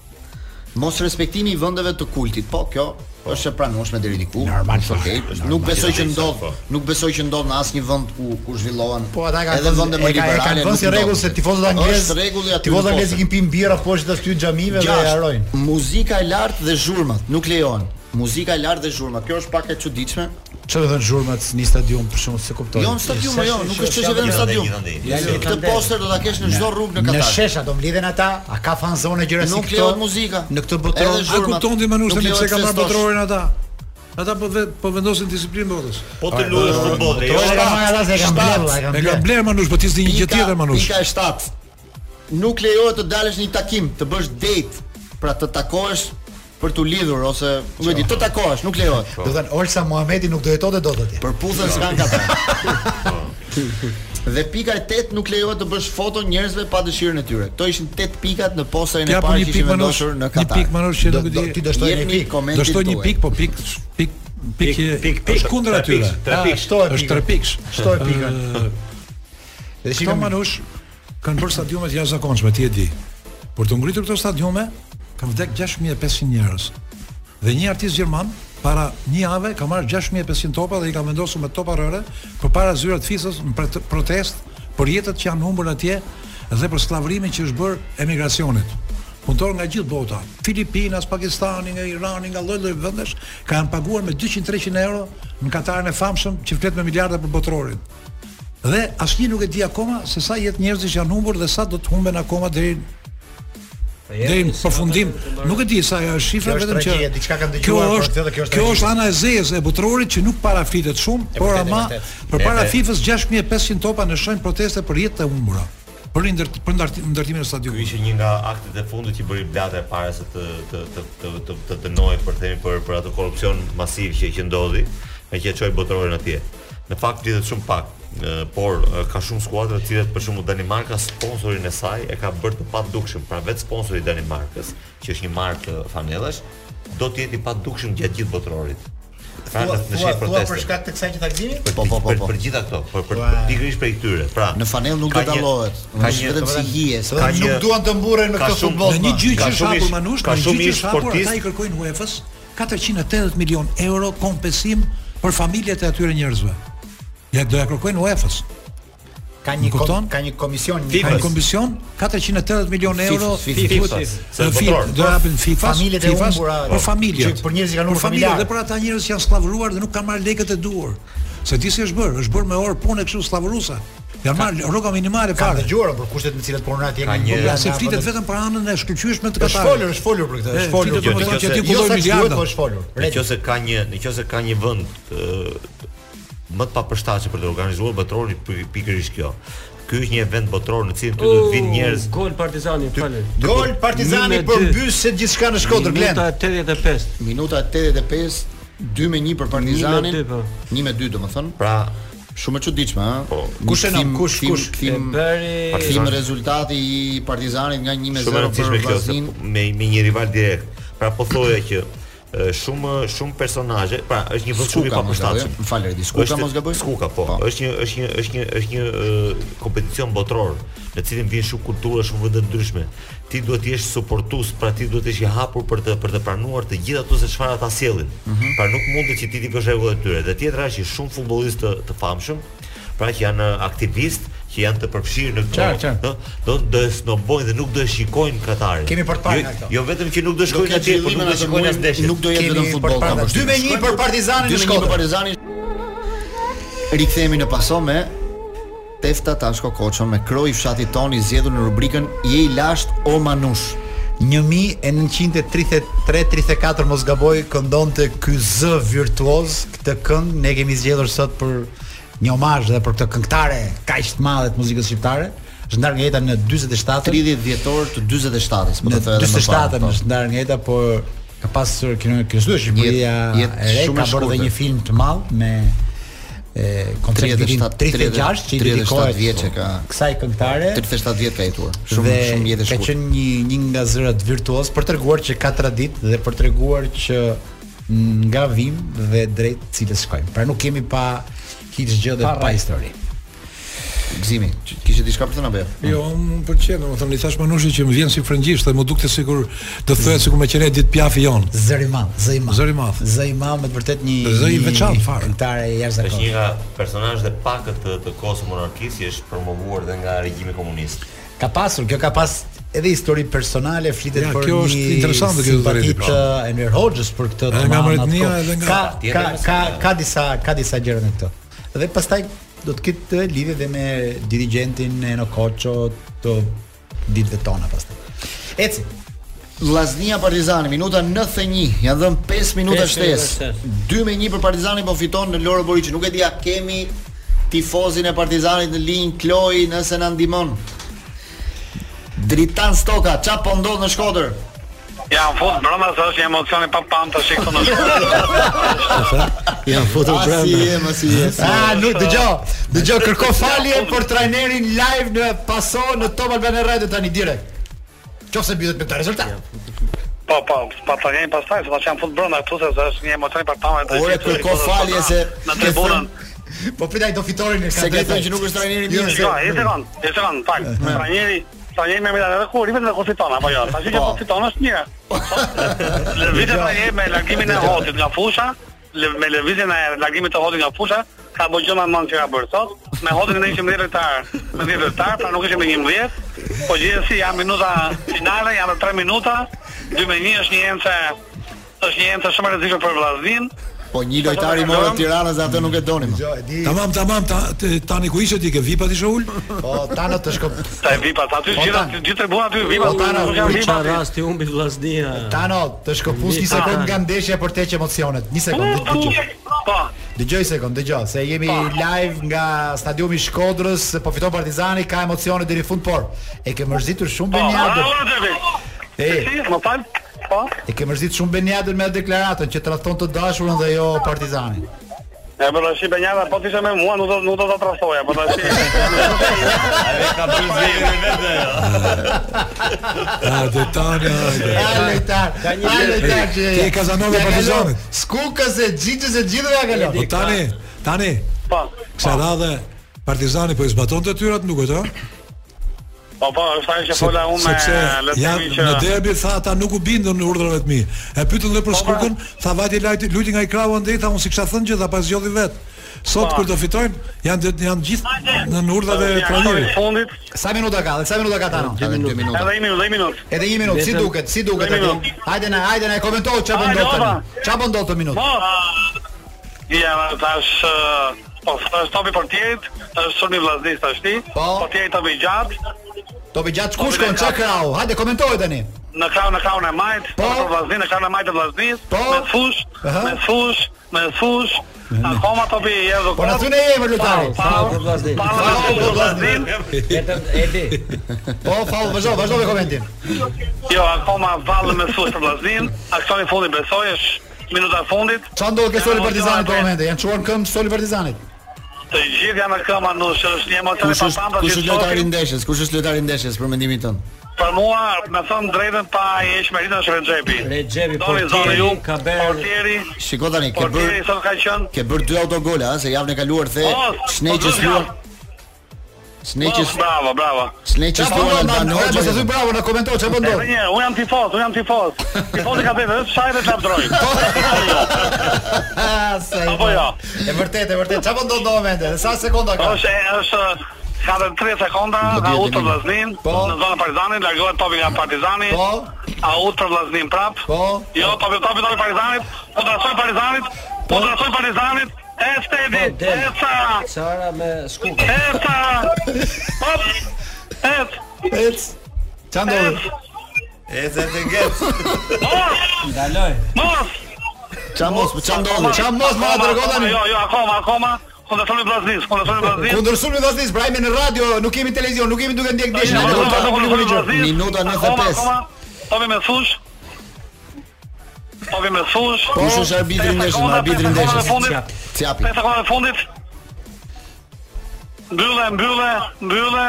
S7: Mos respektimi i vendeve të kultit. Po, kjo është e pranueshme deri diku.
S10: Normal, po.
S7: okay.
S8: Normal,
S7: Nuk besoj që
S8: normal,
S7: ndodh,
S8: po.
S7: nuk besoj që ndodh në asnjë vend ku ku zhvillohen.
S10: Po ata kanë
S7: edhe vende më liberale.
S10: Kanë
S7: nuk
S10: vënë si rregull
S7: ndodh.
S10: se tifozët anglezë.
S7: Është rregulli aty.
S10: Tifozët
S7: në
S10: anglezë
S7: poshtë.
S10: i kanë pinë bira poshtë aty në xhamive dhe
S7: Gjashtë,
S10: harrojnë.
S7: Muzika e lartë dhe zhurmat nuk lejon. Muzika e lartë dhe zhurmat. Kjo është pak e çuditshme.
S10: Ço do të thënë zhurmat në stadium për shkakun Po, se kuptoj.
S7: Jo në stadium, jo, nuk është çështje vetëm
S8: Gjithandej,
S7: stadium.
S8: gjithandej.
S7: Këtë poster do ta kesh në çdo rrugë në
S10: Në
S7: Katar.
S10: shesha do mlidhen ata, a ka fan zone gjëra si
S7: Nuk lejohet muzika.
S10: Në këtë botror-
S7: Edhe
S9: A
S7: zhurmat.
S9: kupton ti manush
S7: Nuk
S9: tani pse
S7: lejohet
S9: ka marrë
S7: festosh.
S9: botrorin ata? Ata po ve- po vendosin disiplinë botës.
S8: Po të luash futboll, jo.
S10: Ora ma ata se e kanë
S7: Shtat.
S10: mbledhur, e kanë
S9: E ka
S10: mbledhur.
S9: bler manush, po ti s'di një gjë
S7: Pika-
S9: tjetër manush.
S7: Pika e 7. Nuk lejohet të dalësh në një takim, të bësh date, pra të takohesh për t'u lidhur ose nuk e di, të takohesh, nuk lejohet.
S10: Do të thënë Olsa Muhameti nuk do jetonte dot atje.
S7: Për puthën s'kan kata. Dhe pika e 8 nuk lejohet të bësh foto njerëzve pa dëshirën e tyre. Kto ishin 8 pikat në posterin e
S9: Ja po
S7: parë
S9: një
S7: që
S9: pikë
S7: ishin
S9: manush,
S7: vendosur në
S9: një
S7: Katar.
S9: pikë manush që
S10: Do-
S9: nuk e
S10: do- ti
S9: di.
S10: do shtoj një
S7: Jepni
S10: pikë.
S7: komentin
S9: Do shtoj një
S7: tuaj.
S9: pikë, po pikë pikë pikë
S8: pikë,
S9: pikë
S8: pikë,
S9: kundër
S8: tre
S9: atyre.
S8: pikë, tre
S9: Ah,
S8: pikë.
S10: Shto e
S9: Është tre
S10: pikë.
S9: pikë.
S10: Shto e pikë. Dhe
S9: Këto
S10: shikoj
S9: manush kanë bërë stadiumet jashtëzakonshme, ti e di. Për të ngritur këto stadiume kanë vdek 6500 njerëz. Dhe një artist gjerman para një jave ka marrë 6500 topa dhe i ka vendosur me topa rëre përpara zyrat fisës në pret- protest për jetët që janë humbur atje dhe për skllavrimin që është bërë emigracionit. Punëtorë nga gjithë bota, Filipinas, Pakistani, nga Irani, nga lloj-lloj vendesh, kanë paguar me 200-300 euro në Katarin e famshëm që flet me miliarda për botrorin. Dhe asnjë nuk e di akoma se sa jetë njerëzish janë humbur dhe sa do të humben akoma deri deri në përfundim. Nuk e di sa ajo është shifra
S10: Kjo është
S9: vetëm që
S10: tragjedi, diçka kanë dëgjuar,
S9: kjo
S10: por
S9: është
S10: këtë dhe kjo është
S9: kjo
S10: tragjedi.
S9: është ana e zezë e botrorit që nuk paraflitet shumë, por
S10: vërtet, e
S9: ama
S10: vërtet.
S9: përpara
S8: Edhe-
S9: FIFA-s 6500 topa në shojnë proteste për jetë të humbura për ndër, për ndërti- ndërtimin e
S8: Ky
S9: stadiumit.
S8: ishte një nga aktet e fundit që bëri Blata e para se të të të të të, të dënohet për themi për për atë korrupsion masiv që që ndodhi, me që e çoi botrorin atje. Në fakt lidhet shumë pak, e, por e, ka shumë skuadra të cilat për shembull Danimarka sponsorin e saj e ka bërë të padukshëm, pra vetë sponsori i Danimarkës, që është një markë fanellash, do të jetë i padukshëm gjatë gjithë botrorit. Pra
S10: Thua-
S8: në në
S10: thua-
S8: shenjë
S10: thua për
S8: proteste.
S10: shkak të kësaj që ta gzimi?
S8: Për,
S7: Po, po, po,
S8: për,
S7: po.
S8: për gjitha këto, për për
S10: Ua.
S8: pikërisht për këtyre. Pra
S7: Në fanell nuk
S8: ka
S7: do
S8: një-
S7: dallohet,
S8: ka
S7: është
S8: një-
S7: vetëm si hije. se-
S10: Se
S8: Ka
S10: nuk
S8: një-
S10: duan të mburen në
S8: ka
S10: këtë
S8: shumë-
S10: futboll.
S9: Në një
S10: ma.
S9: gjyq
S8: Ka
S9: që është
S8: shumë
S9: hapur
S8: ish-
S9: manush,
S8: ka
S9: në një
S8: shumë
S9: gjyq që
S8: ish
S9: është hapur,
S8: sportist-
S9: ata i kërkojnë UEFA-s 480 milion euro kompensim për familjet e atyre njerëzve. Ja do ja kërkojnë UEFA-s.
S10: Ka një kom-
S9: Kupton?
S10: ka një komision, një
S9: Ka një
S10: komision.
S9: komision 480 milion euro
S7: FIFA,
S8: FIFA, se
S9: Në
S8: botror.
S9: fit, do japin FIFA,
S10: familjet e humbura,
S9: për
S10: po,
S9: familjet,
S10: që për njerëz që kanë
S9: Për
S10: humbur
S9: familjet
S10: familjar.
S9: dhe për ata njerëz që janë slavëruar dhe nuk kanë marrë lekët e duhur. Se ti si është bërë, është bërë me orë punë kështu slavëruese. Janë marrë rroga minimale
S10: Ka
S9: fare.
S10: dëgjuar për kushtet në të cilat punon atje.
S8: Ka
S10: kanë
S8: një-
S10: një-
S9: Ja se
S10: nga-
S9: flitet
S10: nga-
S9: vetëm për anën e shkëlqyeshme të
S10: Është folur,
S9: Katarit.
S10: është folur për këtë,
S9: E,
S10: është folur.
S9: flitet
S8: për
S10: Jo,
S8: këtë që ti
S10: jo,
S9: kulloj
S10: sa që
S9: miliarda.
S10: duhet, po është folur.
S8: Në
S10: Redi.
S8: qoftë se ka një, në qoftë se ka një vend ë, më të papërshtatshëm për të organizuar botrorin pi- pikërisht kjo. Ky është një event botror në cilin ty do të vinë njerëz.
S6: Gol Partizani, falë.
S10: Gol Partizani
S6: Një me dy.
S10: përmbys se gjithçka në Shkodër Glen.
S6: Minuta 85.
S7: Minuta 85, 2 me 1 për Partizanin,
S6: dy, po.
S7: 1 me 2 domethënë.
S8: Pra,
S7: Shumë e çuditshme, ha.
S8: Po.
S7: Një
S10: Kush e nom?
S7: kthim-
S10: Kush-
S7: kthim-
S10: kush?
S6: E
S7: kthim-
S6: bëri
S7: Kthim rezultati i Partizanit nga 1 me
S8: shumë e
S7: 0
S8: rëndësishme
S7: për
S8: kjo se po-
S7: Vllaznin.
S8: me me një rival direkt. Pra po thoya që ë, shumë shumë personazhe, pra është një vend shumë i
S7: Skuka, mos gaboj.
S8: papërshtatshëm.
S7: Më fal, Erdi, Skuka
S8: Është-
S7: mos gaboj.
S8: Skuka po. Është një është një është një është një ë, kompeticion botror në cilin vijnë shumë kultura, shumë vende ndryshme. Ti duhet të jesh suportues, pra ti duhet të jesh i hapur për të për të pranuar të gjithë ato se çfarë ata sjellin.
S10: Mhm.
S8: Pra nuk mundet që ti të kesh rregullat e tyre. Dhe tjetra është që shumë futbollistë të, të famshëm, pra që janë aktivistë, që janë të përfshirë në këto,
S10: Qartë, qartë.
S8: do do do e snobojnë dhe nuk do e shikojnë Katarin.
S10: Kemi për të parë
S8: Jo-
S10: nga këto.
S8: Jo vetëm që nuk do shkojnë atje,
S7: po
S8: por nuk do
S10: po
S8: shkojnë as deshit.
S7: Nuk do jetë
S10: Kemi
S7: vetëm futboll
S10: për
S7: kam
S10: para- dy me një për Partizanin në Shkodër.
S7: Partizanin. Rikthehemi në paso me Tefta Tashko Koço me kroj i fshatit ton i zgjedhur në rubrikën Je i lasht o manush.
S10: 1933-34 mos gaboj këndonte ky Z virtuoz këtë këngë ne kemi zgjedhur sot për një omazh dhe për këtë këngëtare kaq të madhe të muzikës shqiptare është ndarë nga jeta në 47
S7: 30 dhjetor të 47-s, po
S10: në
S7: të thënë edhe më parë.
S10: 47
S7: po.
S10: është ndarë nga jeta por Ka pasur kino kjo është Shqipëria
S7: Jetë- jetë
S10: e
S7: shumë
S10: re ka
S7: e
S10: bërë
S7: shkurtër.
S10: edhe një film të madh me e
S7: 37,
S10: koncept vitin 36 që i
S7: 37
S10: dedikohet
S7: vjeç e ka
S10: kësaj këngëtare
S7: 37 vjet ka jetuar. Shumë
S10: dhe
S7: shumë jetë e
S10: Ka
S7: shkurtër.
S10: qenë një një nga zërat virtuoz për treguar që ka traditë dhe për treguar që nga vim dhe drejt cilës shkojmë. Pra nuk kemi pa hiç gjë dhe
S6: Pa
S10: pa,
S6: rraj.
S10: histori.
S7: Gëzimi, që- kishe diçka për të na bërë?
S9: Jo, më pëlqen, domethënë i thash Manushit që më vjen si frëngjisht dhe më dukte sikur të thoya sikur më qenë ditë pjafi jon.
S10: Zëri i madh, zë i madh.
S9: Zëri i madh.
S10: Zë i madh me të vërtet një
S9: Zë i
S10: një
S9: veçantë fare.
S10: Këngëtare
S8: Është një
S10: jashtëzakonshme.
S8: nga personazhet e pakët të, të kohës së monarkisë që është promovuar edhe nga regjimi komunist.
S10: Ka pasur, kjo ka pas edhe histori personale, flitet
S9: Ja,
S10: për
S9: kjo është interesante kjo zëri,
S10: simpatit
S9: pra.
S10: e Enver Hoxhës për këtë
S9: Edhe nga
S10: madh
S9: Mauritania,
S10: atë kohë.
S9: edhe nga-
S10: ka
S8: Tjetër
S10: ka
S8: nëse
S10: ka
S8: ka-
S10: ka disa ka disa gjëra në këtë. Dhe pastaj do të ketë lidhje dhe me dirigjentin Eno Koço të ditëve tona pastaj. Eci,
S7: Llaznia Partizani minuta 91, janë dhënë 5 minuta
S6: Pesë minuta
S7: shtesë.
S6: shtesë.
S7: 2 me 1 për Partizani po fiton në Loro Boriçi. Nuk e di a kemi tifozin e Partizanit në linjë Kloi nëse na ndihmon. Dritan Stoka, çfarë po ndodh në Shkodër?
S4: Ja, në fund brenda se është një emocion i papanta që këtu në shkollë.
S7: Ja, foto brenda. Si je, ma si je.
S10: a Ah, nuk dëgjoj, dëgjoj kërko falje për trajnerin live në Paso në Top Albana Radio tani direkt. Qofse bëhet me këtë rezultat.
S4: Po, po, pa ta kemi pastaj, se ta që janë fund brenda këtu se është një emocion i papanta.
S7: Ore,
S8: Ore,
S7: kërko falje se
S4: në po tribunën.
S10: Po pritaj do fitorin e
S7: Se ke thënë që nuk është trajneri mirë se
S4: Jo, një sekond, një sekond, fal. Trajneri, trajneri më mirë edhe kur, i vetëm kur fiton apo jo. Tash që po fiton është një. Lëvizja trajneri me largimin e Hotit nga fusha, lë- me lëvizjen e largimit të Hotit nga fusha, ka bërë gjë më të madhe që ka bërë sot. Me Hotin ne ishim 10 lojtar, me 10 lojtar, pra nuk ishim me 11. Po gjithsesi janë minuta finale, janë 3 minuta. 2 me 1 është një encë është një encë shumë e rëndësishme për Vllaznin.
S7: Po një lojtar i morë të Tiranës dhe atë nuk e donim.
S9: Tamam, tamam, ta, te- tani ku ishe ti ke vipa ti shohul?
S10: Po tano të shkop.
S4: Sa e vipa, aty gjithë gjithë tribunat aty vipa,
S10: Po, tana,
S4: nuk janë
S6: Për
S4: vipa.
S6: çfarë rasti humbi vllaznia?
S10: Tano të shkopus një sekond nga ndeshja për teq emocionet. Një sekond dëgjoj.
S4: Po,
S10: Dëgjoj sekond, dëgjoj se jemi live nga stadiumi i Shkodrës, po fiton Partizani, ka emocione deri në fund, por e ke mërzitur shumë
S4: Po,
S10: Beniadën.
S4: bravo, Xhevi.
S10: E.
S4: Si, Më fal. Po.
S10: E ke mërzitur shumë Beniadën me atë deklaratën që tradhton të dashurën dhe jo Partizanin.
S4: E më rëshi Benjada, po ti se me mua, nuk do, nuk do të trastoja, po tash.
S8: Ai ka bërë zgjedhje vetë.
S9: A do tani. hajde.
S10: Ai lojtar, ai lojtar që
S9: Ti je Kazanova
S10: Ja kalon
S9: Partizanit.
S10: Skukës e Xhixës e gjithëve ja kalon.
S9: Po tani, tani.
S4: Po.
S9: Kësa radhe Partizani po i zbaton detyrat nuket, ë?
S4: Po, po, është ajo që
S9: Se-
S4: fola unë me le të
S9: janë
S4: themi që
S9: në derbi tha ata nuk u bindën në urdhrave të mi. E pyetën dhe për
S4: Po,
S9: Skukën, tha vajti lajti luti nga i krahu andej tha unë si kisha thënë gjë tha pas zgjodhi vet. Sot
S4: Po.
S9: kur do fitojnë janë det- janë gjithë në në urdhrave
S4: Janë
S9: të trajnerit.
S4: shkojnë fundit,
S10: Sa minuta ka? Sa minuta ka tano?
S7: Edhe 2 minuta.
S4: edhe 1 minutë, 1 minutë.
S10: Edhe një minutë, si
S6: Vetëm-
S10: duket, si duket
S4: Vetëm
S10: aty.
S4: një minutë.
S10: Hajde na, hajde na e komentoj çfarë po
S4: Hajde,
S10: ndodh
S4: opa.
S10: tani. Çfarë po ndodh të minutë?
S4: Po. Ja, tash eh, po është topi për tjerit, është shumë i vllaznis tash ti.
S10: Po.
S4: Po tjerit të bëj gjatë,
S10: Topi gjatë
S4: Po,
S10: ku shkon
S4: vetëm
S10: çka
S4: gjatë.
S10: krau? Hajde komentoj tani.
S4: në krahun në krahun e majt,
S10: Po.
S4: për vllaznin, në krahun e majt të vllaznis,
S10: Po.
S4: me fush,
S10: Aha.
S4: me fush, me fush, akoma topi i erdhë.
S10: Po na thune emër lojtari.
S6: Fau për vllaznin.
S4: Pa, për vllaznin.
S6: Vetëm Edi.
S10: Po fau, vazhdo, vazhdo me komentin.
S4: Jo, akoma vallë me fush për vllaznin. Aksioni fundi besoj është minuta e fundit.
S10: Çfarë ndodh ke soli
S4: Janë
S10: Partizanit për
S4: emocionat,
S10: momente? Janë çuar në këmbë soli Partizanit.
S4: Të gjithë janë në këmbë nush, është një emocion i
S7: Kush është
S4: papanta
S7: kush
S4: që
S7: është lojtari i
S4: shohin.
S7: ndeshjes? Kush është lojtari i ndeshjes për mendimin tënd?
S4: Për mua, me thon drejtën pa e ishmërinë është Rexhepi.
S6: Rexhepi,
S4: Doni
S6: portieri,
S4: zonë ju,
S6: ka bërë-
S4: portieri,
S7: Shiko tani, ke bër
S4: portieri sot ka qenë
S7: ke bër dy autogola, ëh, se javën e kaluar the
S4: Po,
S7: Sneqës
S4: po,
S7: luan.
S4: po,
S7: Sneqës
S4: Bravo, bravo.
S7: Sneqës
S10: Çfarë po
S7: luan
S10: ndodh?
S7: Alban
S10: na- Mos e thuj
S7: Hoxhën.
S10: bravo, na komentoj çfarë po ndodh.
S4: Edhe një, unë jam tifoz, unë jam tifoz. Tifozi ka bërë vetë shajë dhe të labdroj.
S10: Ah, sa i.
S4: Apo
S10: mirë.
S4: jo.
S10: E vërtet, e vërtet. Çfarë po ndodh në momente? Dhe Sa sekonda ka?
S4: Është është ka të 3 sekonda, a u të vllaznin,
S10: Po.
S4: në zonën Partizanit, largohet topi nga Partizani.
S10: Po.
S4: A u të vllaznin prap.
S10: Po.
S4: Jo, topi topi topi Partizanit, po drasoj Partizanit, po drasoj Partizanit. E stedi,
S6: Po, del.
S4: eca,
S6: Sara me Skukën.
S4: eca. Hop. Ec.
S10: Ec. Çfarë ndodh?
S4: Ec.
S7: Ecë të gjet.
S4: Mos.
S6: Ndaloj.
S4: Mos.
S7: Ça mos, po ça ndodhi?
S10: Çfarë mos më
S4: Akoma,
S10: tregon tani?
S4: akoma, Jo, jo, akoma, akoma. Kundërshoni vllaznis, kundërshoni vllaznis.
S10: Kundërsun me vllaznis, pra jemi në radio, nuk kemi televizion, nuk kemi duke ndjek
S4: Ai,
S10: ndeshjen.
S4: në
S10: atë
S4: minuta
S10: nuk ka- nuk kemi gjë.
S7: Minuta 95.
S4: Tomi me fush. Topi me Sush.
S7: Kush Po, është arbitri i ndeshjes? Arbitri i ndeshjes. Ciapi.
S4: Pesë sekonda e fundit. Mbyllë, mbyllë, mbyllë.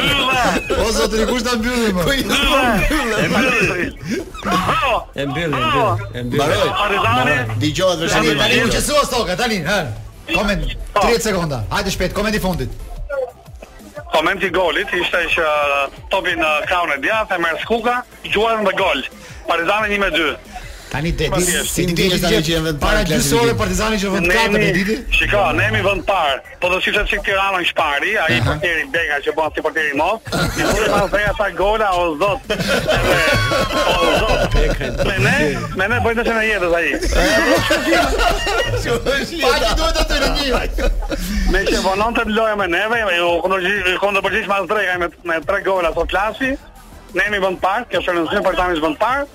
S4: Mbyllë.
S7: O zotëri, kush ta mbylli
S10: po?
S7: më?
S4: Mbyllë. E mbylli. Bravo.
S6: E mbylli, e mbylli, e mbylli.
S7: Mbaroj.
S4: Partizani.
S7: Dëgjohet
S10: Tani
S7: vështirë.
S10: tani u qesua stoka, tani, ha. Koment 30 sekonda. Hajde shpejt, komenti i fundit.
S4: Komenti i Po, golit ishte që uh, topi në kraun e djathtë e merr Skuka, gjuajën dhe gol. Partizani 1 me 2.
S10: Tani te di
S4: Mirë.
S10: si ti
S7: Ndihesh
S10: ndihesh
S7: tani që janë vend parë
S10: para
S7: në
S10: gjysore
S7: klasifikim.
S10: Partizani që vend katër e
S4: Nemi,
S10: diti.
S4: shiko, nemi vend parë, po do shifte si Tirana i shpari, ai portieri Beka që bën si portieri i mos, i thotë pas Beka sa gola o zot. Edhe, O zot. Me ne, me ne bëjnë të në jetës ai.
S7: Paqi duhet atë në një.
S4: Me që vononte lojë me neve, u kundërgjysh kundërgjysh mas drejka me me tre gola sot klasi. Nemi vend parë, kjo është rëndësishme për tani vend parë.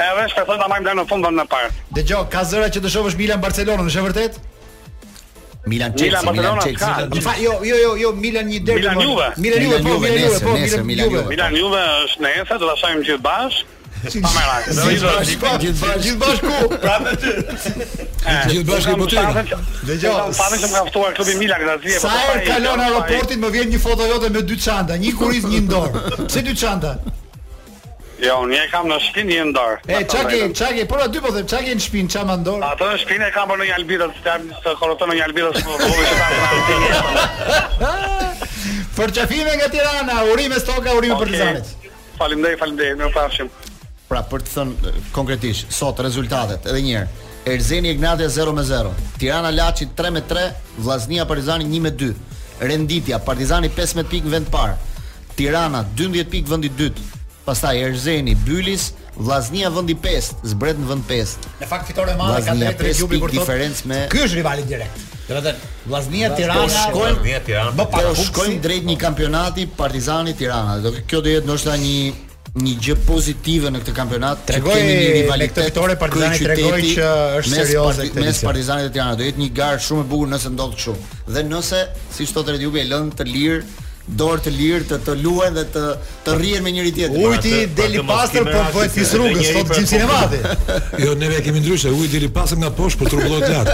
S4: Edhe shpresoj ta marrim deri në fund vendin e parë.
S10: Dëgjoj, ka zëra që të shohësh Milan Barcelonën, është e vërtet?
S7: Milan
S4: Milan
S7: Chelsea, Milan
S4: Barcelona
S7: Chelsea.
S4: ka.
S10: Më fa, jo, jo, jo, jo, Milan një derbi.
S4: Milan
S10: më-
S4: Juve.
S10: Milan Juve,
S7: Milan
S10: po,
S7: Juve,
S10: Milan Juve,
S7: nesër,
S10: po,
S7: nesër,
S10: Milan
S7: Milan
S10: Juve.
S7: Juve.
S4: Milan Juve është nesër, do ta shohim gjithë bashkë. Pa merak. Do i
S7: Gjithë
S4: do
S7: bashku, gjithë bashku.
S9: Gjithë bashkë i botina.
S10: Dëgjoj.
S4: Pamë që më ka ftuar klubi Milan këtë zje.
S10: Sa herë kalon aeroportin më vjen një foto jote me dy çanta, një kuriz, një ndor. Pse dy çanta?
S4: Jo, unë e kam në shpinë një ndar.
S10: E çka ke, çka ke? Po na dy po them, çka ke në shtëpinë, çka më ndor?
S4: Ato në shpinë e kam për në një albitët, të jam të koroton në një albitët së rrugë që kam në
S10: Për çafime nga Tirana, urime stoka, urime Partizanit.
S4: Falimdej, falimdej, në prafshim.
S7: Pra për të thënë e, konkretisht sot rezultatet edhe një herë. Erzeni Ignatia 0 me 0, Tirana Laçi 3 me 3, Vllaznia Partizani 1 me 2, Renditja Partizani 15 pikë në vend parë, Tirana 12 pikë vendi dytë, pastaj Erzeni Bylis, Vllaznia vendi 5, zbret në vend 5.
S10: Në fakt fitore e madhe ka
S7: Vllaznia
S10: drejtë
S7: 5
S10: Jubi kur
S7: pikë
S10: thotë.
S7: diferencë me
S10: Ky është rivali direkt. Do të thënë, Vllaznia Tirana
S8: shkojmë në Tiranë.
S10: Bë
S7: Po
S10: pak
S7: shkojmë drejt një kampionati Partizani Tirana. Do kjo do jetë ndoshta një një gjë pozitive në këtë kampionat. që
S10: Tregoi
S7: kemi një
S10: me
S7: rivalitet
S10: këtë fitore Partizani
S7: kryeqyteti
S10: tregoi që është
S7: mes
S10: serioze
S7: Parti-
S10: këtë
S7: Mes
S10: edicion.
S7: Partizanit dhe Tiranës do jetë një garë shumë e bukur nëse ndodh kështu. Dhe nëse, siç thotë Redi Jubi, e lën të lirë dorë të lirë të të luajnë dhe të të rrihen me njëri tjetrin.
S10: Ujti
S8: Pra të- pra
S10: deli
S8: të mos
S10: pastër
S8: kime
S10: po
S8: raste
S10: bëhet
S8: se
S10: fis
S8: edhe
S10: rrugës,
S8: njeri
S10: sot
S8: për
S10: gjim sinemati.
S9: Jo, neve e kemi ndryshe, uji deri pasëm nga poshtë për trupllot lart.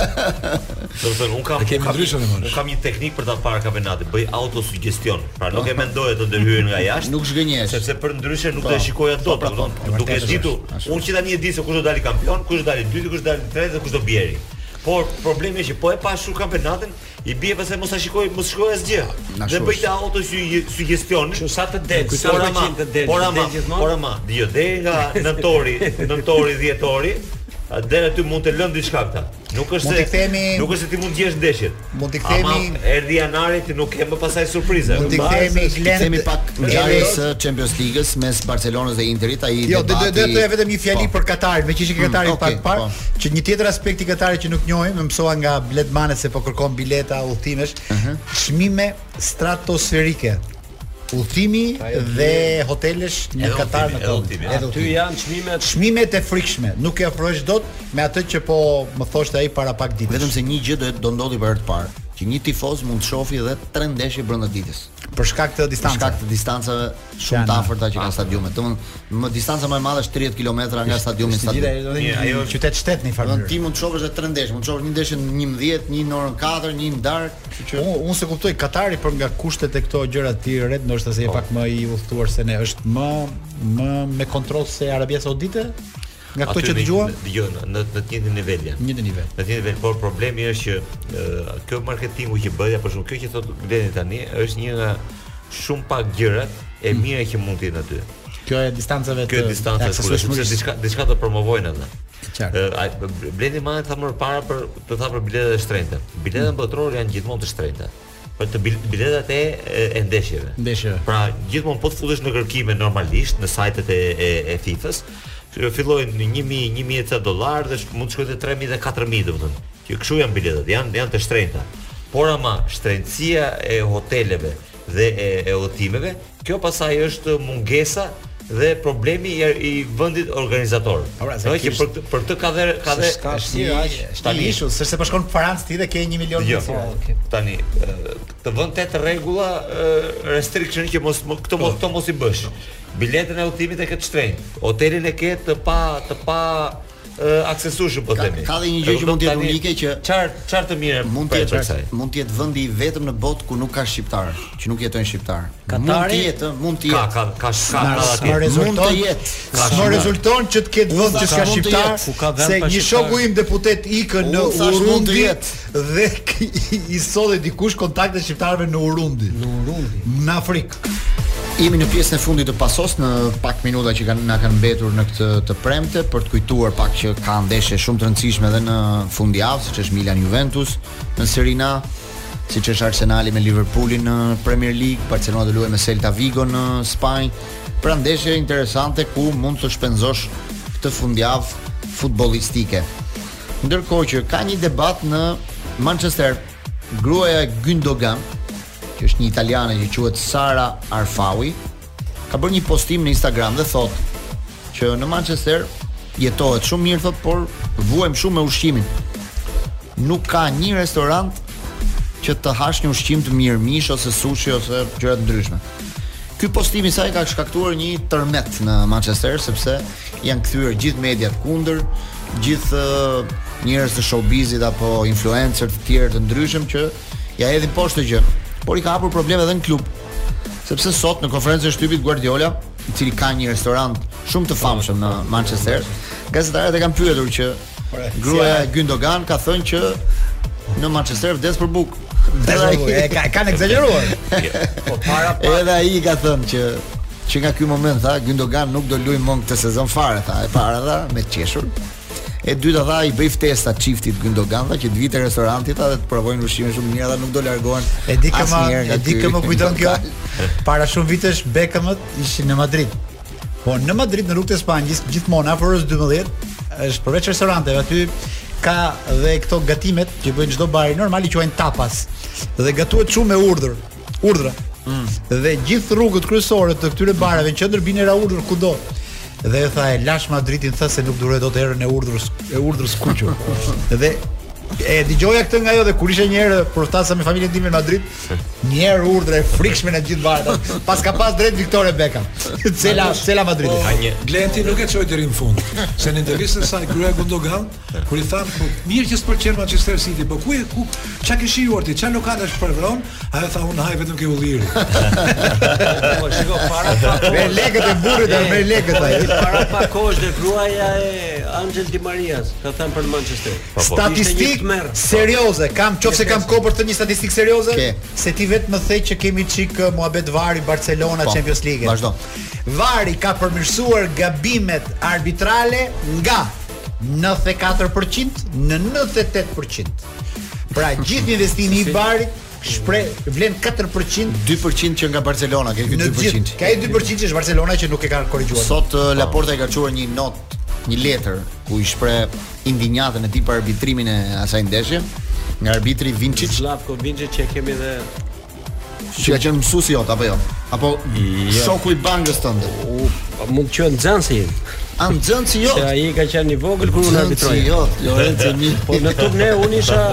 S8: Do të thonë un kam
S9: E kemi
S8: un kam-
S9: ndryshën e mësh.
S8: Un kam një teknik për ta parë kampionatin, bëj autosuggestion. Pra nuk e mendoj të ndërhyjën nga jashtë.
S7: Pra, Nuk zhgënjesh.
S8: sepse për ndryshe
S10: Po,
S8: nuk do e shikoja dot, do të thonë, duke ditur, unë që tani e di se kush do dali kampion, kush do dali dyti, kush do dali tretë dhe kush do bjeri. Por problemi është që po e pa shumë kampionatin, i bie pastaj mos ta shikoj, mos shikoj asgjë.
S7: Na
S8: Dhe
S7: shush.
S8: bëj të auto suggestion.
S6: Kështu sa të del, sa
S8: Por
S6: të
S8: ama,
S6: qenë të del,
S8: por
S6: të
S8: ama,
S6: del gjithmonë.
S8: por ama, jo deri nga nëntori, nëntori, dhjetori, deri aty mund të lënë diçka këta. Nuk është
S10: Mund t'i
S8: se
S10: kthehemi-
S8: nuk është se ti mund të gjesh ndeshjet.
S10: Mund t'i kthehemi-
S8: Ama erdhi janari ti nuk ke më pasaj surprize.
S10: Mund t'i
S8: Mbar-
S10: kthehemi lent.
S7: Themi pak ngjarjes së Champions Leagues mes Barcelonës dhe Interit, ai
S10: Jo, do
S7: debati. po.
S10: të thoya vetëm një fjali për Katarin, me që ishin Katarin
S7: Mm, okay,
S10: pak parë,
S7: po.
S10: që një tjetër aspekt i Katarit që nuk njohim, më mësova nga Bledmanet se po kërkon bileta udhimesh, çmime stratosferike. Udhimi dhe hotelesh në
S8: Edhe
S10: Katar në
S8: udhimi,
S10: Kong. Edhe
S8: edhe udhimi.
S6: Ty
S10: udhimi.
S6: janë çmimet
S10: Çmimet e frikshme, nuk e ofrohesh dot me atë që po më thoshte ai para pak ditësh.
S7: Vetëm se një gjë do do ndodhi për herë të parë, që një tifoz mund të shohë edhe tre ndeshje brenda ditës.
S10: për shkak të
S7: Për
S10: distancës.
S7: shkak të distancave shumë
S10: Janë.
S7: të afërta që kanë stadiumet. Domthonë, më distanca më e madhe është 30 kilometra nga stadiumi në stadium.
S8: Mirë, ajo-
S10: Gjithë qytet shtet në një farë.
S7: Domthonë
S10: mënyrë.
S7: ti mund të shohësh edhe tre ndeshje, mund të shohësh një ndeshje në 11, një në orën 4, një në darkë, kështu që
S10: Unë unë se kuptoj Katari për nga kushtet e këto gjëra të tjera, red, ndoshta se je pak më i udhëtuar se ne, është më më me kontroll se Arabia Saudite nga këto
S8: Aty
S10: që
S8: në-
S10: dëgjova,
S8: në- Jo, në në në të njëjtin nivel janë.
S10: një të nivel.
S8: Në të njëjtin nivel, por problemi është që ë, kjo marketingu që bëhet për shumë, kjo që thotë Gleni tani është një nga shumë pak gjërat e
S10: Mm.
S8: mira që mund të jetë aty.
S10: Kjo e distancave të
S8: Kjo distanca
S10: të
S8: e kurës, sepse
S10: aksesueshmërisë.
S8: diçka diçka do promovojnë ata.
S10: Qartë.
S8: Ë, Bleni më tha më para për të tha për biletat e shtrenjta. Biletat
S10: Mm.
S8: botërore janë gjithmonë të shtrenjta. Për të bil- biletat e e- e ndeshjeve.
S10: Ndeshjeve.
S8: Pra gjithmonë po të futesh në kërkime normalisht në sajtet e e, e FIFA-s, që fillojnë në 1000, 1000 e ca dollar dhe sh- mund të shkojë te 3000 dhe 4000 domethënë. Që kështu janë biletat, janë janë të shtrenjta. Por ama shtrenësia e hoteleve dhe e, e udhëtimeve, kjo pasaj është mungesa dhe problemi i, i vendit organizator.
S10: Ora, Pra, se
S8: Do
S10: kish-
S8: që për këtë- për këtë ka dhe ka dhe
S10: Tani ishu, sepse po shkon në Francë ti dhe ke 1 milion
S8: Jo,
S10: vizita.
S8: tani ë, këtë vend tet rregulla ë, restriction që mos mo- këto mos këto mos i bësh. Biletën e udhëtimit e ke të shtrenjtë. Hotelin e ke të pa të pa ë, aksesueshëm po
S7: Ka-
S8: themi.
S7: ka dhe një gjë që mund të jetë
S8: Tani,
S7: unike që-
S8: çfarë çfarë të mirë
S7: Mund të jetë mund të jetë vendi i vetëm në botë ku nuk ka shqiptar, që nuk jetojnë shqiptar. Mund të
S10: Katari-
S7: jetë, ë, mund të
S8: Ka
S7: jetë.
S8: ka ka ka
S10: Na- s'ma
S7: Mund të
S10: rezulton-
S7: jetë.
S10: s'ma rezulton që të ketë vend
S7: Sa
S10: që s'ka
S7: mund të
S10: shqiptar,
S7: jetë? Ku ka vend
S10: se
S7: pa
S10: një
S7: shqiptar?
S10: shoku im deputet ikën në
S7: U, thash, mund të
S10: Urundi
S7: jetë.
S10: dhe k- i- i sodhe dikush kontaktet shqiptarëve në Urundi. Në Urundi. Në Afrikë.
S7: Jemi në pjesën e fundit të pasos në pak minuta që kanë na kanë mbetur në këtë të premte për të kujtuar pak që ka ndeshje shumë të rëndësishme edhe në fundjavë, siç është Milan Juventus në Serie A, siç është Arsenali me Liverpoolin në Premier League, Barcelona do luajë me Celta Vigo në Spanjë. Pra ndeshje interesante ku mund të shpenzosh këtë fundjavë futbollistike. Ndërkohë që ka një debat në Manchester, gruaja e Gündogan që është një italiane që quhet Sara Arfaui, ka bërë një postim në Instagram dhe thotë që në Manchester jetohet shumë mirë thotë, por vuajm shumë me ushqimin. Nuk ka një restorant që të hash një ushqim të mirë, mish ose sushi ose gjëra të ndryshme. Ky postim i saj ka shkaktuar një tërmet në Manchester sepse janë kthyer gjithë mediat kundër, gjithë ë, njerëz të showbizit apo influencer të tjerë të ndryshëm që ja hedhin poshtë këtë gjë. Por i ka hapur probleme edhe në klub. Sepse sot në konferencën e shtypit Guardiola, i cili ka një restorant shumë të famshëm në Manchester, gazetarët e kanë pyetur që gruaja e Gündogan ka thënë që në Manchester vdes për buk.
S10: Vdes për bukë, e ka- e kanë egzageruar.
S8: Po para
S7: Edhe ai ka thënë që që nga ky moment tha Gündogan nuk do luajë mend këtë sezon fare tha. E para tha me qeshur. E dyta tha i bëj ftesa çiftit Gündogan tha që të vitë restorantit tha dhe të provojnë ushqime shumë të mira dhe nuk do largohen.
S10: E di kë më
S7: asnjëherë nga
S10: e di
S7: ky
S10: kë më kujton kjo.
S7: Gündogan.
S10: Para shumë vitesh Beckhamët ishin në Madrid. Po në Madrid në rrugët e Spanjës gjithmonë afër orës 12 është përveç restoranteve aty ka dhe këto gatimet që bëjnë çdo bari normal i quajnë tapas. Dhe gatuhet shumë me urdhër, urdhra.
S7: Mm.
S10: Dhe gjithë rrugët kryesore të këtyre bareve në qendër bine ra urdhër kudo. Dhe e tha e lash Madridin tha se nuk duroj dot erën e urdhrës e urdhrës kuqur. dhe E dëgjoja këtë nga ajo dhe kur ishte një herë portasa me familjen time në Madrid, një herë urdhre e frikshme në gjithë barët. Pas ka pas drejt Victor Beckham. Cela cela
S8: ka
S9: Oh.
S10: Madridit.
S8: një
S9: Glenti nuk e çoi deri në fund. Se në intervistën e saj Gruaja Gundogan, kur i than, po mirë që s'pëlqen Manchester City, po ku e ku çka ke shijuar ti? Çfarë lokalesh përvron? Ajo tha, unë haj vetëm ke ulliri.
S6: Po shiko para pa
S10: Me lekët e burrit, e me lekët ai.
S6: Para pa kohësh dhe gruaja e Angel Di Marias ka thënë për Manchester.
S10: Po, Statistik
S6: Ishte një tmerr.
S10: serioze, kam qofse kam kohë për të një statistik serioze,
S7: Ke.
S10: se ti vetë më the që kemi çik eh, muhabet vari Barcelona
S7: Po,
S10: Champions League.
S7: vazhdo.
S10: Vari ka përmirësuar gabimet arbitrale nga 94% në 98%. Pra gjithë investimi i Varit shpre vlen 4%
S7: 2% që nga Barcelona, ke ky
S10: në
S7: 2%.
S10: gjithë. Ka ai 2% që është Barcelona që nuk e kanë korrigjuar.
S7: Sot eh, Laporta i ka çuar një not, një letër ku i shpreh indinjatën e tij për arbitrimin e asaj ndeshje nga arbitri Vincic,
S6: Slavko Vinci që e kemi dhe
S7: që ka qenë mësuesi jot apo jo? Apo
S10: Jo.
S7: shoku i bankës tënde?
S6: u po, mund të qenë nxënësi.
S7: A nxënësi
S6: Se
S7: jot?
S6: ai ka qenë i vogël kur unë arbitroj.
S7: Nxënësi
S10: jo.
S7: jot, Lorenzo mi.
S6: Po në tub ne unë isha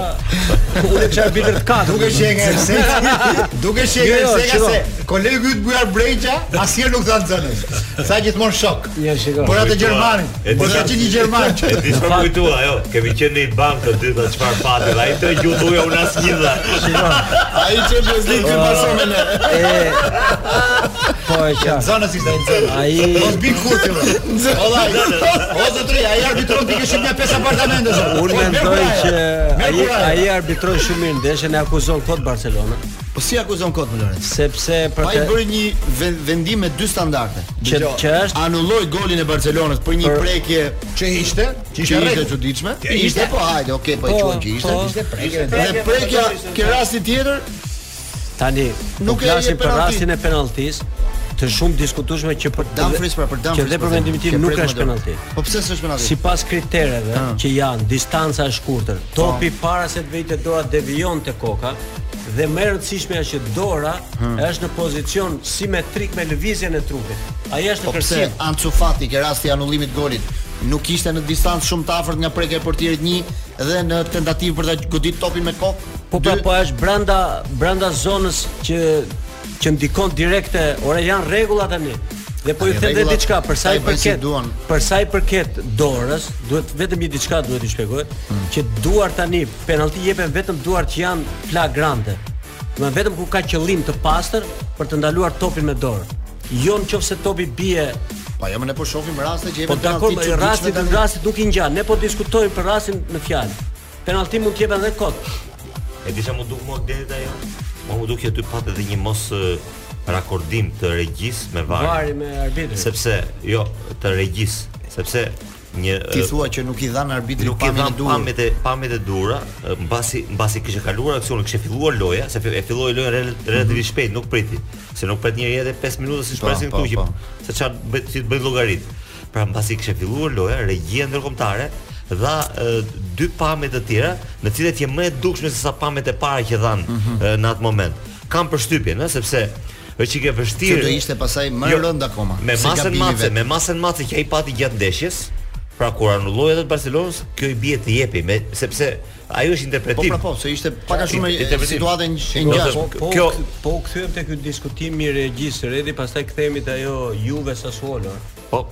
S6: unë isha arbitër të katërt.
S10: Duke që e nga Erseka, duke që e nga
S6: Jo, jo,
S10: Erseka
S6: shiko.
S10: se kolegu yt Bujar Brejqa asnjëherë nuk tha nxënës. Sa gjithmonë shok.
S6: Jo, shiko.
S10: Por atë
S8: Kujtua.
S10: Gjermanin,
S8: E
S10: por
S8: di
S10: ka
S8: sa-
S10: qenë një Gjerman.
S8: E di çfarë kujtua, jo. Kemi qenë në një bankë të dy ta çfarë patë, ai të gjuthuja unë asnjë dha.
S7: Ai Champions League ky pason me ne.
S6: E po e qartë.
S10: Nxënës ishte nxënës.
S6: Ai-
S10: mos bi kurti. Olla. O zotri, ai arbitron pikë shumë nga pesë apartamente zot.
S6: Unë
S10: Po, merr
S6: mendoj
S10: kuraje,
S6: që
S10: merr
S6: ai
S10: kuraje.
S6: ai arbitron shumë mirë ndeshjen e akuzon kot Barcelona,
S7: Po si akuzon kot me Lorenzo?
S6: sepse për
S7: Pa i
S6: të
S7: bërë një ve- vendim me dy standarde.
S6: që, që është
S7: Anulloi golin e Barcelonës për një
S6: Për-
S7: prekje
S10: Që ishte? Që
S7: që
S10: ishte
S7: ishte e
S10: rregull.
S7: çuditshme.
S10: ishte.
S7: Ishte po hajde, okay, po e
S6: Po,
S7: quajmë që ishte.
S6: po.
S7: Ishte Dhe prekja ke rasti tjetër
S6: Tani,
S7: Nuk
S6: nuk
S7: e
S6: flasim
S7: je
S6: për
S7: penalti.
S6: rastin e penaltis, të shumë diskutueshme që për
S7: Dumfries pra për Dumfries.
S6: Që dhe
S7: po
S6: për
S7: them,
S6: vendimin
S7: që
S6: tim nuk
S7: prek
S6: është
S7: më dorë.
S6: penalti.
S7: Po pse s'është penalti?
S6: Sipas kritereve
S7: Ah.
S6: që janë, distanca e shkurtër, topi para se të vijte dora devijon te koka, Dhe më e rëndësishme është që dora
S7: Hmm.
S6: është në pozicion simetrik me lëvizjen e trupit. Ai është
S7: Po
S6: në
S7: pse
S6: kërcim.
S7: Ansu Fati ke rasti i anullimit golit nuk ishte në distancë shumë të afërt nga prekja e portierit 1 dhe në tentativë për ta godit topin me kokë.
S6: Po pra, po është brenda brenda zonës që që ndikon direkte, ore janë rregullat tani. Dhe po ju
S7: Tani
S6: them edhe
S7: rregullat,
S6: diçka për sa i
S7: tani bëjnë si
S6: përket
S7: duan.
S6: për sa i përket dorës, duhet vetëm një diçka duhet i shpjegoj,
S7: Hmm.
S6: që duar tani penalti jepen vetëm duart që janë flagrante. Do vetëm ku ka qëllim të pastër për të ndaluar topin me dorë. Jo në qoftë se topi bie
S7: Pa jo, më ne po shohim raste që
S6: Po
S7: jepet
S6: dakor,
S7: penalti
S6: më rasti të rastit nuk i ngjan. Ne po diskutojmë për rastin në fjalë. Penalti mund të jepet edhe kot.
S8: E di sa më duk mua deri ajo. Mua më duk që aty pat edhe një mos eh, rakordim të regjis me varrin.
S6: Vari me arbitrin.
S8: Sepse jo të regjis, sepse një
S7: Ti
S8: eh,
S7: thua që nuk i dhan arbitrit
S8: nuk i
S7: pamjen
S8: dhan
S7: e duhur.
S8: pamjet e pamjet e duhura, eh, mbasi mbasi kishte kaluar aksioni, kishte filluar loja, se fi- e filloi loja rel- relativisht shpejt, nuk priti, se nuk pret njëri edhe 5 minuta siç
S7: Mhm. Po,
S8: presin
S7: po,
S8: këtu që
S7: po.
S8: se çfarë bëj si të bëj llogarit. Pra mbasi kishte filluar loja, regjia ndërkombëtare dha eh, dy pamje të tjera, në cilat je më e dukshme se sa pamjet e para që dhan
S7: Mhm.
S8: eh, në atë moment. Kam përshtypjen, ëh, sepse është çike vështirë. Jo,
S7: Kjo do ishte pasaj më rënd akoma,
S8: Me
S7: se
S8: masën
S7: gabimi
S8: mace,
S7: vetë.
S8: me masën mace që ai pati gjatë ndeshjes, pra kur anulloi edhe të Barcelonës, kjo i bie të jepi, me sepse ajo është
S7: Po
S8: interpretim.
S7: pra po, se ishte pak a shumë e-
S8: Interpretim.
S7: situata e
S8: Shiko,
S7: ngjashme.
S8: po-
S6: Po,
S8: Kjo
S6: kjo po u kthyem te ky diskutim i regjisë redi, pastaj kthehemi te ajo Juve Sassuolo.
S8: Po.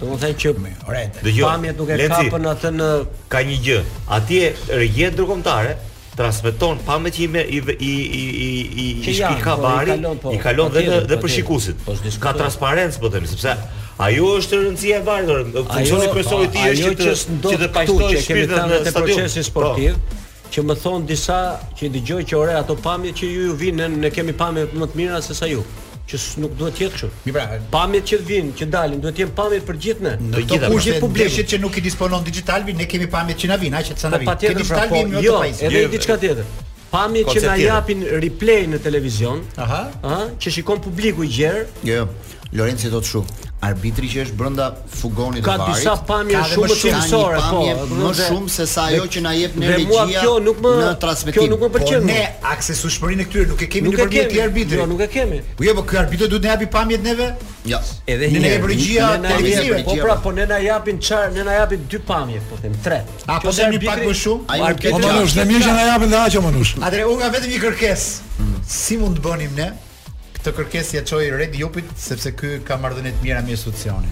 S6: Do të thënë që ore,
S8: Dëgjoj,
S6: pamjet nuk e
S8: Lenci.
S6: kapën atë në
S8: ka një gjë. Atje regjia ndërkombëtare transmeton pamjet që i mer- i i i i i
S6: Që
S8: i
S6: janë,
S8: shpika
S6: po, i
S8: vari,
S6: kalon, po,
S8: i kalon dhe
S6: patjetër,
S8: dhe për
S6: patjetër.
S8: shikuesit.
S6: Po, s'diskutohet.
S8: Ka transparencë po them, sepse ajo është rëndësia e varit, or, funksioni kryesor i tij është që të që të paqtoj
S6: që kemi
S8: shpirtin
S6: thënë
S8: në
S6: te
S8: stadium.
S6: procesi sportiv, që më thon disa që dëgjoj që ore ato pamje që ju ju vinë ne- ne kemi pamje më të mira se sa ju që s- nuk duhet të jetë kështu.
S10: Mi pra,
S6: Pamjet që vinë, që dalin, duhet të jenë pamjet për gjithë ne. Për gjithë
S10: kushtet
S6: publikut.
S10: publikisht që nuk i disponon digitalbi, ne kemi pamjet që na vijnë, aq që sa na
S6: Po
S10: vijnë. Ke
S6: patjetër pra po.
S10: digitalbi në
S6: Jo,
S10: të pajisë.
S6: edhe i diçka tjetër. Pamje që na
S10: Koncept tjetër.
S6: japin replay në televizion,
S10: aha,
S6: aha, që shikon publiku i gjerë,
S7: Jo, jo. Lorenzi do të shu. Arbitri që është brenda fugonit
S6: Ka
S7: të varit.
S6: disa pamje
S7: ka dhe
S6: shumë
S7: më
S6: të cilësore,
S7: ka një pamje
S6: po,
S7: Më
S6: dhe-
S7: shumë se sa ajo
S6: dhe-
S7: që na jep në
S6: dhe mua
S7: regjia.
S6: kjo nuk më-
S7: në transmetim.
S6: kjo nuk më pëlqen
S10: Po
S6: mu.
S10: ne aksesueshmërinë e këtyre nuk e kemi
S6: Nuk e
S10: nëpërmjet
S6: kemi.
S10: të arbitrit.
S6: Jo, nuk e kemi.
S10: Po jo, po ky arbitri duhet ne japi pamjet neve?
S7: Ja.
S6: Edhe
S10: Ne ne
S6: herë,
S10: kemi regjia
S6: ne na japin-
S10: televizive.
S6: Po pra, po ne na japin çar, ne na japin dy pamje, po them tre.
S10: A, po
S6: Qose
S10: zemni
S6: arbitri-
S10: pak më shumë? Ai nuk
S6: arbitri-
S10: e
S11: Po
S10: Gjatë,
S11: manush, dhe mirë që na japin dhe aq o manush.
S10: Atëre unë kam vetëm një kërkesë. Si mund të bënim ne? Këtë kërkesë ja çoj Red Jupit sepse ky ka marrëdhënie të mira me institucionin.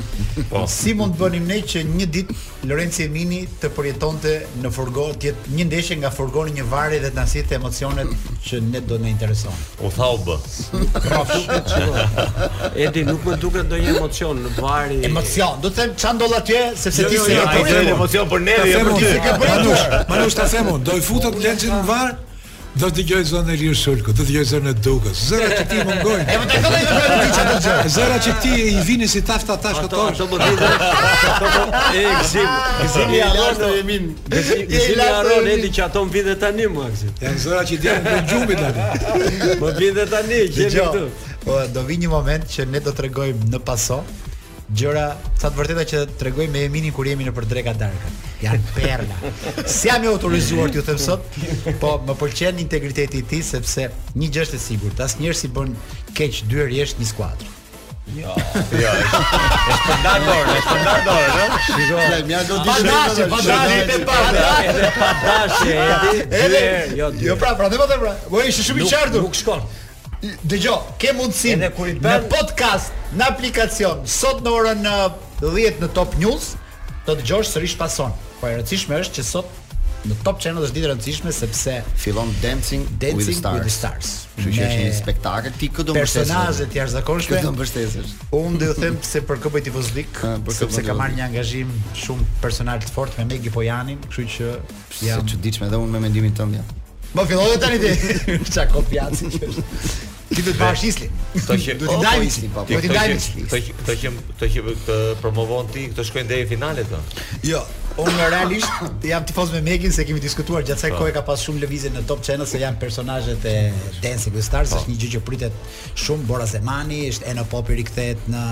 S8: Po.
S10: Si mund të bënim ne që një ditë Lorenzo Emini të përjetonte në furgon, të jetë një ndeshje nga furgoni një varri dhe të na sjellë emocionet që ne do të na intereson.
S8: Po, U tha u bë.
S6: Edi nuk më duket ndonjë emocion në vari.
S10: Emocion, do të them çan doll atje sepse ti
S8: Jo,
S10: si
S8: jo, ai do
S10: jeton.
S8: emocion për neve,
S10: po, Ta
S8: jo
S10: them
S8: për
S10: unë,
S8: ty.
S10: si ke bërë?
S11: Manush, manush ta them unë, do i futet Lenci në var, do të dëgjoj zonën e Lir Shulkut, do të dëgjoj zonën e Dukës. Zëra që ti mungojnë.
S10: E më takon ai do të çfarë do të gjë.
S11: Zëra që ti i vini si tafta tash këto.
S6: Ato ato më vjen. Ato po- e gzim, gzimi
S7: Je
S6: harron.
S7: lashtë e min.
S6: gzim-
S10: Je
S6: Gzimi
S10: lashtë
S6: harron
S10: e
S6: Edi që ato më vjen dhe tani më gzim.
S11: Janë zëra që dian për gjumit tani.
S6: Më vjen dhe tani, jemi
S10: Dëgjoj.
S6: këtu.
S10: Po do vi një moment që ne do t'rregojmë në paso gjëra sa të vërteta që tregojmë me Eminin kur jemi në për dreka darka. Janë perla. Si jam e autorizuar t'ju them sot, po më pëlqen integriteti i tij sepse një gjë është e sigurt, asnjëherë si bën keq dy rresht një skuadër.
S6: Po.
S7: Shikoj, mja do të
S10: dashje, pa dashje,
S6: Edhe pa dashje Edi.
S10: Edhe
S6: dy herë, jo dy.
S10: jo pra, pra, dhe po them pra. Po ishte shumë i qartë.
S6: Nuk shkon.
S10: Dëgjo, ke mundësinë
S6: Edhe kur i
S10: në
S6: bën-
S10: podcast, në aplikacion, sot në orën ë, 10 në Top News, të dëgjosh sërish pason. Po e rëndësishme është që sot në Top Channel është ditë e rëndësishme sepse
S7: Fillon Dancing, with the
S10: Dancing
S7: Stars.
S10: with the Stars.
S7: Kështu që
S10: me
S7: është një spektakël ti këdo
S10: personazhe të jashtëzakonshme.
S7: Këdo mbështesesh.
S10: Unë do ju them se për këpëj tifozlik,
S7: Ha, Ah, për
S10: sepse
S7: këpëj
S10: ka marrë
S7: tifozlik.
S10: një angazhim shumë personal të fortë me Megi Pojanin, kështu që
S7: Ja,
S10: jam
S7: çuditshme edhe unë me mendimin tënd jam.
S10: Më fillove tani ti. Ça kopjaci që është. Ti do të bash islin.
S8: Kto që
S10: Do t'i ndajmë islin, po.
S7: po,
S8: Ti
S10: Do t'i
S8: këto
S10: ndajmë
S8: që-
S10: islin.
S8: këto që- këto që këto që të promovon ti, këto shkojnë deri në finale këto.
S10: Jo, unë nga realisht jam tifoz me Megin se kemi diskutuar gjatë
S8: Po.
S10: kësaj kohe ka pas shumë lëvizje në Top Channel se janë personazhet e Dancing with
S8: Po.
S10: Stars, është një gjë që pritet shumë Bora Zemani, është Eno Popi rikthehet në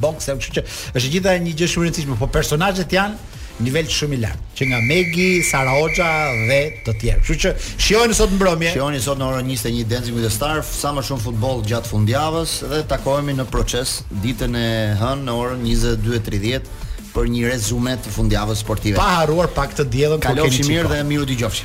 S10: boxe, kështu që është gjitha një gjë shumë e rëndësishme, po personazhet janë nivel shumë i lartë, që nga Megi, Sarahoxha dhe të tjerë. Kështu që shihojeni sot mbrëmje.
S7: Shihoni sot në orën 21 Dancing with the Star, sa më shumë futboll gjatë fundjavës dhe takohemi në proces ditën e hënë në orën 22:30 për një rezume të fundjavës sportive.
S10: Pa harruar pak të diellën
S7: Kalofshi mirë dhe miru dëgjofshi.